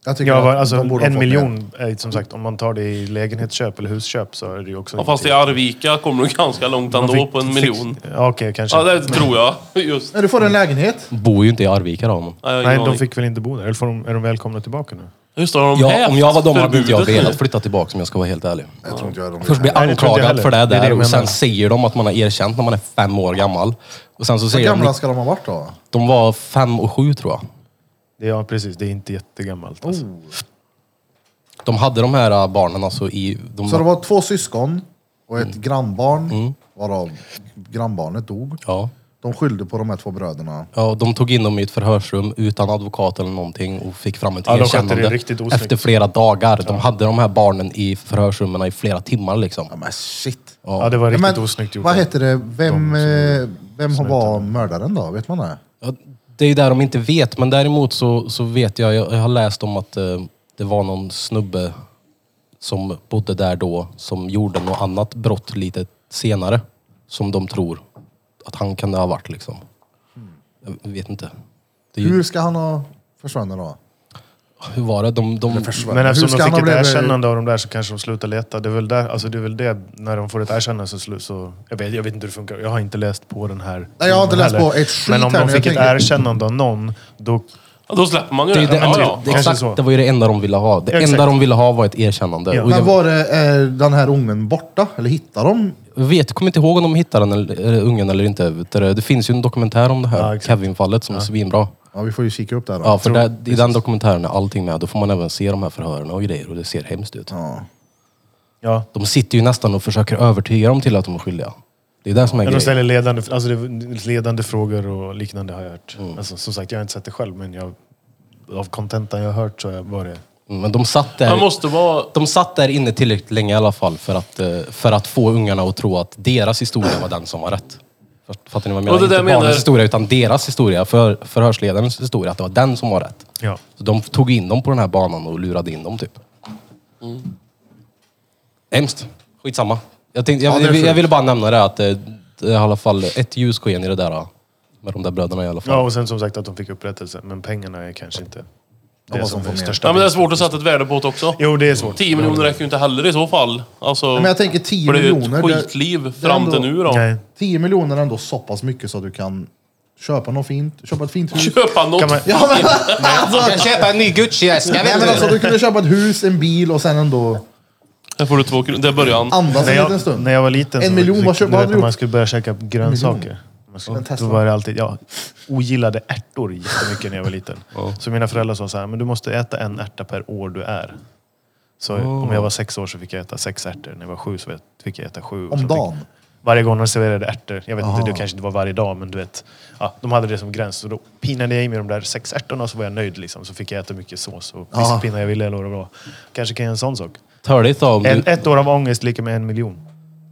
[SPEAKER 4] Jag tycker
[SPEAKER 1] Ja,
[SPEAKER 4] att
[SPEAKER 1] va-
[SPEAKER 4] de
[SPEAKER 1] alltså
[SPEAKER 4] borde ha
[SPEAKER 1] en
[SPEAKER 4] fått mer.
[SPEAKER 1] miljon, är, som sagt, om man tar det i lägenhetsköp eller husköp så är det ju också...
[SPEAKER 3] Ja, fast i Arvika kommer du ganska långt
[SPEAKER 1] Man
[SPEAKER 3] ändå
[SPEAKER 1] fick-
[SPEAKER 3] på en
[SPEAKER 1] fick-
[SPEAKER 3] miljon.
[SPEAKER 1] Ja, okej, kanske.
[SPEAKER 3] Ja, det tror jag. Just.
[SPEAKER 4] Nej, du
[SPEAKER 2] Mm.
[SPEAKER 4] får en lägenhet.
[SPEAKER 2] Bor ju inte i Arvika då. Men.
[SPEAKER 3] Nej, jag har
[SPEAKER 1] Nej,
[SPEAKER 3] ingen
[SPEAKER 1] de
[SPEAKER 3] aning.
[SPEAKER 1] fick väl inte bo där? Eller får de, är de välkomna tillbaka nu?
[SPEAKER 3] Just det, har de
[SPEAKER 2] Ja,
[SPEAKER 3] hävt
[SPEAKER 2] om jag var dem hade inte jag
[SPEAKER 3] förbudet nu?
[SPEAKER 2] velat flytta tillbaka om jag ska vara helt ärlig.
[SPEAKER 4] Jag tror inte jag de
[SPEAKER 2] Först blir
[SPEAKER 1] Nej, det tror inte jag
[SPEAKER 2] anklagad för det
[SPEAKER 1] heller. Det är det
[SPEAKER 2] där
[SPEAKER 1] jag
[SPEAKER 2] och sen
[SPEAKER 1] menar.
[SPEAKER 2] säger de att man har erkänt när man är fem år gammal. Och sen så
[SPEAKER 4] Hur
[SPEAKER 2] säger de,
[SPEAKER 4] gamla ska de ha varit då?
[SPEAKER 2] de var fem och sju tror jag.
[SPEAKER 1] Det, ja, precis. Det är inte jättegammalt. Alltså.
[SPEAKER 4] Oh.
[SPEAKER 2] De hade de här äh, barnen alltså i... De,
[SPEAKER 4] Så det var två syskon och ett grannbarn,
[SPEAKER 1] Mm.
[SPEAKER 4] varav grannbarnet dog.
[SPEAKER 2] ja.
[SPEAKER 4] De skyllde på de här två bröderna.
[SPEAKER 2] Ja, och de tog in dem i ett förhörsrum utan advokat eller någonting och fick fram ett
[SPEAKER 1] Ja, de skötte det
[SPEAKER 2] erkännande
[SPEAKER 1] riktigt osnyggt.
[SPEAKER 2] efter flera dagar. De hade de här barnen i förhörsrummen i flera timmar liksom.
[SPEAKER 4] Ja, men shit.
[SPEAKER 1] Ja, det var
[SPEAKER 4] Ja,
[SPEAKER 1] riktigt
[SPEAKER 4] men
[SPEAKER 1] osnyggt gjort.
[SPEAKER 4] Vad heter det? Vem,
[SPEAKER 1] De
[SPEAKER 4] eh, vem var mördaren då? Vet man det?
[SPEAKER 2] Ja, det är ju där de inte vet, men däremot så, så vet jag, jag, jag har läst om att eh, det var någon snubbe som bodde där då som gjorde något annat brott lite senare som de tror att han kan ha varit liksom. Jag vet inte. Det är ju,
[SPEAKER 4] Hur ska han ha försvunnit då?
[SPEAKER 2] hur var det? De, de,
[SPEAKER 1] Men eftersom
[SPEAKER 4] ska
[SPEAKER 1] de
[SPEAKER 4] han ha
[SPEAKER 1] fick ett
[SPEAKER 4] blivit-
[SPEAKER 1] erkännande av de där så kanske de slutar leta. Det är väl, där, alltså det, är väl det, när de får ett erkännande så, slu, så jag, vet, jag vet inte hur det funkar. Jag har inte läst på den här.
[SPEAKER 4] Nej, jag har inte
[SPEAKER 1] filmen
[SPEAKER 4] läst på
[SPEAKER 1] heller.
[SPEAKER 4] ett skit
[SPEAKER 1] Men om
[SPEAKER 4] här
[SPEAKER 1] de
[SPEAKER 4] nu,
[SPEAKER 1] fick
[SPEAKER 4] jag
[SPEAKER 1] ett
[SPEAKER 4] tänker-
[SPEAKER 1] erkännande av någon, då...
[SPEAKER 3] Ja, då släpper man ju
[SPEAKER 2] Det, är
[SPEAKER 3] det.
[SPEAKER 2] ju det,
[SPEAKER 3] ja,
[SPEAKER 2] enda-
[SPEAKER 3] ja.
[SPEAKER 2] det,
[SPEAKER 1] Kanske
[SPEAKER 2] exakt,
[SPEAKER 1] så.
[SPEAKER 2] det var ju det enda de ville ha. Det
[SPEAKER 1] Exakt.
[SPEAKER 2] enda de ville ha var ett erkännande.
[SPEAKER 1] Ja.
[SPEAKER 2] Och
[SPEAKER 4] Men
[SPEAKER 2] jag,
[SPEAKER 4] var det eh, den här ungen borta? Eller hittade de?
[SPEAKER 2] jag vet, kommer inte ihåg om de hittade den eller, eller ungen eller inte. Vet du. Det finns ju en dokumentär om det här,
[SPEAKER 1] Ja, exakt.
[SPEAKER 2] Kevin-fallet, som är svinbra.
[SPEAKER 4] Ja, vi får ju kika upp där då.
[SPEAKER 2] Ja, för där, i den dokumentären är allting med. Då får man även se de här förhören och grejer och det ser hemskt ut.
[SPEAKER 4] Ja.
[SPEAKER 1] Ja.
[SPEAKER 2] De sitter ju nästan och försöker övertyga dem till att de är skyldiga. Det är det som är
[SPEAKER 1] Ja, de
[SPEAKER 2] grejen.
[SPEAKER 1] ställer ledande, alltså det, ledande frågor och liknande har jag hört.
[SPEAKER 3] Mm.
[SPEAKER 1] Alltså, som sagt, jag har inte sett det själv, men jag, av contentan jag har hört så var det...
[SPEAKER 2] Mm, Men de satt
[SPEAKER 3] Man
[SPEAKER 2] där,
[SPEAKER 3] måste vara...
[SPEAKER 2] de satt där inne tillräckligt länge i alla fall för att, eh, för att få ungarna att tro att deras historia var den som var rätt. Fatt- Fattar ni vad jag
[SPEAKER 3] Och
[SPEAKER 2] menar?
[SPEAKER 3] det
[SPEAKER 2] Inte
[SPEAKER 3] där menar-
[SPEAKER 2] barnens historia utan deras historia, för, förhörsledarens historia, att det var den som var rätt.
[SPEAKER 1] Ja.
[SPEAKER 2] Så de tog in dem på den här banan och lurade in dem typ. Mm. Hemskt. Skitsamma. Jag, tänkte,
[SPEAKER 4] Ja,
[SPEAKER 2] jag,
[SPEAKER 4] det är
[SPEAKER 2] jag,
[SPEAKER 4] sjukt.
[SPEAKER 2] jag ville bara nämna det att eh, det är i alla fall ett ljussken i det där. eh, Med de där bröderna i alla fall.
[SPEAKER 1] ja, och sen som sagt att de fick upprättelse, men pengarna är kanske inte det
[SPEAKER 4] vad
[SPEAKER 1] som
[SPEAKER 4] de får
[SPEAKER 1] är
[SPEAKER 4] med.
[SPEAKER 1] största.
[SPEAKER 3] Ja, men det är svårt att sätta ett värde på det också.
[SPEAKER 1] Jo, det är svårt.
[SPEAKER 3] 10 miljoner räcker ju inte heller i så fall. Alltså,
[SPEAKER 4] Men jag tänker 10
[SPEAKER 3] för det är ju
[SPEAKER 4] miljoner.
[SPEAKER 3] ett
[SPEAKER 4] det-
[SPEAKER 3] skitliv
[SPEAKER 4] det är
[SPEAKER 3] fram till
[SPEAKER 4] ändå-
[SPEAKER 3] nu då.
[SPEAKER 1] Nej.
[SPEAKER 4] 10 miljoner är ändå så pass mycket så att du kan köpa något fint, köpa ett fint hus.
[SPEAKER 3] Köpa något.
[SPEAKER 1] Kan man,
[SPEAKER 4] Ja, men, alltså,
[SPEAKER 2] köpa en ny Gucci-väska.
[SPEAKER 4] nej, men alltså, du kunde köpa ett hus, en bil och sen ändå
[SPEAKER 3] Här får du två kronor. Det är början.
[SPEAKER 4] andas
[SPEAKER 1] när,
[SPEAKER 4] en liten
[SPEAKER 1] jag,
[SPEAKER 4] stund.
[SPEAKER 1] när jag var liten,
[SPEAKER 4] En
[SPEAKER 1] så-
[SPEAKER 4] miljon, vad
[SPEAKER 1] du
[SPEAKER 4] köp-
[SPEAKER 1] vet,
[SPEAKER 4] vad hade
[SPEAKER 1] när
[SPEAKER 4] du
[SPEAKER 1] man
[SPEAKER 4] gjort?
[SPEAKER 1] skulle börja käka grönsaker. Man
[SPEAKER 4] Men
[SPEAKER 1] skulle,
[SPEAKER 4] testa.
[SPEAKER 1] då var det alltid, jag ogillade ärtor jättemycket när jag var liten. Så mina föräldrar sa så här, men du måste äta en ärta per år du är. Så om jag var sex år så fick jag äta sex ärtor, när jag var sju så fick jag äta sju. och
[SPEAKER 4] Om
[SPEAKER 1] så fick-
[SPEAKER 4] dagen?
[SPEAKER 1] Varje gång de serverade ärtor, jag vet inte, det kanske inte var varje dag, men du vet. Ja, de hade det som gräns och då pinade jag i mig de där sex ärtorna och så var jag nöjd liksom. Så fick jag äta mycket sås och
[SPEAKER 4] Ja.
[SPEAKER 1] fiskpinnar jag ville eller vad det var. Kanske kan jag göra en sån sak.
[SPEAKER 2] Törligt om, du,
[SPEAKER 1] En, ett år av ångest lika med en miljon.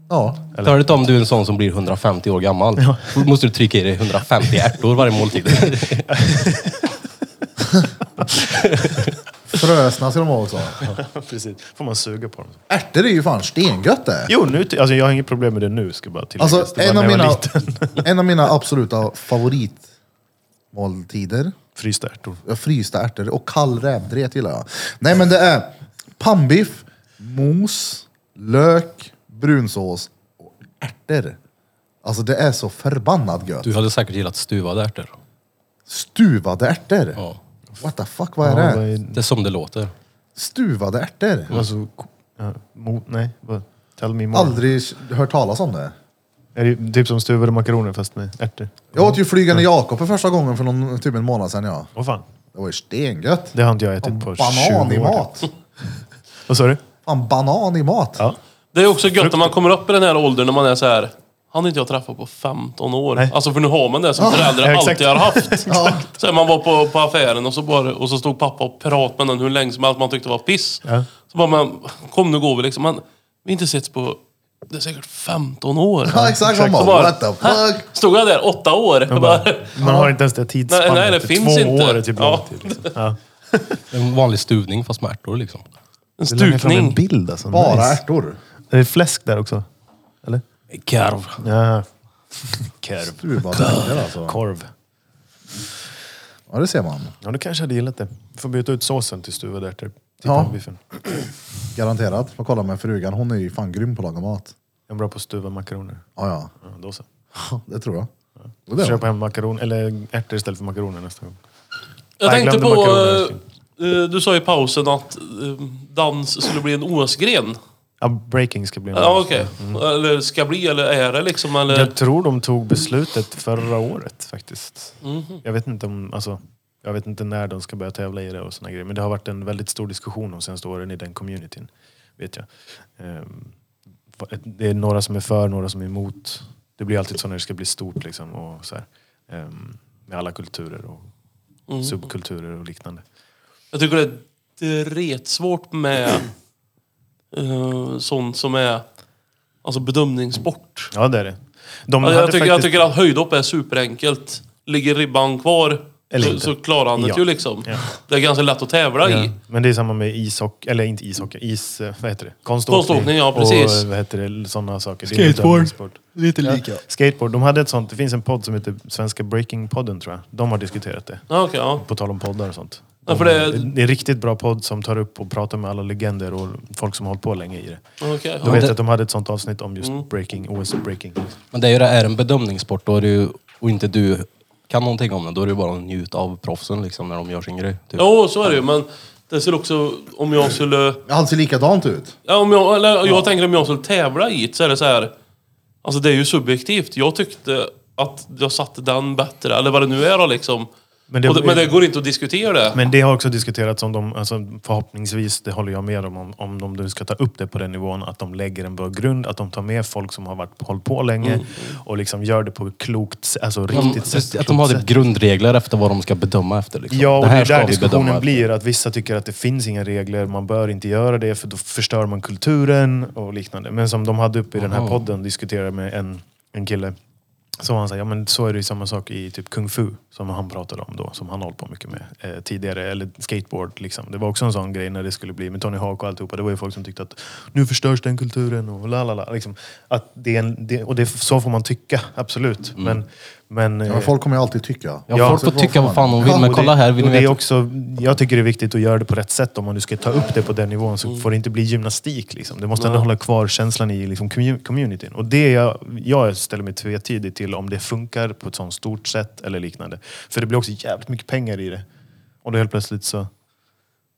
[SPEAKER 4] Ja.
[SPEAKER 2] törligt om du är en sån som blir 150 år gammal. Då måste du trycka i dig 150 ärtor varje måltid.
[SPEAKER 4] Frösna ska de vara också.
[SPEAKER 1] Precis. Får man suga på dem.
[SPEAKER 4] Ärtor är ju fan stengött det.
[SPEAKER 1] Jo, nu, ty- alltså jag har inget problem med det nu, ska bara tilläggas.
[SPEAKER 4] Alltså,
[SPEAKER 1] det var
[SPEAKER 4] en, av
[SPEAKER 1] när jag var
[SPEAKER 4] mina,
[SPEAKER 1] liten.
[SPEAKER 4] en av mina absoluta favoritmåltider,
[SPEAKER 1] Frysta ärtor.
[SPEAKER 4] ja, frysta ärtor och kall rävdret gillar jag. Nej men det är pannbiff, mos, lök, brunsås och ärtor. Alltså det är så förbannat gött.
[SPEAKER 2] Du hade säkert gillat stuvade ärtor.
[SPEAKER 4] Stuvade ärtor?
[SPEAKER 2] Ja.
[SPEAKER 4] What the fuck, vad är det?
[SPEAKER 1] vad är-
[SPEAKER 2] Det är som det låter.
[SPEAKER 4] Stuvade ärtor?
[SPEAKER 1] Alltså, ko- ja, mo, nej, vad? Tell me more.
[SPEAKER 4] Aldrig hört talas om det.
[SPEAKER 1] Är det typ som stuvade makaroner fast med ärtor?
[SPEAKER 4] Jag åt ju flygande Jakob för första gången för någon, typ en månad sedan ja.
[SPEAKER 1] Åh fan,
[SPEAKER 4] Det var ju stengött.
[SPEAKER 1] det har inte jag ätit på 20 år.
[SPEAKER 4] Banan i mat.
[SPEAKER 1] Vad sa du?
[SPEAKER 4] Fan, banan i mat.
[SPEAKER 1] Ja.
[SPEAKER 3] Det är också gött när man kommer upp i den här åldern när man är så här. Han har inte jag träffat på 15 år.
[SPEAKER 1] Nej.
[SPEAKER 3] Alltså för nu har man det som föräldrar
[SPEAKER 1] ja, exakt.
[SPEAKER 3] alltid har haft. Så här, man var på, på affären och så, bara, och så stod pappa och pratade med någon hur länge som helst man tyckte var piss.
[SPEAKER 1] Ja.
[SPEAKER 3] Så bara, men, kom nu går vi liksom. Men, vi har inte setts på, det är säkert 15 år.
[SPEAKER 4] Ja, exakt.
[SPEAKER 1] exakt.
[SPEAKER 4] Man
[SPEAKER 3] Så bara,
[SPEAKER 4] bara, what the fuck?
[SPEAKER 3] Stod jag där åtta år? Jag bara,
[SPEAKER 1] Man har inte ens det tidsspannet.
[SPEAKER 3] Nej, nej, det finns
[SPEAKER 1] Två
[SPEAKER 3] inte.
[SPEAKER 1] år är typ
[SPEAKER 3] Ja.
[SPEAKER 1] lång tid. Liksom. Ja.
[SPEAKER 2] En vanlig stuvning fast med ärtor liksom.
[SPEAKER 3] en
[SPEAKER 1] Du lägger fram en
[SPEAKER 3] stukning.
[SPEAKER 1] bild alltså.
[SPEAKER 4] Bara
[SPEAKER 1] Nice.
[SPEAKER 4] ärtor.
[SPEAKER 1] Är det fläsk där också? Eller?
[SPEAKER 2] Karv.
[SPEAKER 1] Ja. Korv.
[SPEAKER 4] Stuvade ärtor alltså.
[SPEAKER 1] Korv.
[SPEAKER 4] Ja, det ser man.
[SPEAKER 1] Ja, du kanske hade gillat det. Du får byta ut såsen till stuvad ärtor. Typ Till
[SPEAKER 4] Ja.
[SPEAKER 1] pannbiffen.
[SPEAKER 4] Garanterat. Får kolla med frugan. Hon är ju fan grym på att laga mat.
[SPEAKER 1] Jag är bra på att stuva makaroner.
[SPEAKER 4] Ja, ja.
[SPEAKER 1] Ja, då så.
[SPEAKER 4] Det tror jag. Det
[SPEAKER 1] Försök
[SPEAKER 4] är det.
[SPEAKER 1] köpa hem makaron, eller ärtor istället för makaroner nästa gång.
[SPEAKER 3] Jag
[SPEAKER 1] Nej,
[SPEAKER 3] tänkte
[SPEAKER 1] glömde
[SPEAKER 3] på...
[SPEAKER 1] makaroner.
[SPEAKER 3] eh, eh, du sa i pausen att eh, dans skulle bli en OS-gren.
[SPEAKER 1] Ja, breaking ska bli en
[SPEAKER 3] Ja, okej. Eller ska bli, eller är det liksom, eller?
[SPEAKER 1] Jag tror de tog beslutet förra året faktiskt.
[SPEAKER 3] Mhm.
[SPEAKER 1] Jag vet inte om, alltså, jag vet inte när de ska börja tävla i det och såna grejer. Men det har varit en väldigt stor diskussion de senaste åren i den communityn. Vet jag. Ehm, va- Det är några som är för, några som är emot. Det blir alltid så när det ska bli stort liksom. Och så här. Ehm, Med alla kulturer och
[SPEAKER 3] Mm.
[SPEAKER 1] subkulturer och liknande.
[SPEAKER 3] Jag tycker det är retsvårt med eh, sånt som är alltså bedömningssport.
[SPEAKER 1] Ja, det är det. De
[SPEAKER 3] Alltså,
[SPEAKER 1] hade
[SPEAKER 3] jag, tycker, jag
[SPEAKER 1] faktiskt-
[SPEAKER 3] tycker att höjdhopp är superenkelt. Ligger ribban kvar
[SPEAKER 1] Eller
[SPEAKER 3] så,
[SPEAKER 1] inte.
[SPEAKER 3] så klarar han det
[SPEAKER 1] Ja.
[SPEAKER 3] ju liksom.
[SPEAKER 1] Ja.
[SPEAKER 3] Det är ganska lätt att tävla i.
[SPEAKER 1] Ja, men det är samma med ishockey, eller inte ishockey, is... eh, Vad heter det? Konståkning.
[SPEAKER 3] Konståkning, ja, precis.
[SPEAKER 1] Och eh, vad heter det? Sådana saker. Det är
[SPEAKER 2] Skateboard.
[SPEAKER 1] bedömningssport.
[SPEAKER 2] Lite lika.
[SPEAKER 1] Skateboard. De hade ett sånt, det finns en podd som heter Svenska Breaking-podden tror jag. De har diskuterat det.
[SPEAKER 3] Ja, okej, ja.
[SPEAKER 1] På tal om poddar och sånt. De,
[SPEAKER 3] Ja, för det-
[SPEAKER 1] det är en riktigt bra podd som tar upp och pratar med alla legender och folk som har hållit på länge i det.
[SPEAKER 3] Okej,
[SPEAKER 1] Då
[SPEAKER 3] ja. Mm.
[SPEAKER 1] vet
[SPEAKER 2] det-
[SPEAKER 1] jag att de hade ett sånt avsnitt om just breaking, OS-breaking.
[SPEAKER 2] Men det är ju det, är en bedömningssport då är det ju, och inte du kan någonting om det, då är det ju bara att njuta av proffsen liksom när de gör sin grej. Typ.
[SPEAKER 3] Jo, så är det ju. Men det ser också, om jag skulle...
[SPEAKER 4] Allt ser likadant ut.
[SPEAKER 3] Ja, om jag, eller, jag tänker om jag skulle tävla i det så är det så här. Alltså det är ju subjektivt. Jag tyckte att jag satte den bättre, eller vad det nu är då liksom.
[SPEAKER 1] Men
[SPEAKER 3] Men
[SPEAKER 1] det-
[SPEAKER 3] det, men det går inte att diskutera det.
[SPEAKER 1] Men det har också diskuterats om de, alltså förhoppningsvis, det håller jag med om, om, om de nu ska ta upp det på den nivån, att de lägger en bra grund, att de tar med folk som har varit, hållit på länge
[SPEAKER 2] Mm.
[SPEAKER 1] och liksom gör det på ett klokt, sä- alltså
[SPEAKER 2] De,
[SPEAKER 1] riktigt sätt.
[SPEAKER 2] Mm. att
[SPEAKER 1] klokt
[SPEAKER 2] de har
[SPEAKER 1] sätt.
[SPEAKER 2] typ grundregler efter vad de ska bedöma efter. Liksom.
[SPEAKER 1] Ja, och det, är
[SPEAKER 2] ska
[SPEAKER 1] där
[SPEAKER 2] vi bedöma
[SPEAKER 1] diskussionen
[SPEAKER 2] efter.
[SPEAKER 1] blir. Att vissa tycker att det finns inga regler, man bör inte göra det för då förstör man kulturen och liknande. Men som de hade uppe i den här podden, diskuterade med en, en kille. Så var han sa, ja men så är det ju samma sak i typ kung fu som han pratade om då, som han hållit på mycket med eh, tidigare. Eller skateboard liksom. Det var också en sån grej när det skulle bli med Tony Hawk och alltihopa. Det var ju folk som tyckte att nu förstörs den kulturen och la la la. Liksom, att det är en, det, och det, så får man tycka, absolut. Men, men,
[SPEAKER 4] Ja,
[SPEAKER 1] eh,
[SPEAKER 4] men folk kommer ju alltid tycka.
[SPEAKER 2] Ja, folk
[SPEAKER 4] Så
[SPEAKER 2] får tycka vad fan de vill, men
[SPEAKER 1] och
[SPEAKER 2] kolla
[SPEAKER 1] det,
[SPEAKER 2] här. Vill
[SPEAKER 1] och
[SPEAKER 2] ni
[SPEAKER 1] det är
[SPEAKER 2] veta?
[SPEAKER 1] också, jag tycker det är viktigt att göra det på rätt sätt. Om man nu ska ta upp det på den nivån
[SPEAKER 2] Mm.
[SPEAKER 1] så får det inte bli gymnastik. Liksom. Det måste ändå hålla kvar känslan i liksom, commu- communityn. Och det är jag, jag ställer mig tvetidig till om det funkar på ett sånt stort sätt eller liknande. För det blir också jävligt mycket pengar i det. Och då helt plötsligt så...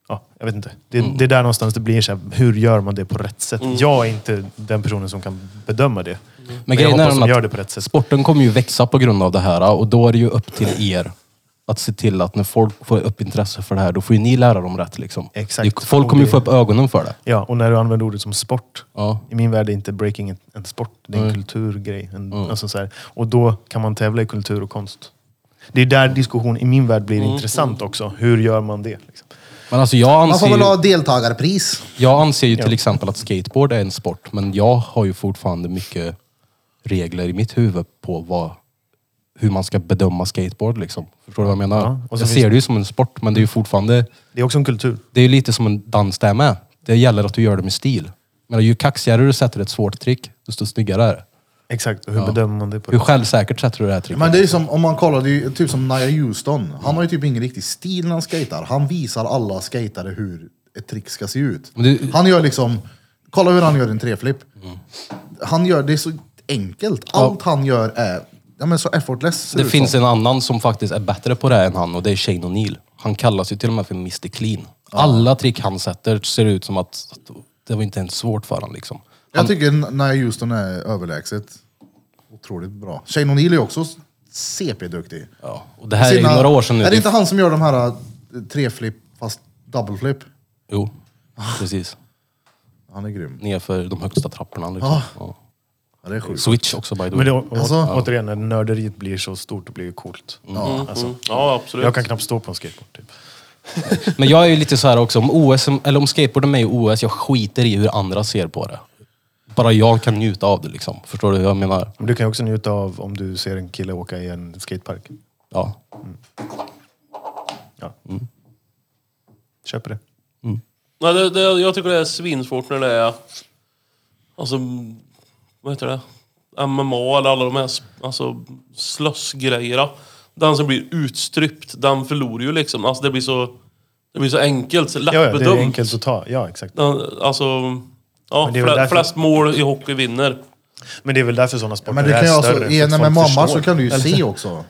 [SPEAKER 1] Ja, jag vet inte. Det,
[SPEAKER 2] Mm.
[SPEAKER 1] det är där någonstans det blir så här, hur gör man det på rätt sätt? Jag är inte den personen som kan bedöma det. Men, jag
[SPEAKER 2] grejen är
[SPEAKER 1] hoppas
[SPEAKER 2] den
[SPEAKER 1] de
[SPEAKER 2] att-
[SPEAKER 1] gör det på rätt sätt.
[SPEAKER 2] Sporten kommer ju växa på grund av det här och då är det ju upp till er att se till att när folk får upp intresse för det här, då får ju ni lära dem rätt liksom.
[SPEAKER 1] Exakt.
[SPEAKER 2] Det- Folk kommer ju få upp ögonen för det.
[SPEAKER 1] Ja, och när du använder ordet som sport.
[SPEAKER 2] Ja.
[SPEAKER 1] I min värld är inte breaking en, en sport, det är en kulturgrej. En, alltså så här. Och då kan man tävla i kultur och konst. Det är där diskussion i min värld blir intressant också. Hur gör man det? Liksom?
[SPEAKER 2] Men alltså jag
[SPEAKER 4] Man
[SPEAKER 2] anser,
[SPEAKER 4] får väl ha
[SPEAKER 2] ju,
[SPEAKER 4] deltagarpris.
[SPEAKER 2] jag anser ju till exempel att skateboard är en sport, men jag har ju fortfarande mycket regler i mitt huvud på vad, hur man ska bedöma skateboard liksom. Förstår du vad jag menar?
[SPEAKER 1] Ja, och så
[SPEAKER 2] jag
[SPEAKER 1] finns-
[SPEAKER 2] ser det ju som en sport, men det är ju fortfarande
[SPEAKER 1] Det är också en kultur.
[SPEAKER 2] Det är ju lite som en dans där med. Det gäller att du gör det med stil. Men ju kaxigare du sätter ett svårt trick, desto snyggare är det.
[SPEAKER 1] Exakt, och hur bedömer man det? på
[SPEAKER 2] Hur
[SPEAKER 1] det?
[SPEAKER 2] självsäkert sätter du det här tricket?
[SPEAKER 4] Men det är som om man kollar, det är ju typ som Nia Houston. Han har ju typ ingen riktig stil när han skater. Han visar alla skatare hur ett trick ska se ut.
[SPEAKER 2] Men det-
[SPEAKER 4] Han gör liksom, kolla hur han gör en treflip. Han gör, det är så enkelt. Allt han gör är ja, men så effortless. ser
[SPEAKER 2] Det
[SPEAKER 4] ut
[SPEAKER 2] finns
[SPEAKER 4] som.
[SPEAKER 2] en annan som faktiskt är bättre på det här än han och det är Shane O'Neill. Han kallas ju till och med för Mr Clean. Alla trick han sätter ser ut som att det var inte ens svårt för honom liksom.
[SPEAKER 4] Jag tycker Nia Houston är överlägset otroligt bra. Shane O'Neill är också CP-duktig.
[SPEAKER 2] Ja. Och det här är
[SPEAKER 4] Sina-
[SPEAKER 2] ju några år sedan nu.
[SPEAKER 4] Är det inte han som gör de här eh, treflip fast double flip?
[SPEAKER 2] Jo, precis.
[SPEAKER 4] Han är grym.
[SPEAKER 2] Nerför de högsta trapporna liksom.
[SPEAKER 4] Ja.
[SPEAKER 2] Ja.
[SPEAKER 4] Ja, det är sjukt.
[SPEAKER 2] Switch också by the way.
[SPEAKER 1] Men det, å- å-
[SPEAKER 4] Alltså-
[SPEAKER 1] återigen, när nörderiet blir så stort och blir coolt. Alltså,
[SPEAKER 3] Mm. Ja, absolut.
[SPEAKER 1] jag kan knappt stå på en skateboard. Typ.
[SPEAKER 2] Men jag är ju lite så här också, om, OS, eller om skateboarden är med i OS, jag skiter i hur andra ser på det. Bara jag kan njuta av det liksom. Förstår du hur jag menar?
[SPEAKER 1] Men du kan ju också njuta av om du ser en kille åka i en skatepark.
[SPEAKER 2] Ja.
[SPEAKER 1] Ja. Köper det.
[SPEAKER 3] Nej, det, det, jag tycker det är svinsvårt när det är... Alltså, vad heter det? MMA eller alla de här alltså, slössgrejerna. Den som blir utstrypt, den förlorar ju liksom. Alltså det blir så, det blir så enkelt, så
[SPEAKER 1] Ja, ja, det är
[SPEAKER 3] läppedömt.
[SPEAKER 1] enkelt att ta. Ja, exakt.
[SPEAKER 3] Den- Alltså, ja,
[SPEAKER 1] Men det är väl
[SPEAKER 3] fle-
[SPEAKER 1] därför-
[SPEAKER 3] flest mål i hockey vinner.
[SPEAKER 1] Men det är väl därför sådana sporter
[SPEAKER 4] Men
[SPEAKER 1] är
[SPEAKER 4] det kan ju
[SPEAKER 1] större.
[SPEAKER 4] alltså,
[SPEAKER 1] för att
[SPEAKER 4] när
[SPEAKER 1] folk
[SPEAKER 4] med mamma
[SPEAKER 1] förstår.
[SPEAKER 4] så kan du ju
[SPEAKER 1] Eller-
[SPEAKER 4] se också.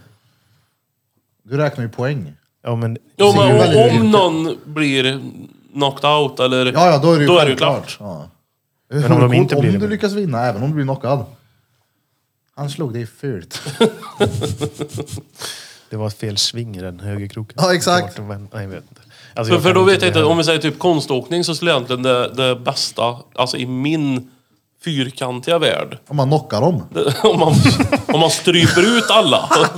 [SPEAKER 4] Du räknar ju poäng.
[SPEAKER 1] Ja, men,
[SPEAKER 3] Jo,
[SPEAKER 4] Det är ju
[SPEAKER 3] men
[SPEAKER 4] väldigt
[SPEAKER 3] om
[SPEAKER 4] enkelt.
[SPEAKER 3] någon blir knocked out eller...
[SPEAKER 4] Ja, ja, då är det ju,
[SPEAKER 3] då är det ju
[SPEAKER 4] självklart.
[SPEAKER 3] klart.
[SPEAKER 4] Ja.
[SPEAKER 1] Men om de inte
[SPEAKER 4] Om
[SPEAKER 1] blir det-
[SPEAKER 4] du lyckas vinna, även om du blir knockad. Han slog dig fult.
[SPEAKER 1] det var fel sving i den högerkroken.
[SPEAKER 4] Ja, exakt.
[SPEAKER 1] Det var en- Nej, jag vet inte. Alltså,
[SPEAKER 3] För,
[SPEAKER 1] jag
[SPEAKER 3] för
[SPEAKER 1] kan
[SPEAKER 3] då vet jag inte,
[SPEAKER 1] det
[SPEAKER 3] om vi säger typ konståkning så skulle egentligen det, det bästa, alltså i min fyrkantiga värld,
[SPEAKER 4] Om man knockar dem.
[SPEAKER 3] om, man, om man stryper ut alla.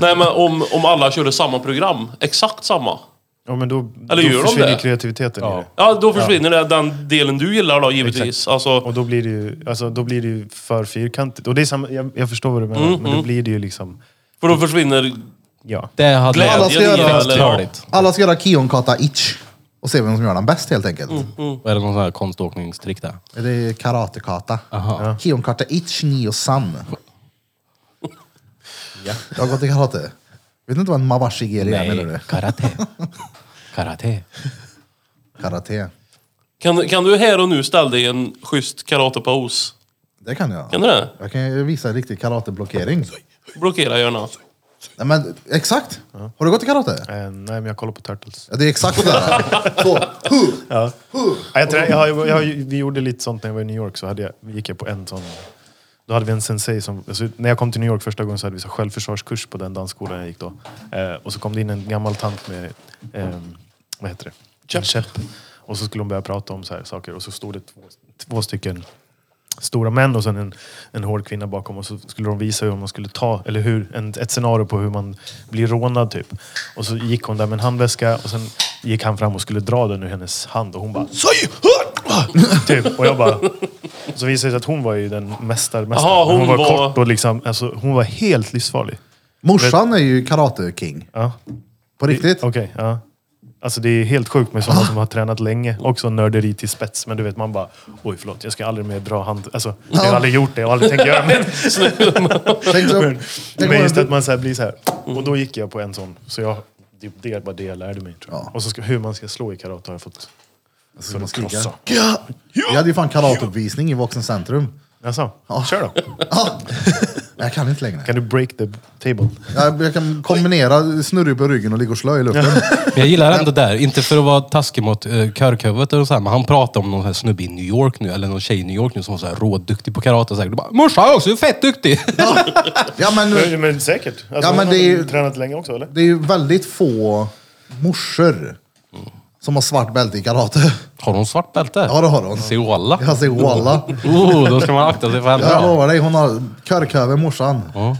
[SPEAKER 3] Nej men om, om alla körde samma program, exakt samma.
[SPEAKER 1] här. Ja, men då,
[SPEAKER 3] Eller gör
[SPEAKER 1] då
[SPEAKER 3] de
[SPEAKER 1] försvinner
[SPEAKER 3] det?
[SPEAKER 1] kreativiteten i det.
[SPEAKER 3] Ja, då försvinner det, den delen du gillar då givetvis. Alltså,
[SPEAKER 1] Och då blir det ju, alltså, då blir det ju för fyrkantigt. Och det är samma, jag, jag förstår vad du
[SPEAKER 3] Mm,
[SPEAKER 1] menar, men då blir det ju liksom...
[SPEAKER 3] för då försvinner
[SPEAKER 1] Ja.
[SPEAKER 2] Det hade
[SPEAKER 3] glädjen
[SPEAKER 4] Alla ska
[SPEAKER 3] i
[SPEAKER 4] göra-
[SPEAKER 3] det. Eller,
[SPEAKER 2] Störigt.
[SPEAKER 4] Alla ska göra Kiyonkata Itch. Och se vem som gör den bäst helt enkelt.
[SPEAKER 1] Mm,
[SPEAKER 2] Är det någon sån här konståkningstrick där?
[SPEAKER 4] Det är karatekata. Kiyonkata Itch Nio San. Jag har gått i karate. Vet du inte vad en mawashigiri är menar du?
[SPEAKER 2] karate. karate.
[SPEAKER 4] Karate.
[SPEAKER 3] kan, kan du här och nu ställa dig i en schysst karatepaus?
[SPEAKER 4] Det kan jag.
[SPEAKER 3] Kan du det?
[SPEAKER 4] Jag kan ju visa en riktig karateblockering.
[SPEAKER 3] Blockera gärna.
[SPEAKER 4] Nej, men, exakt! Har du gått i karate?
[SPEAKER 1] Eh, nej, men jag kollar på Turtles.
[SPEAKER 4] Ja, det är exakt det här. Så, huh.
[SPEAKER 1] Ja. Ja, jag, trä- jag, har- jag, har ju- vi gjorde lite sånt när jag var i New York. Så hade jag, vi gick jag på en sån... Då hade vi en sensei som... Alltså, när jag kom till New York första gången så hade vi så självförsvarskurs på den dansskolan jag gick då. Eh, och så kom det in en gammal tant med... ehm, vad heter det? En käpp. Och så skulle hon börja prata om så här saker. Och så stod det två, två stycken stora män och sen en, en hård kvinna bakom och så skulle de visa hur man skulle ta, eller hur, en, ett scenario på hur man blir rånad typ. Och så gick hon där med en handväska och sen gick han fram och skulle dra den ur hennes hand och hon bara "Soj! Hör!" typ. Och jag bara... och Så visade det sig att hon var ju den mästar, mästaren.
[SPEAKER 3] Jaha, hon
[SPEAKER 1] hon var,
[SPEAKER 3] var-
[SPEAKER 1] kort och liksom, alltså, hon var helt livsfarlig.
[SPEAKER 4] Morsan är ju karate-king.
[SPEAKER 1] Ja.
[SPEAKER 4] På riktigt.
[SPEAKER 1] Okej, ja. Alltså det är helt sjukt med sådana som har tränat länge. Också nörderi till spets. Men du vet, man bara oj förlåt, jag ska aldrig mer dra hand... Alltså, jag har aldrig gjort det och aldrig tänkt göra det.
[SPEAKER 4] Tänk så, tänk
[SPEAKER 1] Men just
[SPEAKER 4] vad-
[SPEAKER 1] att man så här blir så här. Och då gick jag på en sån. Så jag, det det var det jag lärde mig. Tror jag.
[SPEAKER 4] Ja.
[SPEAKER 1] Och så ska, hur man ska slå i karate har jag fått
[SPEAKER 4] Alltså, man skriker.
[SPEAKER 1] krossa.
[SPEAKER 4] Vi hade ju fan karateuppvisning i Vuxen Centrum.
[SPEAKER 1] Jaså? Kör då.
[SPEAKER 4] Ah. Jag kan inte längre.
[SPEAKER 1] Kan du break the table?
[SPEAKER 4] Jag, jag kan kombinera snurrig på ryggen och ligga och slöja i luften.
[SPEAKER 2] Men jag gillar ändå där, inte för att vara taskig mot uh, körkövet eller så här, men han pratar om någon här snubbe i New York nu, eller någon tjej i New York nu som var så här råduktig på karate. Säkert. Du bara, morsan är också fett duktig!
[SPEAKER 4] Ja, men,
[SPEAKER 1] Men, men säkert. Alltså,
[SPEAKER 4] Ja, men
[SPEAKER 1] hon har
[SPEAKER 4] det är ju-
[SPEAKER 1] tränat länge också, eller?
[SPEAKER 4] det är ju väldigt få morsor som har svart bälte i karate.
[SPEAKER 2] Har hon svart bälte?
[SPEAKER 4] Ja, det har hon.
[SPEAKER 2] Se walla.
[SPEAKER 4] Jag säger walla.
[SPEAKER 2] Oh, då ska man akta sig för henne.
[SPEAKER 4] Jag
[SPEAKER 2] då.
[SPEAKER 4] lovar dig, hon har körköver morsan.
[SPEAKER 2] Ja.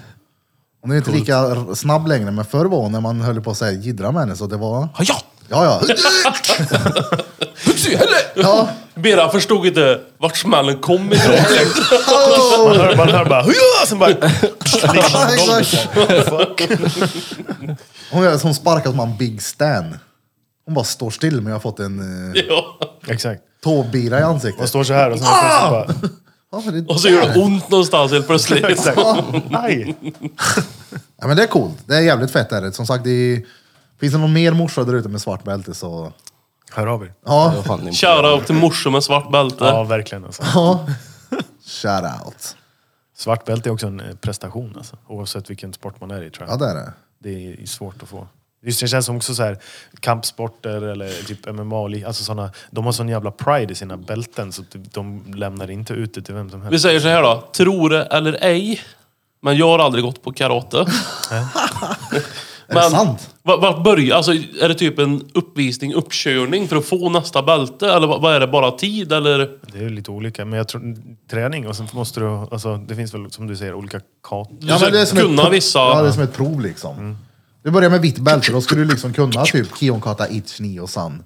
[SPEAKER 4] Hon är inte lika r- snabb längre, men förr var hon när man höll på att säga jiddra med henne så det var...
[SPEAKER 2] Ja, Ja!
[SPEAKER 4] Ja, ja.
[SPEAKER 2] Putsi, helle!
[SPEAKER 4] ja.
[SPEAKER 3] Bera förstod inte vart smällen kom ifrån.
[SPEAKER 1] Man hör, man hör bara... Huja! Sen bara...
[SPEAKER 4] Ja, exakt. Hon, gör- hon sparkar som en Big Stan. Hon bara står still men jag har fått en eh,
[SPEAKER 3] ja.
[SPEAKER 1] Exakt.
[SPEAKER 4] tåbira i
[SPEAKER 1] Man
[SPEAKER 4] ansiktet.
[SPEAKER 1] står så här och sen ah! bara...
[SPEAKER 4] Ja, men det,
[SPEAKER 3] Och så gör det ont någonstans helt plötsligt.
[SPEAKER 1] Exakt.
[SPEAKER 4] Ah!
[SPEAKER 1] Aj!
[SPEAKER 4] ja, men det är coolt. Det är jävligt fett är det. Som sagt, det är, finns det någon mer morsa där ute med svart bälte så...
[SPEAKER 1] Hör av er.
[SPEAKER 4] Ja,
[SPEAKER 2] Fan, det är-
[SPEAKER 3] Shoutout till morsor med svart bälte.
[SPEAKER 1] Ja, verkligen alltså.
[SPEAKER 4] ja. Shout out.
[SPEAKER 1] Svart bälte är också en eh, prestation alltså. Oavsett vilken sport man är i tror
[SPEAKER 4] Ja,
[SPEAKER 1] jag.
[SPEAKER 4] det är det.
[SPEAKER 1] Det är ju svårt att få. Just det känns som också så här kampsporter eller typ MMA och li- alltså såna, De har sån jävla pride i sina bälten så att de lämnar inte ut det till vem som helst.
[SPEAKER 3] Vi säger så här då. Tro det eller ej, men jag har aldrig gått på karate.
[SPEAKER 4] Är det sant?
[SPEAKER 3] Vart va börjar... Alltså, är det typ en uppvisning, uppkörning för att få nästa bälte? Eller vad vad är det? Bara tid? Eller?
[SPEAKER 1] Det är ju lite olika. Men jag tror träning och sen måste du... Alltså, det finns väl som du säger olika kat...
[SPEAKER 3] Du ska
[SPEAKER 4] ett
[SPEAKER 3] kunna
[SPEAKER 4] pro-
[SPEAKER 3] vissa...
[SPEAKER 4] Ja, det är som ett prov liksom.
[SPEAKER 1] Mm.
[SPEAKER 4] Du börjar med vitt bälte, då skulle du liksom kunna typ Kiyonkata, Itch, Ni och San.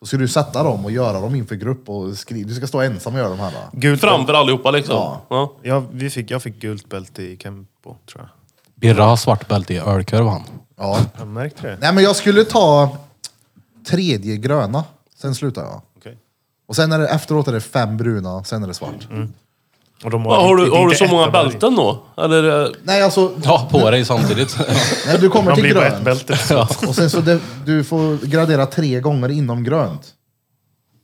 [SPEAKER 4] Då ska du sätta dem och göra dem inför grupp och skriva. Du ska stå ensam och göra de här. va?
[SPEAKER 1] Gult
[SPEAKER 3] Framför allihopa liksom.
[SPEAKER 4] Ja.
[SPEAKER 3] Ja.
[SPEAKER 1] Ja, vi fick, jag fick gult bälte i Kempo tror jag.
[SPEAKER 2] Birra har svart bälte i ölkorv han.
[SPEAKER 4] Ja.
[SPEAKER 1] Jag märkte det.
[SPEAKER 4] Nej men jag skulle ta tredje gröna, sen slutar jag.
[SPEAKER 1] Okej.
[SPEAKER 4] Och sen är det, efteråt är det fem bruna, sen är det svart.
[SPEAKER 1] Mm. Och de
[SPEAKER 3] Va, Har, du,
[SPEAKER 1] inte-
[SPEAKER 3] har du
[SPEAKER 1] inte
[SPEAKER 3] så
[SPEAKER 1] ett
[SPEAKER 3] många
[SPEAKER 1] av varje.
[SPEAKER 3] bälten då? Eller? eh,
[SPEAKER 4] Nej alltså,
[SPEAKER 2] Ja, på dig samtidigt.
[SPEAKER 4] nej, du kommer
[SPEAKER 1] Man
[SPEAKER 4] till
[SPEAKER 1] blir bara ett
[SPEAKER 4] grönt.
[SPEAKER 1] bälte.
[SPEAKER 4] Och sen så det, du får gradera tre gånger inom grönt.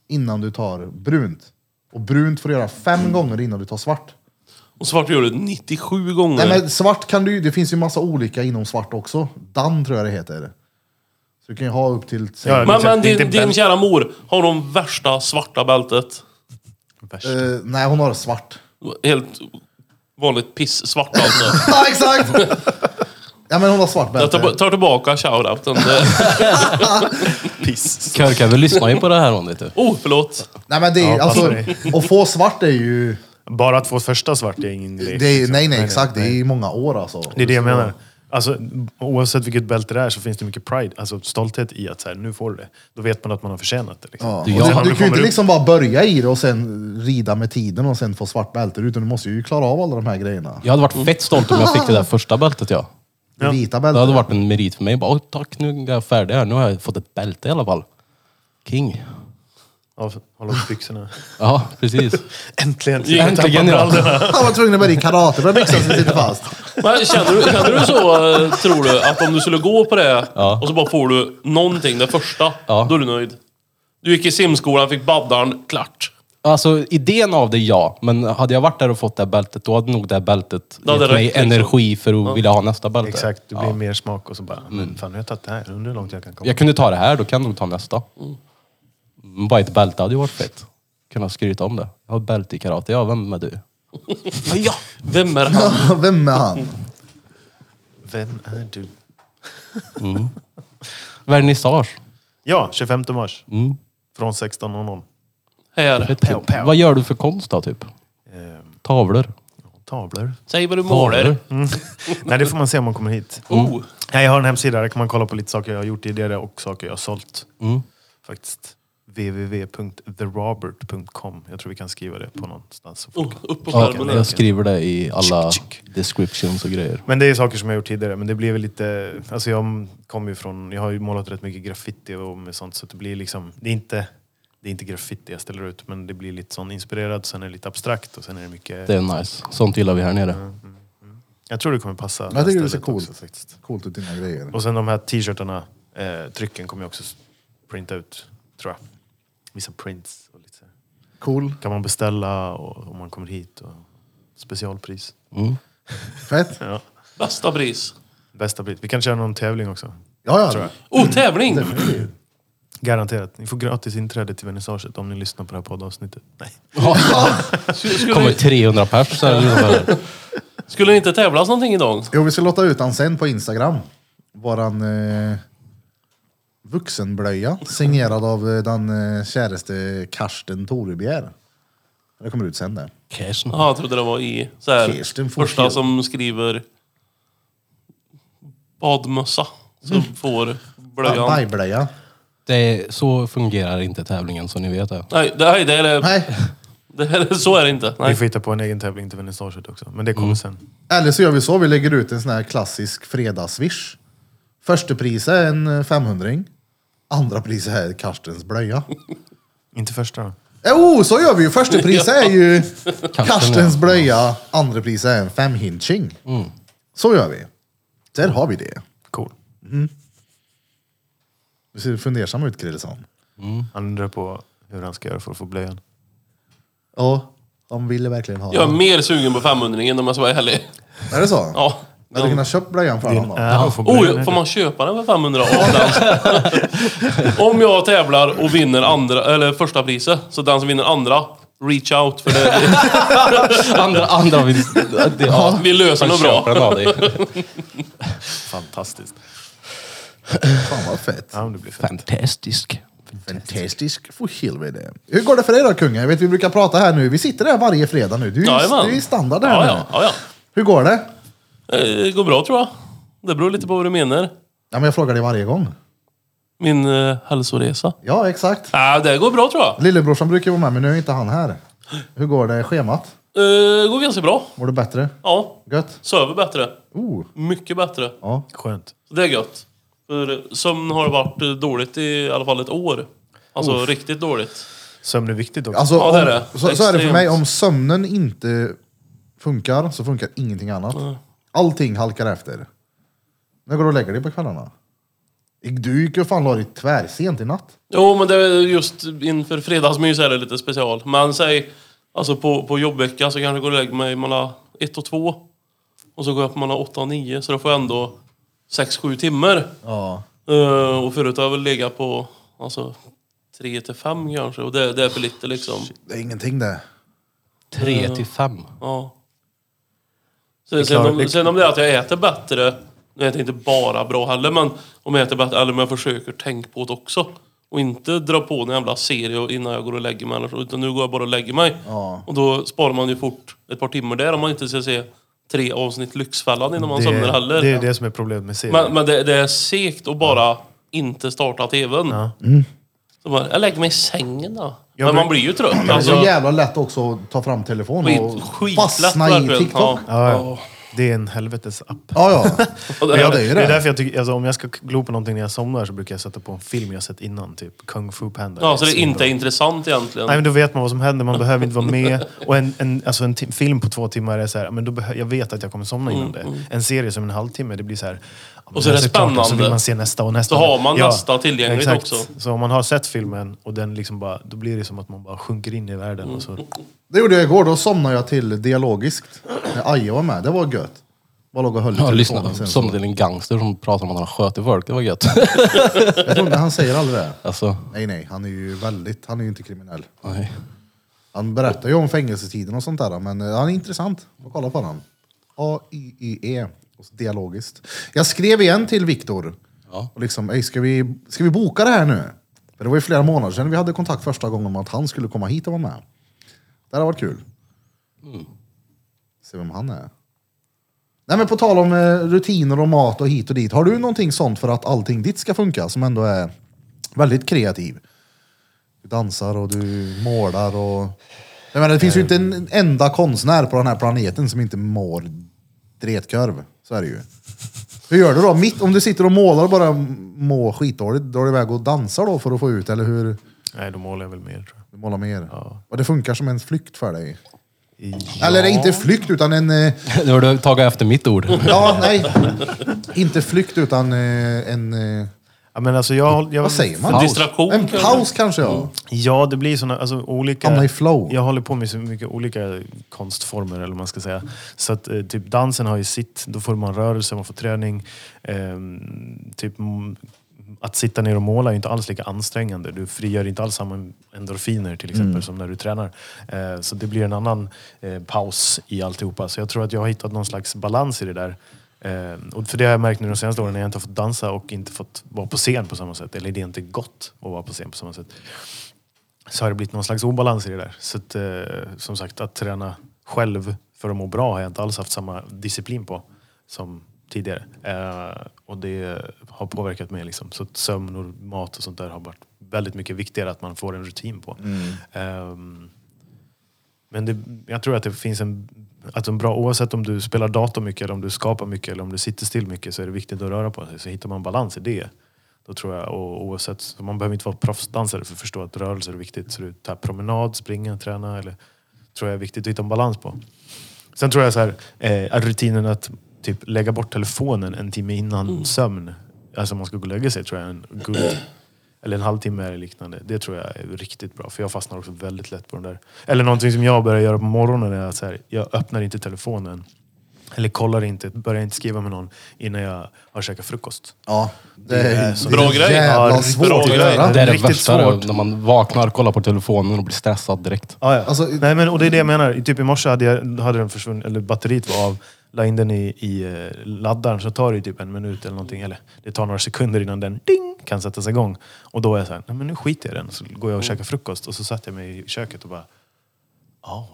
[SPEAKER 4] Innan du tar brunt. Och brunt får du göra fem gånger innan du tar svart.
[SPEAKER 3] Och svart gör du 97 gånger.
[SPEAKER 4] Nej men svart kan du ju- det finns ju massa olika inom svart också. Dan tror jag det heter. Så du kan ju ha upp till...
[SPEAKER 1] Ja,
[SPEAKER 4] eh,
[SPEAKER 3] men,
[SPEAKER 1] exakt.
[SPEAKER 3] men
[SPEAKER 1] Det är
[SPEAKER 3] din,
[SPEAKER 1] inte
[SPEAKER 3] din
[SPEAKER 1] bälte.
[SPEAKER 3] kära mor har de värsta svarta bältet.
[SPEAKER 1] Värst.
[SPEAKER 4] Eh, nej hon har svart.
[SPEAKER 3] Helt vanligt piss-svart alltså.
[SPEAKER 4] Ja exakt! ja men hon har svart
[SPEAKER 3] Jag
[SPEAKER 4] bälte.
[SPEAKER 3] tar, tar tillbaka shoutouten. Det-
[SPEAKER 1] Piss.
[SPEAKER 2] Körkövet lyssnar ju på det här hon vet du.
[SPEAKER 3] Oh, förlåt.
[SPEAKER 4] Nej men det är
[SPEAKER 1] Ja,
[SPEAKER 4] alltså,
[SPEAKER 1] passar
[SPEAKER 4] att få svart är ju,
[SPEAKER 1] Bara att få första svart är ingen grej.
[SPEAKER 4] det är,
[SPEAKER 1] liksom.
[SPEAKER 4] nej nej exakt, det är i många år alltså.
[SPEAKER 1] Det är det jag menar. Alltså, oavsett vilket bälte det är så finns det mycket pride, alltså stolthet i att så här, nu får du det. Då vet man att man har förtjänat det. Liksom.
[SPEAKER 4] Ja.
[SPEAKER 2] Du,
[SPEAKER 4] Du,
[SPEAKER 2] jag-
[SPEAKER 4] du,
[SPEAKER 1] När man
[SPEAKER 4] du kan ju
[SPEAKER 1] kommer
[SPEAKER 4] inte
[SPEAKER 1] upp-
[SPEAKER 4] liksom bara börja i det och sen rida med tiden och sen få svart bälte utan du måste ju klara av alla de här grejerna.
[SPEAKER 2] Jag hade varit fett stolt om jag fick det där första bältet ja.
[SPEAKER 1] Ja.
[SPEAKER 4] Vita
[SPEAKER 2] Det hade
[SPEAKER 4] bälte.
[SPEAKER 2] varit en merit för mig. Bara, "Åh, tack, nu är jag färdig här. Nu har jag fått ett bälte i alla fall. King.
[SPEAKER 1] Ja, hålla upp byxorna.
[SPEAKER 2] Ja, precis.
[SPEAKER 1] Äntligen!
[SPEAKER 3] Äntligen,
[SPEAKER 1] Tappa
[SPEAKER 2] ja.
[SPEAKER 1] brallorna.
[SPEAKER 4] Han var tvungen att börja i karate för att byxan som sitter fast.
[SPEAKER 3] Men känner, du, känner du så, eh, tror du, att om du skulle gå på det och så bara får du någonting, det första,
[SPEAKER 2] Ja.
[SPEAKER 3] då är du nöjd? Du gick i simskolan, fick baddaren, klart.
[SPEAKER 2] Alltså idén av det, ja. Men hade jag varit där och fått det här bältet, då hade nog det här bältet
[SPEAKER 3] Då hade
[SPEAKER 2] gett
[SPEAKER 3] det
[SPEAKER 2] mig
[SPEAKER 3] räckt, liksom.
[SPEAKER 2] energi för att vilja ha nästa bälte.
[SPEAKER 1] Exakt, det blir mer smak och så bara, men fan nu har jag tagit det här, undrar hur långt jag kan komma.
[SPEAKER 2] Jag kunde ta det här, då kan jag nog ta nästa. Mm. Bara ett bälte hade ju varit fett. Kunna skryta om det. Jag har bälte i karate. Ja, vem är du?
[SPEAKER 3] Ja. Vem är han?
[SPEAKER 4] Vem är han?
[SPEAKER 1] Vem är du?
[SPEAKER 2] Vernissage.
[SPEAKER 1] Ja, 25 mars. Från 16.00.
[SPEAKER 3] Här.
[SPEAKER 1] Pow, pow.
[SPEAKER 2] typ- Vad gör du för konst då, typ?
[SPEAKER 1] Eh,
[SPEAKER 2] Tavlor?
[SPEAKER 1] tavlor.
[SPEAKER 3] Säg vad du målar.
[SPEAKER 1] Nej, det får man se om man kommer hit.
[SPEAKER 3] Oh.
[SPEAKER 1] Nej, jag har en hemsida, där kan man kolla på lite saker jag har gjort tidigare och saker jag har sålt. Faktiskt. www.therobert.com. Jag tror vi kan skriva det på någonstans. så folk
[SPEAKER 3] Oh, upp på
[SPEAKER 2] Ja,
[SPEAKER 3] skärmen. där.
[SPEAKER 2] jag skriver det i alla descriptions och grejer.
[SPEAKER 1] Men det är saker som jag gjort tidigare, men det blev väl lite... Alltså jag kommer ju från... Jag har ju målat rätt mycket graffiti och med sånt, så det blir liksom... Det är inte, det är inte graffiti jag ställer ut, men det blir lite sån inspirerad, sen är det lite abstrakt och sen är det mycket...
[SPEAKER 2] Det är nice. Sånt gillar vi här nere.
[SPEAKER 1] Jag tror det kommer passa.
[SPEAKER 4] Jag tycker det ser
[SPEAKER 1] stället
[SPEAKER 4] coolt.
[SPEAKER 1] också, faktiskt.
[SPEAKER 4] Coolt ut dina grejer.
[SPEAKER 1] Och sen de här t-shirtarna, eh, trycken kommer jag också s- printa ut, tror jag. Vissa prints och lite så här.
[SPEAKER 4] Cool.
[SPEAKER 1] Kan man beställa och, om man kommer hit och specialpris.
[SPEAKER 2] Mm.
[SPEAKER 4] Fett.
[SPEAKER 1] Ja.
[SPEAKER 3] Bästa pris.
[SPEAKER 1] Bästa bit. Vi kan köra någon tävling också.
[SPEAKER 4] Ja,
[SPEAKER 1] Tror
[SPEAKER 4] ja.
[SPEAKER 1] jag.
[SPEAKER 3] Oh, tävling!
[SPEAKER 4] Mm.
[SPEAKER 1] Garanterat. Ni får gratis inträde till vernissaget om ni lyssnar på det här poddavsnittet. Nej.
[SPEAKER 3] Skulle,
[SPEAKER 2] kommer
[SPEAKER 3] skulle,
[SPEAKER 2] 300 pers. Så här, ungefär.
[SPEAKER 3] skulle det inte tävlas någonting idag?
[SPEAKER 4] Jo, vi ska låta ut han sen på Instagram. Våran eh, vuxenblöja signerad av eh, den eh, käraste Karsten Torebjer. Det kommer ut sen det.
[SPEAKER 2] Cashen.
[SPEAKER 3] Jaha, jag trodde det var i så här,
[SPEAKER 4] Kirsten får
[SPEAKER 3] första
[SPEAKER 4] fel.
[SPEAKER 3] som skriver badmössa. Så
[SPEAKER 4] Mm.
[SPEAKER 3] får blöjan.
[SPEAKER 4] Bajblöja.
[SPEAKER 2] Det, så fungerar inte tävlingen som ni vet. Det.
[SPEAKER 3] Nej, det, nej, det är det.
[SPEAKER 4] Nej.
[SPEAKER 3] det är, så är det inte.
[SPEAKER 1] Vi
[SPEAKER 3] Nej. Mm.
[SPEAKER 1] får hitta på en egen tävling till vernissaget också. Men det kommer sen.
[SPEAKER 4] Eller så gör vi så, vi lägger ut en sån här klassisk fredagsvish. Första priset är en eh, 500 Andra priset är Karstens blöja.
[SPEAKER 1] Inte första då.
[SPEAKER 4] Jo, Eh, oh, så gör vi ju! Första priset är ju Karstens
[SPEAKER 2] ja.
[SPEAKER 4] blöja, andra priset är en femhinching.
[SPEAKER 3] Mm.
[SPEAKER 4] Så gör vi. Där har vi det.
[SPEAKER 1] Cool.
[SPEAKER 4] Du ser fundersam ut Krillesson.
[SPEAKER 1] Han undrar på hur han ska göra för att få blöjan.
[SPEAKER 4] Ja, de ville verkligen ha
[SPEAKER 3] Jag är
[SPEAKER 4] den.
[SPEAKER 3] mer sugen på 500 ingen om jag ska vara ärlig.
[SPEAKER 4] Är det så?
[SPEAKER 3] Ja.
[SPEAKER 4] Hade du kunnat köpa blöjan för honom då?
[SPEAKER 1] Äh, han får
[SPEAKER 3] Oh,
[SPEAKER 1] blöjan.
[SPEAKER 3] får man köpa den för 500 av den? Om jag tävlar och vinner andra, eller första priset, så den som vinner andra, reach out. För det,
[SPEAKER 2] Andra, andra vill... Det, ja.
[SPEAKER 3] vi löser
[SPEAKER 2] Han
[SPEAKER 3] nog bra.
[SPEAKER 2] köper den av dig.
[SPEAKER 1] Fantastiskt.
[SPEAKER 4] Fan vad fett.
[SPEAKER 1] Ja, men det blir fett.
[SPEAKER 2] Fantastisk.
[SPEAKER 4] Fantastisk för helvete. Hur går det för dig då kungen? Jag vet vi brukar prata här nu. Vi sitter här varje fredag nu. Du är ju
[SPEAKER 3] Jajamän.
[SPEAKER 4] du är ju standard här
[SPEAKER 3] Ja,
[SPEAKER 4] nu.
[SPEAKER 3] ja, ja, ja.
[SPEAKER 4] Hur går det?
[SPEAKER 3] Eh, Det går bra tror jag. Det beror lite på vad du menar.
[SPEAKER 4] Ja, men jag frågar dig varje gång.
[SPEAKER 3] Min eh, hälsoresa.
[SPEAKER 4] Ja, exakt.
[SPEAKER 3] Ah, det går bra tror jag.
[SPEAKER 4] Lillebrorsan brukar vara med, men nu är inte han här. Hur går det schemat?
[SPEAKER 3] Eh, Det går ganska bra.
[SPEAKER 4] Mår du bättre?
[SPEAKER 3] Ja.
[SPEAKER 4] Gött?
[SPEAKER 3] Söver bättre.
[SPEAKER 4] Oh,
[SPEAKER 3] Mycket bättre.
[SPEAKER 4] ja.
[SPEAKER 1] Skönt.
[SPEAKER 3] Så det är gött. För sömn har varit eh, dåligt i, i alla fall ett år. Alltså riktigt dåligt.
[SPEAKER 1] Sömn är viktigt också.
[SPEAKER 4] Alltså,
[SPEAKER 3] Ja, det är det.
[SPEAKER 4] Om, så, så är det för
[SPEAKER 3] Extremt.
[SPEAKER 4] mig. Om sömnen inte funkar så funkar ingenting annat.
[SPEAKER 3] Mm.
[SPEAKER 4] Allting halkar efter. När går du och lägger dig på kvällarna? Du gick ju fan och la dig tvärsent i natt.
[SPEAKER 3] Jo, men det är just inför fredagsmys är det lite special. Men säg, alltså på, på jobbvecka så kanske jag går och lägger mig mellan ett och två. Och så går jag upp mellan åtta och nio. så då får jag ändå sex sju timmar.
[SPEAKER 4] Ja.
[SPEAKER 3] Eh, och förut har jag väl legat på alltså, tre till fem kanske. Och det, det är för lite liksom.
[SPEAKER 4] Det är ingenting det.
[SPEAKER 2] Tre till fem.
[SPEAKER 3] Ja. Sen, sen,
[SPEAKER 1] klarar-
[SPEAKER 3] om, sen om det är att jag äter bättre, nu äter jag inte bara bra heller, men om jag äter bättre, eller om jag försöker tänka på det också. Och inte dra på en jävla serie och- innan jag går och lägger mig, eller så, utan nu går jag bara och lägger mig.
[SPEAKER 4] Ja.
[SPEAKER 3] Och då sparar man ju fort ett par timmar där om man inte ska se tre avsnitt Lyxfällan innan man somnar heller.
[SPEAKER 1] det är det som är problemet med serien.
[SPEAKER 3] Men, men det, det är segt att bara inte starta tvn.
[SPEAKER 1] Ja.
[SPEAKER 3] Så bara, jag lägger mig i sängen då.
[SPEAKER 1] Jag
[SPEAKER 3] men
[SPEAKER 1] bruk-
[SPEAKER 3] man blir ju trött.
[SPEAKER 4] Det är
[SPEAKER 3] Alltså,
[SPEAKER 4] så jävla lätt också att ta fram telefonen
[SPEAKER 3] skit,
[SPEAKER 4] och
[SPEAKER 3] skitlätt
[SPEAKER 4] fastna i
[SPEAKER 3] verkligen.
[SPEAKER 4] TikTok. Ja,
[SPEAKER 1] Ja, ja. Det är en helvetes app.
[SPEAKER 4] ja.
[SPEAKER 3] Ja,
[SPEAKER 1] Men jag-
[SPEAKER 4] det är ju det.
[SPEAKER 1] därför jag tycker, alltså, om jag ska glo på någonting när jag somnar så brukar jag sätta på en film jag sett innan, typ Kung Fu Panda.
[SPEAKER 3] Ja, så det är inte
[SPEAKER 1] Svinbra.
[SPEAKER 3] intressant egentligen.
[SPEAKER 1] Nej, men då vet man vad som händer, man behöver inte vara med. Och en, en, alltså en ti- film på två timmar är så här, men då behö- jag vet att jag kommer somna innan det. En serie som en halvtimme, det blir så här... ja, men
[SPEAKER 3] Mm, Och så är
[SPEAKER 1] när
[SPEAKER 3] det
[SPEAKER 1] jag sett klart den Så
[SPEAKER 3] spännande.
[SPEAKER 1] vill man se nästa och nästa.
[SPEAKER 3] Så har man nästa tillgängligt också.
[SPEAKER 1] Så om man har sett filmen och den liksom bara, då blir det som att man bara sjunker in i världen. Och så,
[SPEAKER 3] Mm.
[SPEAKER 4] Det gjorde jag igår, då somnade jag till dialogiskt. När Aje var med, det var gött. Bara låg och höll i
[SPEAKER 2] Ja,
[SPEAKER 4] telefonen
[SPEAKER 2] lyssna.
[SPEAKER 4] sen.
[SPEAKER 2] Som till en gangster som pratar om att han sköter folk. Det var gött.
[SPEAKER 4] Jag tror inte han säger aldrig det.
[SPEAKER 2] alltså,
[SPEAKER 4] Nej, nej, han är ju väldigt, han är ju inte kriminell.
[SPEAKER 2] nej.
[SPEAKER 4] Han berättar ju om fängelsetiden och sånt där, men eh, han är intressant att kolla på han. A-Y-Y-E, och så E, alltså dialogiskt. Jag skrev igen till Viktor.
[SPEAKER 2] Ja.
[SPEAKER 4] Och liksom, "Ey, ska vi, ska vi boka det här nu? För det var ju flera månader sedan vi hade kontakt första gången om att han skulle komma hit och vara med. Det hade varit kul. Se vem han är. Nej men på tal om eh, rutiner och mat och hit och dit. Har du någonting sånt för att allting ditt ska funka som ändå är väldigt kreativ? Du dansar och du målar och... Jag menar, det finns ju inte en enda konstnär på den här planeten som inte mår dretkörv. Så är det ju. Hur gör du då? Mitt, om du sitter och målar och bara mår skitdåligt, drar du iväg och dansar då för att få ut, eller hur?
[SPEAKER 1] nej, då målar jag väl mer tror jag.
[SPEAKER 4] Du målar mer.
[SPEAKER 1] Ja.
[SPEAKER 4] Och det funkar som en flykt för dig?
[SPEAKER 1] I-
[SPEAKER 4] Eller inte flykt utan en... eh,
[SPEAKER 2] Nu har du tagit efter mitt ord.
[SPEAKER 4] Ja, nej. inte flykt utan eh, en... eh,
[SPEAKER 1] Ja, men alltså jag, jag,
[SPEAKER 4] Vad säger man?
[SPEAKER 3] En distraktion
[SPEAKER 4] En
[SPEAKER 3] kanske?
[SPEAKER 4] paus kanske ja.
[SPEAKER 1] Ja, det blir såna, alltså olika...
[SPEAKER 4] Hamna i flow.
[SPEAKER 1] Jag håller på med så mycket olika konstformer, eller vad man ska säga. Så att eh, typ dansen har ju sitt, då får man rörelse, man får träning. Ehm, typ mm, att sitta ner och måla är ju inte alls lika ansträngande. Du frigör inte alls samma endorfiner till exempel
[SPEAKER 4] Mm.
[SPEAKER 1] som när du tränar. Eh, så det blir en annan eh, paus i alltihopa. Så jag tror att jag har hittat någon slags balans i det där. Ehm, och för det har jag märkt nu de senaste åren när jag inte har fått dansa och inte fått vara på scen på samma sätt. Eller det är inte gott att vara på scen på samma sätt så har det blivit någon slags obalans i det där. Så att, eh, som sagt, att träna själv för att må bra har jag inte alls haft samma disciplin på som tidigare. Eh, och det har påverkat mig. Liksom. Så att sömn och mat och sånt där har varit väldigt mycket viktigare att man får en rutin på. Ehm, men det, jag tror att det finns en, att en bra, oavsett om du spelar dator mycket, eller om du skapar mycket eller om du sitter still mycket så är det viktigt att röra på sig. Så hittar man balans i det. Då tror jag, och oavsett, så man behöver inte vara proffsdansare för att förstå att rörelser är viktigt. Så du tar promenad, springa, träna eller tror jag är viktigt att hitta en balans på. Sen tror jag så här, eh, att rutinen att typ lägga bort telefonen en timme innan sömn, alltså om man ska gå och lägga sig, tror jag är en good eller en halvtimme eller liknande. Det tror jag är riktigt bra. För jag fastnar också väldigt lätt på den där. Eller någonting som jag börjar göra på morgonen är att så här, jag öppnar inte telefonen. Eller kollar inte, börjar inte skriva med någon innan jag har käkat frukost.
[SPEAKER 4] Ja, det är, det är
[SPEAKER 3] Bra grej.
[SPEAKER 4] jävla
[SPEAKER 1] Ja,
[SPEAKER 4] svårt
[SPEAKER 3] bra
[SPEAKER 4] att
[SPEAKER 3] grej.
[SPEAKER 4] göra.
[SPEAKER 2] Det är det
[SPEAKER 1] Riktigt
[SPEAKER 2] värsta,
[SPEAKER 1] svårt.
[SPEAKER 2] när man vaknar, kollar på telefonen och blir stressad direkt.
[SPEAKER 1] Ah, ja.
[SPEAKER 4] Alltså-
[SPEAKER 1] Nej, men, och det är det jag menar. I Typ i morse hade, jag, hade den försvunnit, eller batteriet var av. La in den i, i eh, laddaren så tar det ju typ en minut eller någonting. Eller det tar några sekunder innan den ding, kan sättas igång. Och då är jag så här, nej men nu skiter jag i den. Så går jag och käkar frukost och så sätter jag mig i köket och bara, ja,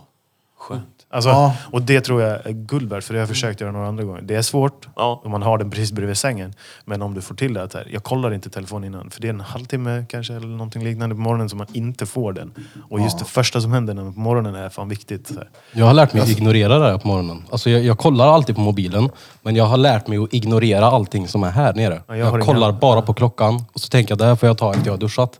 [SPEAKER 1] skönt. Alltså,
[SPEAKER 4] Ja.
[SPEAKER 1] Och det tror jag är guld värt, för det har jag försökt göra några andra gånger. Det är svårt
[SPEAKER 3] Ja.
[SPEAKER 1] om man har den precis bredvid sängen. Men om du får till det att här, jag kollar inte telefonen innan, för det är en halvtimme kanske eller någonting liknande på morgonen som man inte får den. Och just det första som händer när man på morgonen är fan viktigt. Så här.
[SPEAKER 2] Jag har lärt mig att
[SPEAKER 1] Alltså-
[SPEAKER 2] ignorera det här på morgonen. Alltså jag, jag kollar alltid på mobilen, men jag har lärt mig att ignorera allting som är här nere.
[SPEAKER 1] Ja, jag
[SPEAKER 2] jag
[SPEAKER 1] har inga-
[SPEAKER 2] kollar bara på klockan och så tänker jag det här får jag ta efter jag har duschat.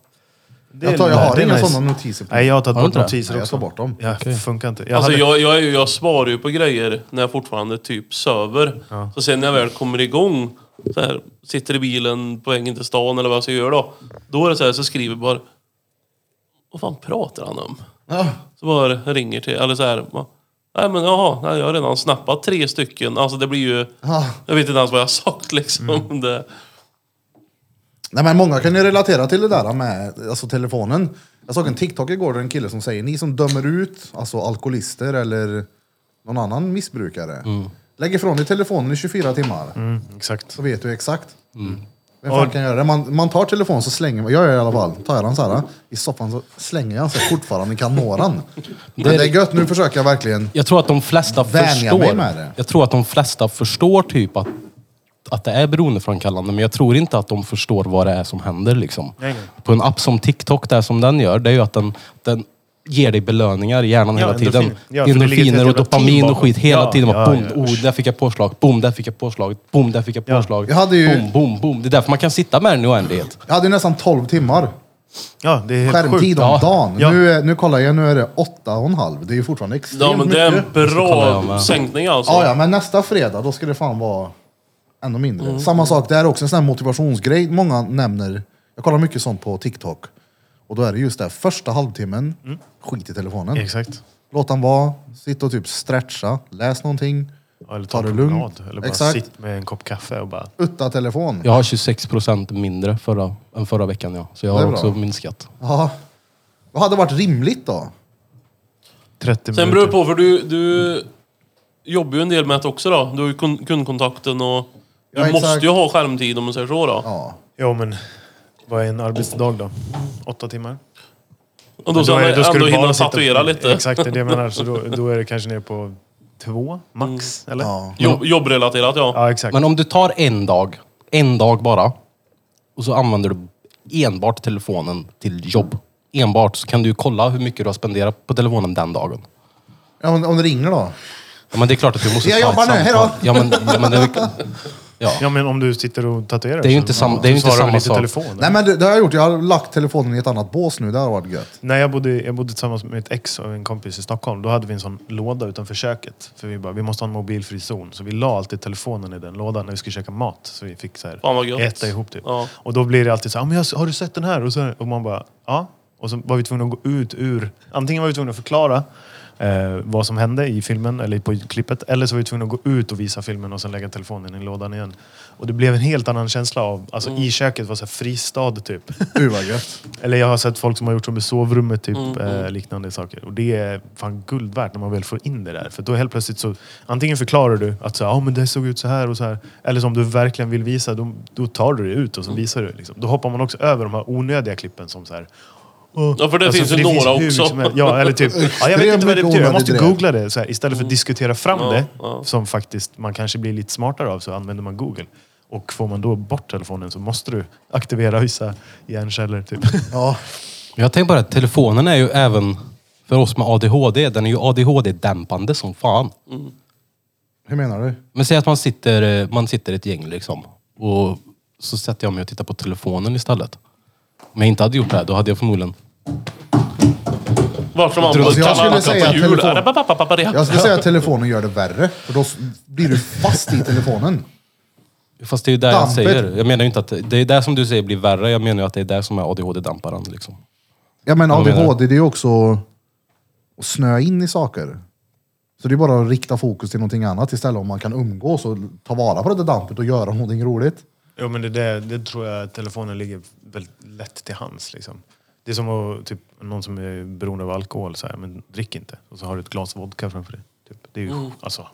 [SPEAKER 1] Det
[SPEAKER 4] Jag
[SPEAKER 1] är-
[SPEAKER 4] tar- jag har
[SPEAKER 1] det är
[SPEAKER 4] inga sådana notiser på.
[SPEAKER 1] Nej, jag har tagit
[SPEAKER 2] Har du
[SPEAKER 1] bort
[SPEAKER 2] inte det?
[SPEAKER 1] notiser
[SPEAKER 4] Nej, jag
[SPEAKER 1] också.
[SPEAKER 4] tar bort dem.
[SPEAKER 1] Ja, funkar inte. Jag
[SPEAKER 3] Alltså
[SPEAKER 1] hade-
[SPEAKER 3] jag, jag, är ju- jag svarar ju på grejer när jag fortfarande typ söver. Så sen när jag väl kommer igång, så här, sitter i bilen på vägen till stan eller vad jag ska göra då. Då är det så här, så skriver jag bara... Vad fan pratar han om?
[SPEAKER 4] Ja.
[SPEAKER 3] Så bara ringer till, eller så här. bara, Nej men jaha, nej, jag har redan snappat tre stycken. Alltså det blir ju...
[SPEAKER 4] Ja.
[SPEAKER 3] Jag vet inte ens vad jag har sagt liksom.
[SPEAKER 1] Mm.
[SPEAKER 3] Det,
[SPEAKER 4] Nej, men många kan ju relatera till det där med alltså, telefonen. Jag såg en TikTok igår där en kille som säger, ni som dömer ut alltså, alkoholister eller någon annan missbrukare. Lägg ifrån dig telefonen i 24 timmar.
[SPEAKER 1] mm, exakt.
[SPEAKER 4] Så vet du exakt. Vem fan kan göra det? Man, man tar telefonen så slänger man, jag gör det i alla fall, tar jag den så här i soffan så slänger jag den så jag fortfarande kan nå den. Men det är gött, nu försöker jag verkligen.
[SPEAKER 2] Jag tror att de flesta
[SPEAKER 4] Vänja mig
[SPEAKER 2] förstår.
[SPEAKER 4] med det.
[SPEAKER 2] Jag tror att de flesta förstår typ att, att det är beroendeframkallande, men jag tror inte att de förstår vad det är som händer liksom.
[SPEAKER 1] Nej, nej.
[SPEAKER 2] På en app som TikTok, det som den gör, det är ju att den, den ger dig belöningar i hjärnan
[SPEAKER 1] Ja,
[SPEAKER 2] hela tiden.
[SPEAKER 1] endorfiner. Ja, för det ligger ett
[SPEAKER 2] Endorfiner
[SPEAKER 1] helt
[SPEAKER 2] och
[SPEAKER 1] jävla team
[SPEAKER 2] dopamin och
[SPEAKER 1] bakom.
[SPEAKER 2] skit hela
[SPEAKER 1] Ja,
[SPEAKER 2] tiden.
[SPEAKER 1] ja,
[SPEAKER 2] boom,
[SPEAKER 1] ja.
[SPEAKER 2] Oh, där fick jag påslag. Boom, där fick jag påslag. Boom, där fick jag påslag.
[SPEAKER 4] Jag hade ju-
[SPEAKER 2] Boom, boom, boom. Det är därför man kan sitta med den i oändlighet.
[SPEAKER 4] Jag hade ju nästan 12 timmar
[SPEAKER 1] Ja, det är helt
[SPEAKER 4] skärmtid
[SPEAKER 1] sjukt.
[SPEAKER 4] om
[SPEAKER 2] Ja.
[SPEAKER 4] dagen.
[SPEAKER 1] Ja.
[SPEAKER 4] Nu, är- nu kollar jag, nu är det 8,5. Det är ju fortfarande extremt
[SPEAKER 3] ja men det är
[SPEAKER 4] mycket.
[SPEAKER 3] en
[SPEAKER 2] kolla jag
[SPEAKER 3] bra
[SPEAKER 2] med.
[SPEAKER 3] sänkning alltså.
[SPEAKER 4] Ja, ja, men nästa fredag då ska det fan vara ännu mindre.
[SPEAKER 1] Mm.
[SPEAKER 4] Samma sak, det är också en sån här motivationsgrej många nämner. Jag kollar mycket sånt på TikTok. Och då är det just det, här, första halvtimmen, skit i telefonen.
[SPEAKER 1] Mm. Exakt.
[SPEAKER 4] Låt den vara, sitt och typ stretcha, läs någonting.
[SPEAKER 1] Ja, Eller
[SPEAKER 4] Ta
[SPEAKER 1] ta
[SPEAKER 4] det
[SPEAKER 1] en
[SPEAKER 4] lugnt.
[SPEAKER 1] promenad. Eller bara
[SPEAKER 4] Exakt.
[SPEAKER 1] sitt med en kopp kaffe och bara...
[SPEAKER 4] Utta telefon.
[SPEAKER 2] Jag har 26 procent mindre förra, än förra veckan. Ja. Så jag
[SPEAKER 4] Det är
[SPEAKER 2] har
[SPEAKER 4] bra.
[SPEAKER 2] också minskat.
[SPEAKER 4] Ja. Vad hade varit rimligt då?
[SPEAKER 1] 30
[SPEAKER 3] Sen beror
[SPEAKER 1] minuter.
[SPEAKER 3] det på, för du, du jobbar ju en del med det också då. Du har ju kun- kundkontakten och... Du
[SPEAKER 4] Ja,
[SPEAKER 3] måste
[SPEAKER 4] exakt.
[SPEAKER 3] ju ha skärmtid om man säger så då.
[SPEAKER 4] Ja.
[SPEAKER 1] Jo, men vad är en arbetsdag då? Åtta timmar?
[SPEAKER 3] Och då
[SPEAKER 1] Men
[SPEAKER 3] ska
[SPEAKER 1] är
[SPEAKER 3] man
[SPEAKER 1] det- då ska
[SPEAKER 3] ändå
[SPEAKER 1] du bara
[SPEAKER 3] hinna
[SPEAKER 1] sitta-
[SPEAKER 3] tatuera lite.
[SPEAKER 1] Exakt, det är det jag menar. Så då, då är det kanske ner på två max, eller?
[SPEAKER 4] ja.
[SPEAKER 3] Jobb, jobbrelaterat ja.
[SPEAKER 1] Ja, exakt.
[SPEAKER 2] Mm. Men om du tar en dag, en dag bara, och så använder du enbart telefonen till jobb. Enbart, så kan du ju kolla hur mycket du har spenderat på telefonen den dagen.
[SPEAKER 4] ja om, om det ringer då?
[SPEAKER 2] Ja, men det är klart att du måste
[SPEAKER 4] Jag
[SPEAKER 2] ta ett
[SPEAKER 4] jobbar nu,
[SPEAKER 2] samtal.
[SPEAKER 4] hejdå!
[SPEAKER 2] Ja, men, ja, men det, är, Ja.
[SPEAKER 1] Ja men om du sitter och tatuerar
[SPEAKER 2] Det är ju
[SPEAKER 1] så-
[SPEAKER 2] inte sam-
[SPEAKER 1] ja,
[SPEAKER 2] det är ju
[SPEAKER 1] så
[SPEAKER 2] inte
[SPEAKER 1] svarar
[SPEAKER 2] samma
[SPEAKER 1] väl lite
[SPEAKER 2] sak.
[SPEAKER 1] Telefon,
[SPEAKER 4] Nej
[SPEAKER 1] Nej,
[SPEAKER 4] men det, det har jag gjort. Jag har lagt telefonen i ett annat bås nu. Det har varit gött.
[SPEAKER 1] jag, bodde, jag bodde tillsammans med ett ex och en kompis i Stockholm. Då hade vi en sån låda utanför köket. För vi bara, vi måste ha en mobilfri zon. Så vi la alltid telefonen i den lådan när vi skulle käka mat. Så vi fick så här,
[SPEAKER 3] Fan vad gött.
[SPEAKER 1] äta ihop typ.
[SPEAKER 3] Ja.
[SPEAKER 1] Och då blir det alltid så här, "Ah, men jag, har du sett den här? Och, så här? och man bara, ja. Och så var vi tvungna att gå ut ur, antingen var vi tvungna att förklara eh, vad som hände i filmen eller på klippet. Eller så var vi tvungna att gå ut och visa filmen och sen lägga telefonen i lådan igen. Och det blev en helt annan känsla av, alltså
[SPEAKER 3] Mm.
[SPEAKER 1] i köket var så här fristad typ.
[SPEAKER 4] Gud vad gött.
[SPEAKER 1] Eller jag har sett folk som har gjort som i sovrummet, typ
[SPEAKER 3] Mm.
[SPEAKER 1] eh, liknande saker. Och det är fan guld värt när man väl får in det där. För då helt plötsligt så, antingen förklarar du att så här, "Ja, men det såg ut så här och så här. Eller som du verkligen vill visa, då, då tar du det ut och så
[SPEAKER 3] Mm.
[SPEAKER 1] visar du. Liksom. Då hoppar man också över de här onödiga klippen som så här. "Åh." Alltså,
[SPEAKER 3] Ja, för det finns ju
[SPEAKER 1] för
[SPEAKER 3] några
[SPEAKER 1] hur
[SPEAKER 3] också.
[SPEAKER 1] mycket som helst. Ja, eller typ, ja, jag vet inte vad det
[SPEAKER 4] Extremt
[SPEAKER 1] betyder, jag måste
[SPEAKER 4] onödig grej.
[SPEAKER 1] googla det. Så här, istället för att diskutera fram
[SPEAKER 3] Mm. Ja,
[SPEAKER 1] det,
[SPEAKER 3] ja.
[SPEAKER 1] som faktiskt man kanske blir lite smartare av, så använder man Google. Och får man då bort telefonen så måste du aktivera vissa hjärnceller. Typ.
[SPEAKER 4] Ja.
[SPEAKER 2] Men Jag tänker bara att telefonen är ju även för oss med ADHD, den är ju ADHD-dämpande som fan.
[SPEAKER 4] Hur menar du?
[SPEAKER 2] Men säg att man sitter, eh, man sitter ett gäng liksom och så sätter jag mig och tittar på telefonen istället. Om jag inte hade gjort det här, då hade jag förmodligen...
[SPEAKER 3] Vart som man
[SPEAKER 4] Jag
[SPEAKER 3] kallar
[SPEAKER 4] skulle
[SPEAKER 3] kallar
[SPEAKER 4] säga
[SPEAKER 3] på jul. Äh,
[SPEAKER 4] telefon.
[SPEAKER 3] Arabababababa.
[SPEAKER 4] Jag skulle säga att telefonen gör det värre. För då s- blir du fast i telefonen.
[SPEAKER 2] Fast det är ju det jag
[SPEAKER 4] Dampet.
[SPEAKER 2] säger. Jag menar ju inte att... Det är det som du säger blir värre. Jag menar ju att det är det som är ADHD-dämparen liksom.
[SPEAKER 4] Ja men
[SPEAKER 2] Vad menar du?
[SPEAKER 4] ADHD det är ju också att snöa in i saker. Så det är bara att rikta fokus till någonting annat istället om man kan umgås och ta vara på det där dampet och göra någonting roligt.
[SPEAKER 1] Jo, men det, där, det tror jag att telefonen ligger väldigt lätt till hands. Liksom. Det är som att, typ, någon som är beroende av alkohol säger men drick inte. Och så har du ett glas vodka framför dig. Typ. Det, är ju, alltså,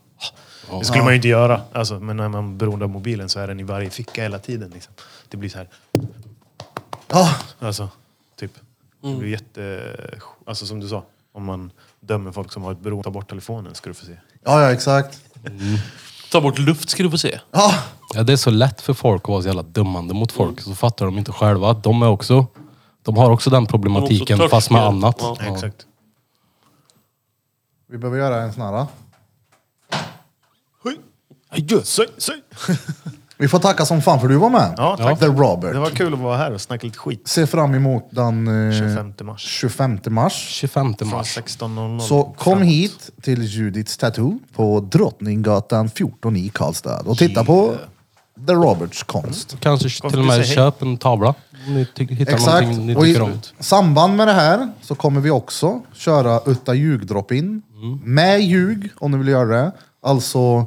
[SPEAKER 1] det skulle man ju inte göra. Alltså, men när man är beroende av mobilen så är den i varje ficka hela tiden. Liksom. Det blir så här,
[SPEAKER 4] Ja,
[SPEAKER 1] alltså, typ. Det blir jätte... Alltså som du sa, om man dömer folk som har ett beroende, ta bort telefonen ska du få se.
[SPEAKER 4] ja, ja exakt.
[SPEAKER 3] Ta bort luft ska du få se.
[SPEAKER 4] Ja,
[SPEAKER 2] Ja, det är så lätt för folk att vara så jävla dömande mot folk. Så fattar de inte själva att de är också... De har också den problematiken
[SPEAKER 3] törstiga.
[SPEAKER 2] fast med annat.
[SPEAKER 3] Ja.
[SPEAKER 2] Ja.
[SPEAKER 1] Exakt.
[SPEAKER 4] vi behöver göra en sån här.
[SPEAKER 1] Söj, söj.
[SPEAKER 4] Vi får tacka som fan för du var med.
[SPEAKER 1] Ja, tack.
[SPEAKER 4] The
[SPEAKER 1] Det
[SPEAKER 4] Robert.
[SPEAKER 1] var kul att vara här och snacka lite skit.
[SPEAKER 4] Se fram emot den eh,
[SPEAKER 1] 25 mars.
[SPEAKER 4] 25 mars.
[SPEAKER 2] 25
[SPEAKER 1] Från
[SPEAKER 2] mars.
[SPEAKER 1] 16.00.
[SPEAKER 4] Så kom
[SPEAKER 1] framåt.
[SPEAKER 4] hit till Judiths Tattoo på Drottninggatan 14 i Karlstad och titta på The Roberts konst.
[SPEAKER 2] Kanske
[SPEAKER 1] Kom,
[SPEAKER 2] till och
[SPEAKER 1] vi
[SPEAKER 2] med
[SPEAKER 1] säger
[SPEAKER 2] köp en tavla om ni ty- hittar
[SPEAKER 4] Exakt.
[SPEAKER 2] någonting ni
[SPEAKER 4] Och
[SPEAKER 2] tycker
[SPEAKER 4] i
[SPEAKER 2] om.
[SPEAKER 4] samband med det här så kommer vi också köra Utta ljug drop in med ljug om ni vill göra det. Alltså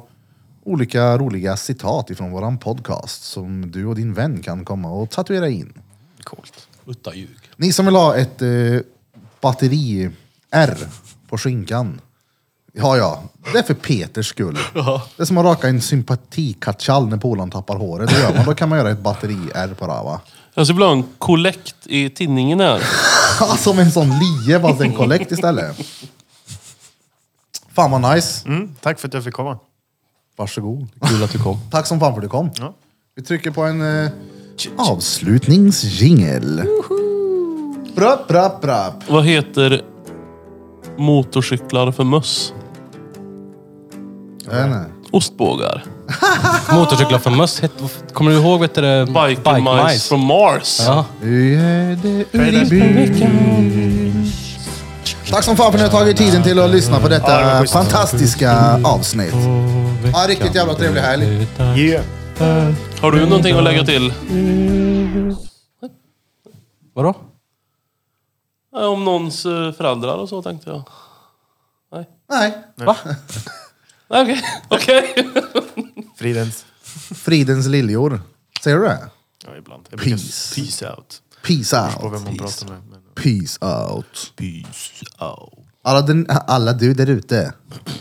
[SPEAKER 4] olika roliga citat ifrån våran podcast som du och din vän kan komma och tatuera in.
[SPEAKER 1] Coolt.
[SPEAKER 2] Utta ljug.
[SPEAKER 4] Ni som vill ha ett eh, batteri-R på skinkan. Ja, ja. Det är för Peters skull. Det är som att raka en sympatikatchall när polaren tappar håret. Det gör man. Då kan man göra ett batteri-R på det här, va?
[SPEAKER 3] Jag skulle vilja ha en kollekt i tidningen här.
[SPEAKER 4] Ja, Som en sån lie, fast en kollekt istället. Fan vad nice.
[SPEAKER 1] Mm, tack för att jag fick komma.
[SPEAKER 4] Varsågod.
[SPEAKER 2] Kul att du kom.
[SPEAKER 4] Tack som fan för att du kom.
[SPEAKER 1] Ja.
[SPEAKER 4] Vi trycker på en eh, avslutningsjingel. Brapp, brapp, brapp.
[SPEAKER 3] Vad heter motorcyklar för möss?
[SPEAKER 4] Jag vet inte.
[SPEAKER 3] Ostbågar.
[SPEAKER 2] Motorcyklar för möss. het- Kommer du ihåg vet du, det?
[SPEAKER 3] Bike,
[SPEAKER 2] Bike
[SPEAKER 3] mice,
[SPEAKER 2] mice.
[SPEAKER 3] från Mars.
[SPEAKER 2] Ja.
[SPEAKER 4] Nu är det ur i byn. Tack som fan för att ni har tagit tiden till att lyssna på
[SPEAKER 1] Ja, det var
[SPEAKER 4] detta
[SPEAKER 1] schysst. Mm.
[SPEAKER 4] fantastiska avsnitt. Ja, riktigt jävla trevlig helg.
[SPEAKER 1] Yeah.
[SPEAKER 3] Har du någonting att lägga till?
[SPEAKER 2] Vadå?
[SPEAKER 3] Ja, Om någons eh, föräldrar och så tänkte jag. Nej.
[SPEAKER 4] Nej,
[SPEAKER 3] Nej, Okej. Okej.
[SPEAKER 1] Fridens.
[SPEAKER 4] fridens liljor. Ser du det?
[SPEAKER 1] Ja, ibland. Jag brukar-
[SPEAKER 4] Peace.
[SPEAKER 1] Peace out.
[SPEAKER 4] Peace
[SPEAKER 1] På vem
[SPEAKER 4] out.
[SPEAKER 1] man pratar med. Men...
[SPEAKER 4] Peace out.
[SPEAKER 1] Peace out.
[SPEAKER 4] Alla, den, alla du där ute.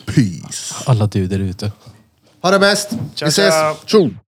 [SPEAKER 4] Peace.
[SPEAKER 2] Alla du där ute.
[SPEAKER 4] Ha det bäst. Vi
[SPEAKER 1] Ciao,
[SPEAKER 4] ses.
[SPEAKER 1] ciao.
[SPEAKER 4] Tjo.